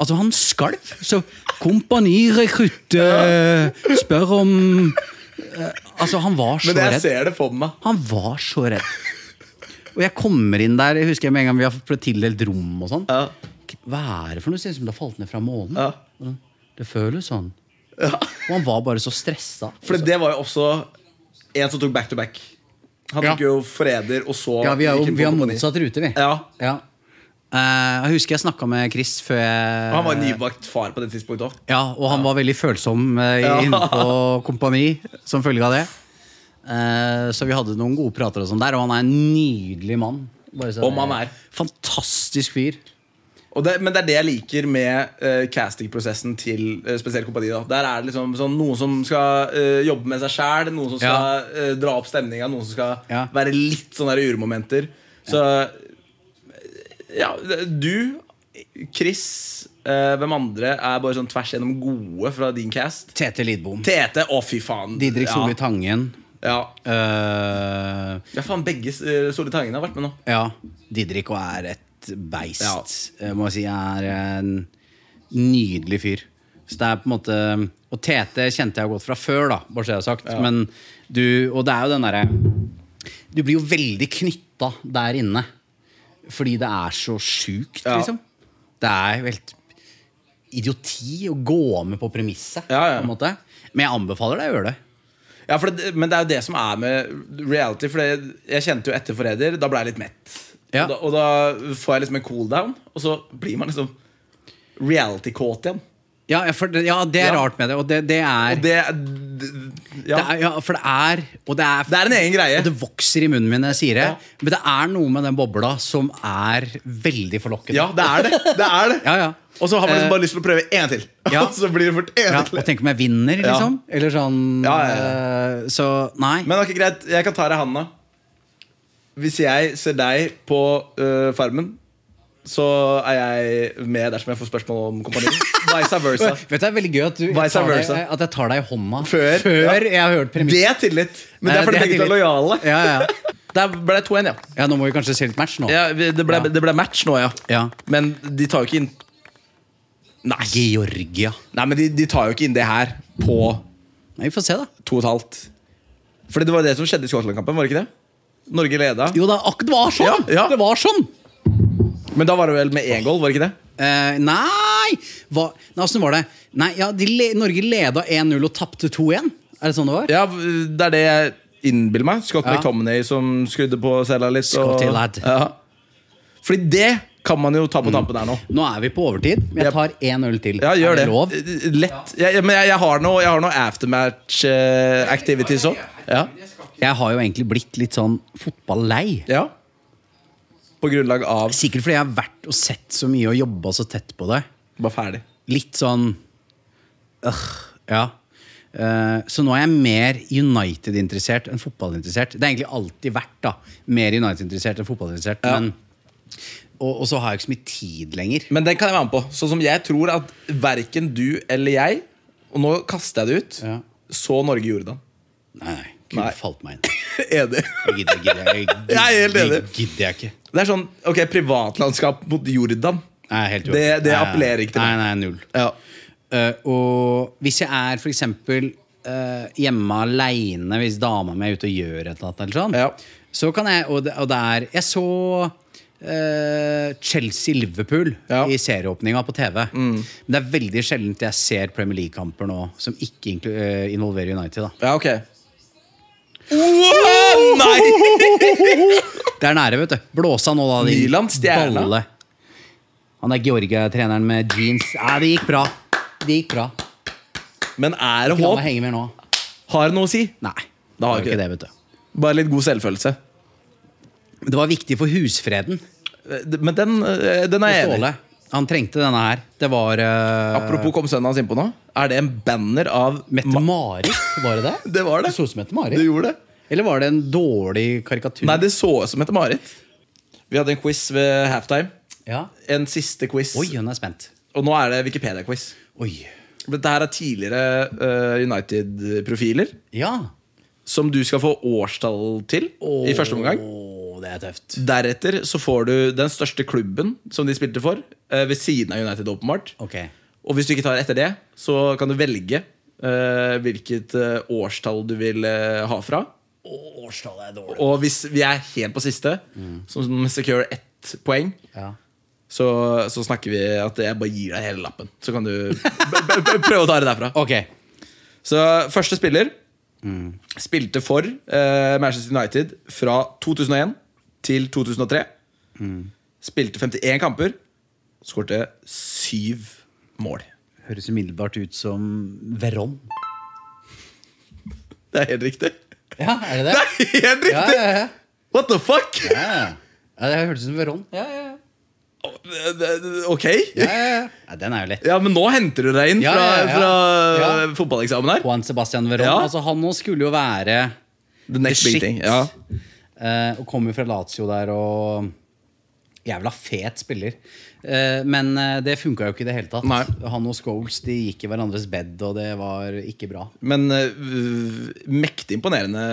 Altså, han skalv. Så kompanirekrutt eh, spør om eh, Altså, han var så
Men jeg
redd.
ser det for meg.
Han var så redd. Og jeg kommer inn der, jeg husker jeg med en gang vi har fått tildelt rom og sånn.
Ja.
Hva er det for noe? Ser ut som det har falt ned fra månen. Mm.
Ja.
Det føles sånn. Og han var bare så stressa.
For det var jo også en som tok back to back. Han
Ja.
tok jo forræder, og så
Ja, vi har,
gikk
jo,
han på
vi har
kompani.
motsatt rute, vi.
Ja.
Eh, jeg husker jeg snakka med Chris før jeg
Og Han var nybakt far på det tidspunktet òg.
Ja, og han var veldig følsom eh,
Ja.
inne på kompani som følge av det. Eh, så vi hadde noen gode prater og sånn der, og han er en nydelig mann. Bare så-
Om han er.
Fantastisk fyr.
Og det, men det er det jeg liker med eh, castingprosessen til eh, spesielt Kompani. da Der er det liksom sånn, Noen som skal eh, jobbe med seg sjæl, noen som skal eh, dra opp stemninga, noen som skal
Ja.
være litt sånne der urmomenter. Så ja, du, Chris, eh, hvem andre er bare sånn tvers gjennom gode fra din cast?
Tete Lidbom.
Tete, å fy faen.
Didrik
ja.
Solli Tangen.
Ja.
Eh,
ja, faen, begge uh, Solli Tangen har vært med nå.
ja, Didrik og er et beist.
Ja.
Jeg må si jeg er en nydelig fyr. Så det er på en måte Og Tete kjente jeg godt fra før, da, bare så jeg har sagt. Men du, og det er jo den derre Du blir jo veldig knytta der inne. Fordi det er så sjukt,
Ja.
liksom. Det er jo helt idioti å gå med på premisset.
Ja, ja.
På en måte. Men jeg anbefaler deg å gjøre det.
Ja, for det, Men det er jo det som er med reality. For det, jeg kjente jo etter Forræder. Da ble jeg litt mett.
Ja.
Og, da, og da får jeg liksom en cooldown, og så blir man liksom reality-kåt igjen.
Ja, for, det- ja det er
Ja.
rart med det. Og det, det er
Og det, det Ja.
Det er, ja, for det er Og det er,
Det er en egen greie.
Og det vokser i munnen min når jeg sier det.
Ja.
Men det er noe med den bobla som er veldig forlokkende.
ja, det er det. det, er det.
Ja, ja.
Og så har man
Eh,
liksom bare lyst til å prøve én til.
ja.
så blir det fort én
Ja,
til.
og tenk om jeg vinner,
Ja.
liksom. Eller sånn
Ja, ja,
eh, Så nei.
Men ok, greit, jeg kan ta deg i handa. Hvis jeg ser deg på øh, Farmen, så er jeg med dersom jeg får spørsmål om kompani. Vice versa.
Vet du, Det er veldig gøy at, du, jeg
Vice
tar deg,
versa.
at jeg tar deg i hånda
Før, ja.
jeg har hørt
Det
premissen.
er tillit. Men det er fordi begge to er lojale.
Ja, ja.
Der ble det 2-1, ja.
ja, nå må vi kanskje se litt match nå.
ja vi- det, ble,
Ja.
det ble match nå, ja.
Ja.
Men de tar jo ikke inn Nei,
Georgia.
Nei men de, de tar jo ikke inn det her på
Nei, vi får se, da.
to og et halvt. Fordi det var det som skjedde i Skottland-kampen, var det ikke det? Norge leda.
Jo da, ak- det var sånn!
Ja, ja.
Det var sånn!
Men da var det vel med én goal, var det ikke det?
Eh, nei! Hva, nei, åssen var det? Nei, ja, de le, Norge leda 1-0 og tapte 2-1. Er det sånn det var?
Ja, det er det jeg innbiller meg. Scott
Ja.
McTominay som skrudde på cella litt. og-
Scotty lad.
Ja. Fordi det kan man jo ta på tampen her nå.
Nå er vi på overtid, men jeg tar én øl til.
Ja,
er
gjør det.
det lov?
Lett. Jeg, men jeg, jeg har noe, jeg har noe aftermatch eh, activities òg. Ja.
Jeg har jo egentlig blitt litt sånn fotballei.
ja. På grunnlag av
Sikkert fordi jeg har vært og sett så mye og jobba så tett på det.
Bare ferdig.
Litt sånn øh, Ja. Eh, så nå er jeg mer United-interessert enn fotballinteressert. Det har egentlig alltid vært da mer United-interessert enn fotballinteressert.
Ja.
Men, og, og så har jeg ikke så mye tid lenger.
Men den kan jeg være med på. Sånn som jeg tror at verken du eller jeg Og nå kaster jeg det ut.
Ja.
Så Norge-Jordan.
Nei, nei. Kunne
Nei.
falt meg inn.
Enig.
Jeg gidder, gidder, jeg, gidder,
Jeg er helt enig.
det gidder jeg ikke.
Det er sånn ok, privatlandskap mot Jordan.
Nei, jeg er helt
Det- det
uenig. Nei,
appellerer ikke til
nei,
meg.
Nei, nei, null.
Ja.
Eh, og hvis jeg er for eksempel eh, hjemme aleine, hvis dama mi er ute og gjør et eller annet, eller sånn,
Ja.
så kan jeg Og det, og det er Jeg så eh, Chelsea-Liverpool
Ja. Mm.
i serieåpninga på TV. Men det er veldig sjeldent jeg ser Premier League-kamper nå som ikke inklu- eh, involverer United. Da.
Ja, ok. Wow, nei!
Det er nære, vet du. Blåsa nå, da. din
Milan, stjerna.
balle. Han er Georgia-treneren med jeans. Nei, det gikk bra. Det gik bra.
Men er det
La meg
håp?
henge mer nå.
Har det noe å si?
Nei.
Da har vi
det var ikke
ikke
det, vet du.
Bare litt god selvfølelse.
Det var viktig for husfreden.
Eh, Men den, eh, den er jeg enig i.
Ståle. Han trengte denne her. Det var eh,
Apropos kom sønnen hans innpå nå. Er det en banner av Ma-
Mette-Marit, var det det?
Det var det.
Det så ut som
Du
Mette-Marit.
gjorde det?
Mm. Eller var det en dårlig karikatur?
Nei, det så ut som Mette-Marit. Vi hadde en quiz ved halftime.
Ja.
En siste quiz.
Oi, hun er spent.
Og nå er det Wikipedia-quiz.
Oi.
Dette her er tidligere eh, United-profiler
Ja.
som du skal få årstall til i første omgang.
Åh, det er tøft.
Deretter så får du den største klubben som de spilte for, eh, ved siden av United, åpenbart.
Ok.
Og hvis du ikke tar etter det, så kan du velge eh, hvilket eh, årstall du vil eh, ha fra.
Åh, Årstallet er dårlig.
Og hvis vi er helt på siste, som som secure ett poeng,
Ja.
så, så snakker vi at jeg bare gir deg hele lappen. Så kan du b- b- b- prøve å ta det derfra.
Ok.
Så første spiller spilte for eh, Manchester United fra 2001 til 2003. Spilte 51 kamper, skårte syv mål.
Høres umiddelbart ut som Veron.
Det er helt riktig.
Ja, er det det?
Det er helt
Ja,
riktig!
ja, ja.
What the fuck?
ja. ja det hørtes ut som Veron. Ja, ja, ja.
Ok?
Ja, ja, ja. ja, den er jo lett.
Ja, men nå henter du deg inn
Ja,
fra,
ja, ja.
fra
Ja.
fotballeksamen her.
Juan Sebastian Veron.
Ja.
Altså, han nå skulle jo være
The next
the
big
shit.
thing. Ja.
eh, og kom jo fra Lazio der og Jævla fet spiller. Eh, men eh, det funka jo ikke i det hele tatt.
Nei.
Han og Scholes de gikk i hverandres bed, og det var ikke bra.
Men øh, mektig imponerende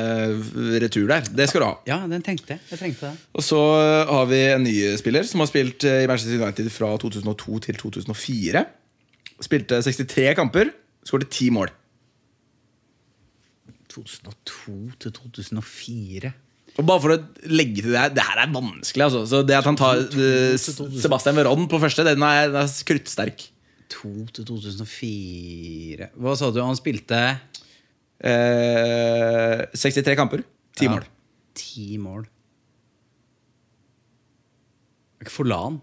retur der. Det skal du ha.
Ja, den tenkte jeg. Jeg trengte det.
Og så eh, har vi en ny spiller som har spilt eh, i Manchester United fra 2002 til 2004. Spilte 63 kamper, skåret 10 mål.
2002 til 2004.
Og bare for å legge til Det her, det her er vanskelig. altså Så Det at han tar øh, Sebastian Veron på første, den er, den er kruttsterk.
2 til 2004 Hva sa du? Han spilte
Eh, 63 kamper, 10
Ja,
mål.
Ti mål. Er ikke Forlan?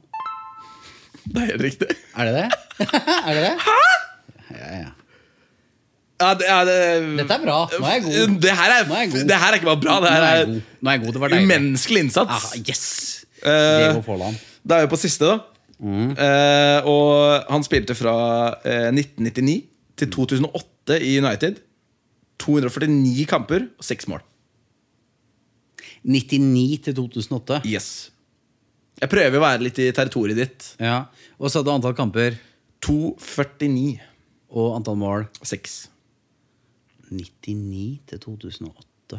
Det er helt riktig.
Er det det? er det det? Ja, ja.
Ja, det, ja, det,
Dette er bra. Nå er jeg god.
Det her er,
Nå er jeg god.
det her er ikke bare bra, det
Nå
her
er jeg
er
god. Nå er jeg god. Det var deilig.
umenneskelig innsats.
Ah, yes!
Eh,
Diego Forlan.
Da er vi på siste, da. Eh, og han spilte fra eh, 1999 til 2008 i United. 249 kamper og 6 mål.
99 til 2008.
Yes. Jeg prøver å være litt i territoriet ditt.
Ja. Og så hadde antall kamper
249.
og antall mål
6.
99 til 2008.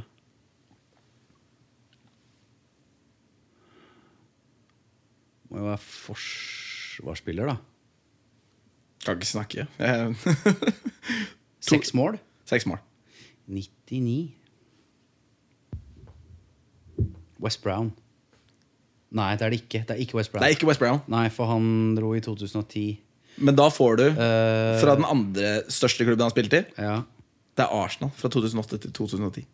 Må jo være forsvarsspiller, da.
Kan ikke snakke. Eh,
Seks mål?
Seks mål.
99. West Brown. Nei, det er det ikke. Det er ikke West Brown.
Det er ikke West Brown.
Nei, for han dro i 2010.
Men da får du
Eh.
fra den andre største klubben han spilte i.
Ja.
Det er Arsenal fra 2008 til 2010.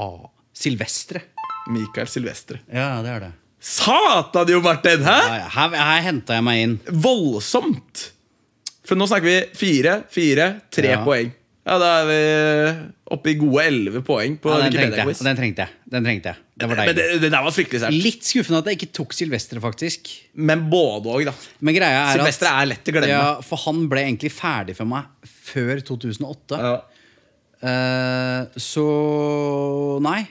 Ah, Silvestre.
Mikael Silvestre.
Ja, det er det.
Satan, Jo Martin! Hæ?
Ja, ja. Her, her henta jeg meg inn.
Voldsomt! For nå snakker vi fire, fire, tre
Ja.
poeng. Ja, Da er vi oppe i gode elleve poeng på
Ja, den, trengte jeg.
Wikipedia-quiz.
den trengte jeg. Den trengte jeg. Det var
Men det,
deilig.
det der var fryktelig sært.
Litt skuffende at jeg ikke tok Silvestre, faktisk.
Men både òg, da.
Men greia er
Silvestre
at
er lett å glemme.
ja, For han ble egentlig ferdig for meg før 2008.
Ja.
Eh, så nei.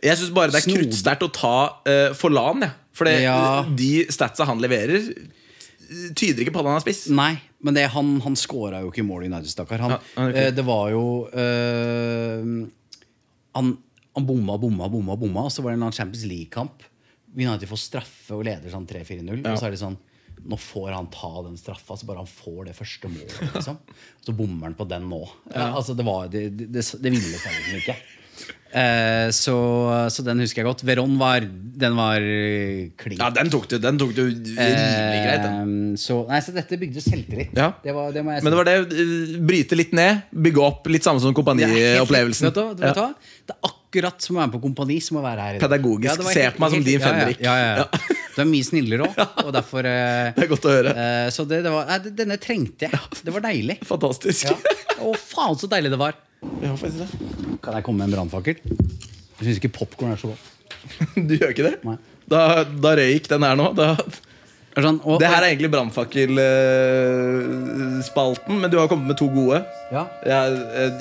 Jeg syns bare det er
Snodig.
kruttsterkt å ta eh, Forlan, jeg. For det-
Ja.
de statsa han leverer, tyder ikke på at han er spiss.
Nei, men det, han, han scora jo ikke mål i United, stakkar. Han,
Ja, han gjorde ikke
eh, det var jo eh, han, han bomma, bomma, bomma, bomma, og så var det en eller annen Champions League-kamp. United får straffe og leder sånn 3-4-0. Og så er det sånn Nå får han ta den straffa, så bare han får det første målet. Liksom. Så bommer han på den nå. Eh, Altså, det, var, det, det, det, det ville seg liksom ikke. Eh, så, så den husker jeg godt. Veron var Den var eh, klin
Ja, den tok du den tok du rimelig greit. Den.
Ehm, Så, nei, så dette bygde selvtillit.
Ja.
Det var, det må jeg si.
Men det var det. eh, Bryte litt ned, bygge opp. Litt samme som
Det er helt-
kompaniopplevelsen.
Vet du, hva- vet du hva? Det er akkurat som å være på kompani som å være her. i dag.
Pedagogisk.
det var
Se på meg som din
ja, ja,
Fenrik.
Ja, ja, ja. Du er mye snillere òg, og derfor eh,
Det er godt å høre.
eh, Så det, det var, nei, det- denne trengte jeg. Det var deilig.
Fantastisk.
Ja. Å, faen så deilig det var.
Ja, faktisk det.
Kan jeg komme med en brannfakkel? Jeg syns ikke popkorn er så godt.
Du gjør ikke det?
Nei.
Da, da røyk den her nå. Da.
Er sånn, å,
Det her er egentlig brannfakkelspalten, men du har kommet med to gode.
Ja.
Jeg,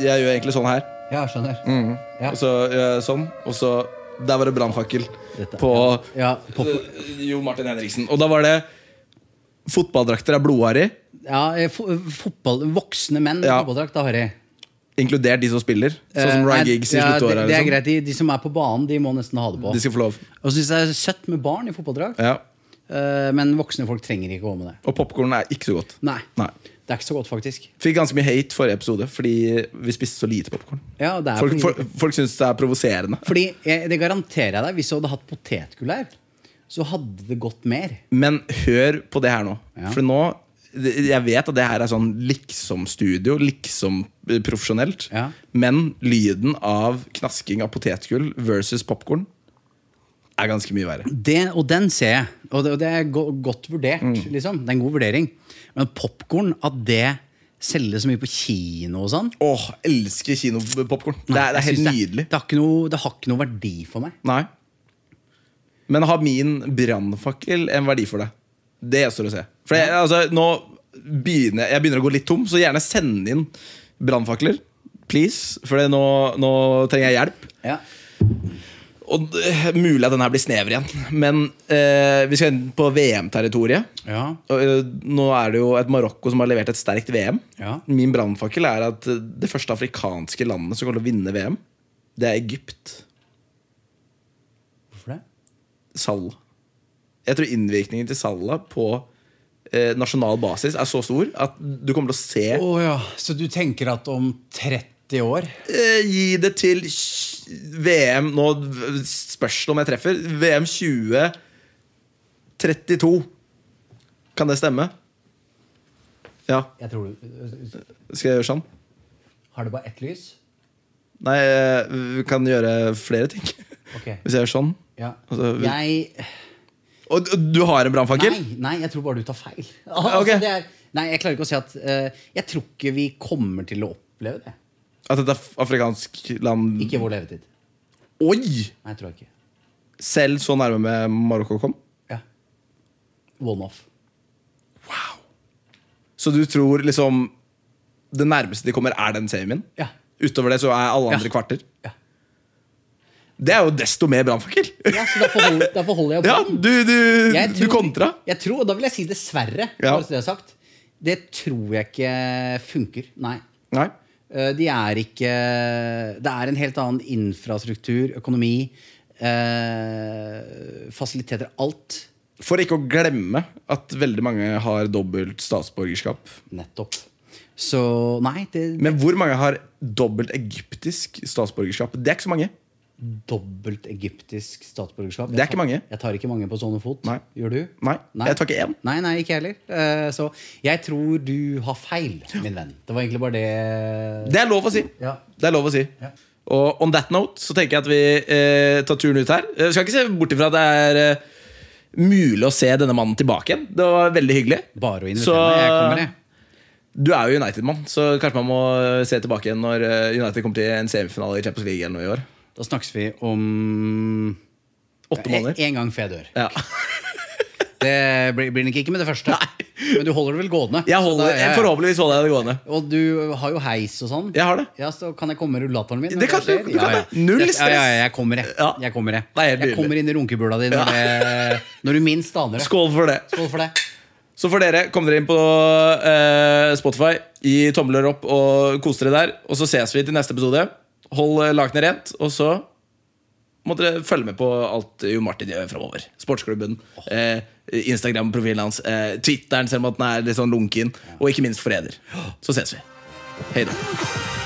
jeg gjør egentlig sånn her.
Ja, skjønner. Ja.
Og så, eh, sånn. Og så Der var det brannfakkel
Dette-
på
Ja, pop-
eh, Jo Martin Henriksen. Og da var det Fotballdrakter er blodharry,
ja eh, fo fotball, voksne menn i
Ja.
fotballdrakt, da har jeg.
inkludert de som spiller. Sånn som
Eh,
Ryan
nei,
Giggs i sluttåret.
ja, det, det er
liksom.
greit, de, de som er på banen, de må nesten ha det på.
De skal få lov.
Og så syns jeg det er søtt med barn i fotballdrakt,
Ja.
eh, men voksne folk trenger ikke å gå med det.
Og popkorn er ikke så godt.
Nei.
Nei.
Det er ikke så godt, faktisk.
Fikk ganske mye hate forrige episode fordi vi spiste så lite popkorn.
Ja, det er
Folk,
fordi-
folk, folk syns det er provoserende.
Fordi jeg, Det garanterer jeg deg. Hvis du hadde hatt potetgull her, så hadde det gått mer.
Men hør på det her nå.
Ja.
For nå Jeg vet at det her er sånn liksom-studio, liksom-profesjonelt.
Ja.
Men lyden av knasking av potetgull versus popkorn er ganske mye verre.
Det, og den ser jeg. Og det, og det er go godt vurdert.
Mm.
liksom. Det er en god vurdering. Men popkorn, at det selges så mye på kino og sånn
Åh, elsker kinopopkorn. Det, er- det er
jeg
helt
synes
nydelig.
Det, det, har ikke noe, det har ikke noe verdi for meg.
Nei. Men har min brannfakkel en verdi for deg? Det gjenstår å se. For jeg, altså, nå begynner jeg begynner å gå litt tom, så gjerne send inn brannfakler. Please. For det- nå, nå trenger jeg hjelp.
Ja.
Og det er Mulig at den her blir snever igjen, men eh, vi skal inn på VM-territoriet.
Ja.
Og, eh, Nå er det jo et Marokko som har levert et sterkt VM.
Ja.
Min brannfakkel er at eh, det første afrikanske landet som kommer til å vinne VM, det er Egypt.
Hvorfor det?
Salah. Jeg tror innvirkningen til Salah på eh, nasjonal basis er så stor at du kommer til å se
Å ja. Så du tenker at om 30 år
eh, Gi det til tj- VM Nå spørs det om jeg treffer. VM 2032. Kan det stemme? Ja.
Jeg tror du
Skal jeg gjøre sånn?
Har det bare ett lys?
Nei, eh, vi kan gjøre flere ting.
Ok.
Hvis jeg gjør sånn.
Ja.
Altså, vi-
Jeg
Og d- du har en brannfakkel?
Nei, nei, jeg tror bare du tar feil. Altså,
Ah, Ok.
det er, nei, Jeg klarer ikke å si at eh, Jeg tror ikke vi kommer til å oppleve det.
At et af- afrikansk land
Ikke i vår levetid.
Oi!
Nei, jeg tror jeg ikke.
Selv så nærme med Marokko kom?
Ja. One-off.
Så du tror liksom det nærmeste de kommer, er den semien?
Ja.
Utover det så er alle andre
Ja.
kvarter?
Ja.
Det er jo desto mer brannfakkel!
ja, så derfor holder, derfor holder jeg på
Ja,
den.
du, du,
Jeg
du
tror-
kontra.
Jeg tror, og Da vil jeg si dessverre.
Ja.
bare så Det, er sagt. det tror jeg ikke funker. Nei.
Nei.
Eh, De er ikke Det er en helt annen infrastruktur, økonomi, eh, fasiliteter, alt.
For ikke å glemme at veldig mange har dobbelt statsborgerskap.
Nettopp. Så nei, det er
Men hvor mange har dobbelt egyptisk statsborgerskap? Det er ikke så mange.
dobbelt egyptisk statsborgerskap.
Det er ikke mange.
Jeg tar ikke mange på sånne fot.
Nei.
Gjør du?
Nei, jeg tar ikke én.
Nei, nei, ikke jeg heller. Eh, Så jeg tror du har feil, min venn. Det var egentlig bare det
Det er lov å si.
Ja.
Det er lov å si.
Ja.
Og on that note så tenker jeg at vi eh, tar turen ut her. Eh, skal ikke se bort ifra at det er eh, mulig å se denne mannen tilbake igjen. Det var veldig hyggelig.
Bare å
Så-
invitere meg. Jeg kommer, jeg.
Du er jo United-mann, så kanskje man må se tilbake igjen når eh, United kommer til en semifinale i Champions League eller noe i år.
Da snakkes vi om
Åtte måneder.
En gang før jeg dør.
Ja.
Det blir, blir nok ikke med det første. Men du holder det vel gående?
Jeg
Så da-
holder,
ja,
jeg
ja.
forhåpentligvis holder jeg det gående.
Og du har jo heis og sånn.
Jeg har det.
Ja, så Kan jeg komme med rullatoren min? når
Det kan du-
skjer?
du kan det. Null
Ja,
stress.
Ja, ja, jeg kommer, jeg.
Ja.
Jeg kommer, jeg.
Det er helt
jeg
nydelig.
kommer inn i runkebula di når, det, når du minst aner det.
Skål for det.
Skål for det.
Så får dere komme dere inn på eh, Spotify, gi tomler opp og kose dere der. Og så ses vi til neste episode. Hold eh, lakenet rent, og så må dere følge med på alt Jo Martin gjør framover. Sportsklubben, eh, Instagram-profilen hans, eh, Twitteren, selv om at den er litt sånn lunken, og ikke minst Forræder. Så ses vi. Hei da.